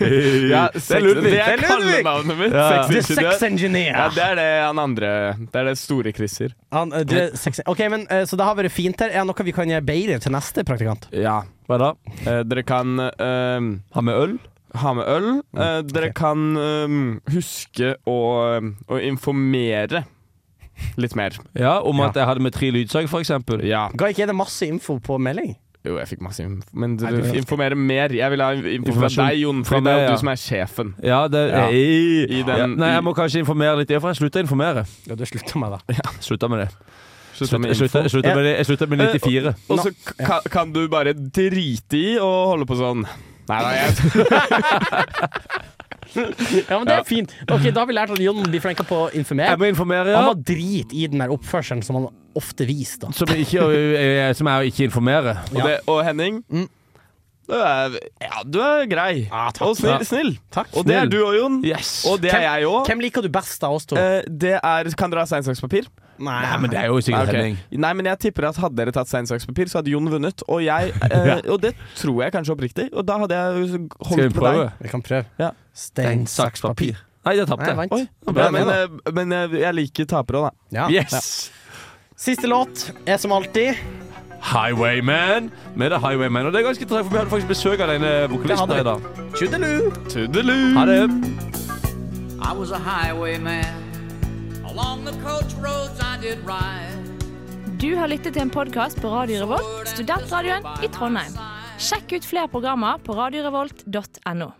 Speaker 13: Ja,
Speaker 3: det er Ludvig.
Speaker 13: Det er
Speaker 4: Det er Ludvig!
Speaker 13: kallenavnet mitt.
Speaker 3: Ja.
Speaker 4: The
Speaker 13: Sexingeniør.
Speaker 4: Ah. sex engineer.
Speaker 13: Ja, det er det han andre Det er det store Christer.
Speaker 4: Han, eh, du er sex ok, men eh, Så det har vært fint her. Er det noe vi kan gjøre bedre til neste praktikant?
Speaker 13: Ja.
Speaker 3: Hva da?
Speaker 13: Eh, dere kan eh,
Speaker 3: Ha med øl?
Speaker 13: ha med øl. Eh, dere kan eh, huske å, eh, å informere litt mer.
Speaker 3: Ja, om at jeg hadde med tre lydsag, for eksempel.
Speaker 13: Ja.
Speaker 4: Ga ikke det masse info på melding?
Speaker 13: Jo, jeg fikk masse info. Men
Speaker 4: Nei,
Speaker 13: dere
Speaker 4: du fikk ikke.
Speaker 13: informerer mer. Jeg vil ha info fra
Speaker 3: Informasjon
Speaker 13: deg, Jon,
Speaker 3: fra
Speaker 13: for det er
Speaker 3: meg,
Speaker 13: jo
Speaker 3: ja.
Speaker 13: du som er sjefen.
Speaker 3: Ja, det
Speaker 13: Ja.
Speaker 3: Ei.
Speaker 13: I den-
Speaker 3: ja. Nei, jeg
Speaker 13: i-
Speaker 3: må kanskje informere litt. Ja, for jeg slutta å informere.
Speaker 4: Ja, du slutta med det.
Speaker 3: Slutta med det.
Speaker 13: Slutta
Speaker 3: Slutta-
Speaker 13: med
Speaker 3: Jeg slutta
Speaker 13: info.
Speaker 3: jeg slutta med, det- jeg slutta med 94.
Speaker 13: Og så kan, kan du bare drite i og holde på sånn. Nei, nei, jeg
Speaker 4: Ja, men det er fint. Ok, Da har vi lært at Jon blir flinkere på å informere.
Speaker 3: Jeg må informere,
Speaker 4: Han
Speaker 3: ja.
Speaker 4: var drit i den der oppførselen som han ofte viste. da.
Speaker 3: Som, ikke, eh, som er å ikke informere.
Speaker 13: Og, det, og Henning,
Speaker 3: Mm.
Speaker 13: du, er, ja, du er grei. og snill.
Speaker 3: Ja.
Speaker 13: snill.
Speaker 4: Takk.
Speaker 13: Og det er
Speaker 3: Snill.
Speaker 13: du òg, Jon.
Speaker 3: Yes.
Speaker 13: Og det er jeg òg.
Speaker 4: Hvem liker du best av oss to?
Speaker 13: Eh, det er Kan dere ha stein, saks, papir?
Speaker 4: Nei,
Speaker 3: Nei, men det er jo
Speaker 13: Nei,
Speaker 3: sikkert
Speaker 13: ok.
Speaker 3: Henning.
Speaker 13: Nei, men jeg tipper at hadde dere tatt stein, saks, papir, så hadde Jon vunnet. Og jeg
Speaker 3: [LAUGHS]
Speaker 13: eh, Og det tror jeg kanskje oppriktig. Og da hadde jeg jo
Speaker 3: Skal vi
Speaker 13: holdt på deg.
Speaker 3: prøve?
Speaker 4: Vi kan prøve.
Speaker 13: Ja.
Speaker 4: Stein, saks, papir.
Speaker 3: Nei, jeg
Speaker 4: Nei, jeg
Speaker 3: tapte.
Speaker 4: vant.
Speaker 13: Oi.
Speaker 4: Bra
Speaker 13: Ja,
Speaker 4: med
Speaker 13: men,
Speaker 4: da.
Speaker 13: eh, men eh, jeg liker tapere òg, da.
Speaker 4: Ja.
Speaker 3: Yes!
Speaker 4: Siste låt er som alltid
Speaker 3: Highwayman med The Highwayman. Og det er ganske tregt, for vi hadde faktisk besøk av denne vokalisten
Speaker 4: Det
Speaker 3: her i dag.
Speaker 4: hadde Tjudelu.
Speaker 13: Tudelu.
Speaker 3: Ha det.
Speaker 17: I was a highwayman. Along the coach roads I did ride.
Speaker 18: Du har lyttet til en podkast på Radio Revolt, studentradioen i Trondheim. Sjekk ut flere programmer på radiorevolt.no.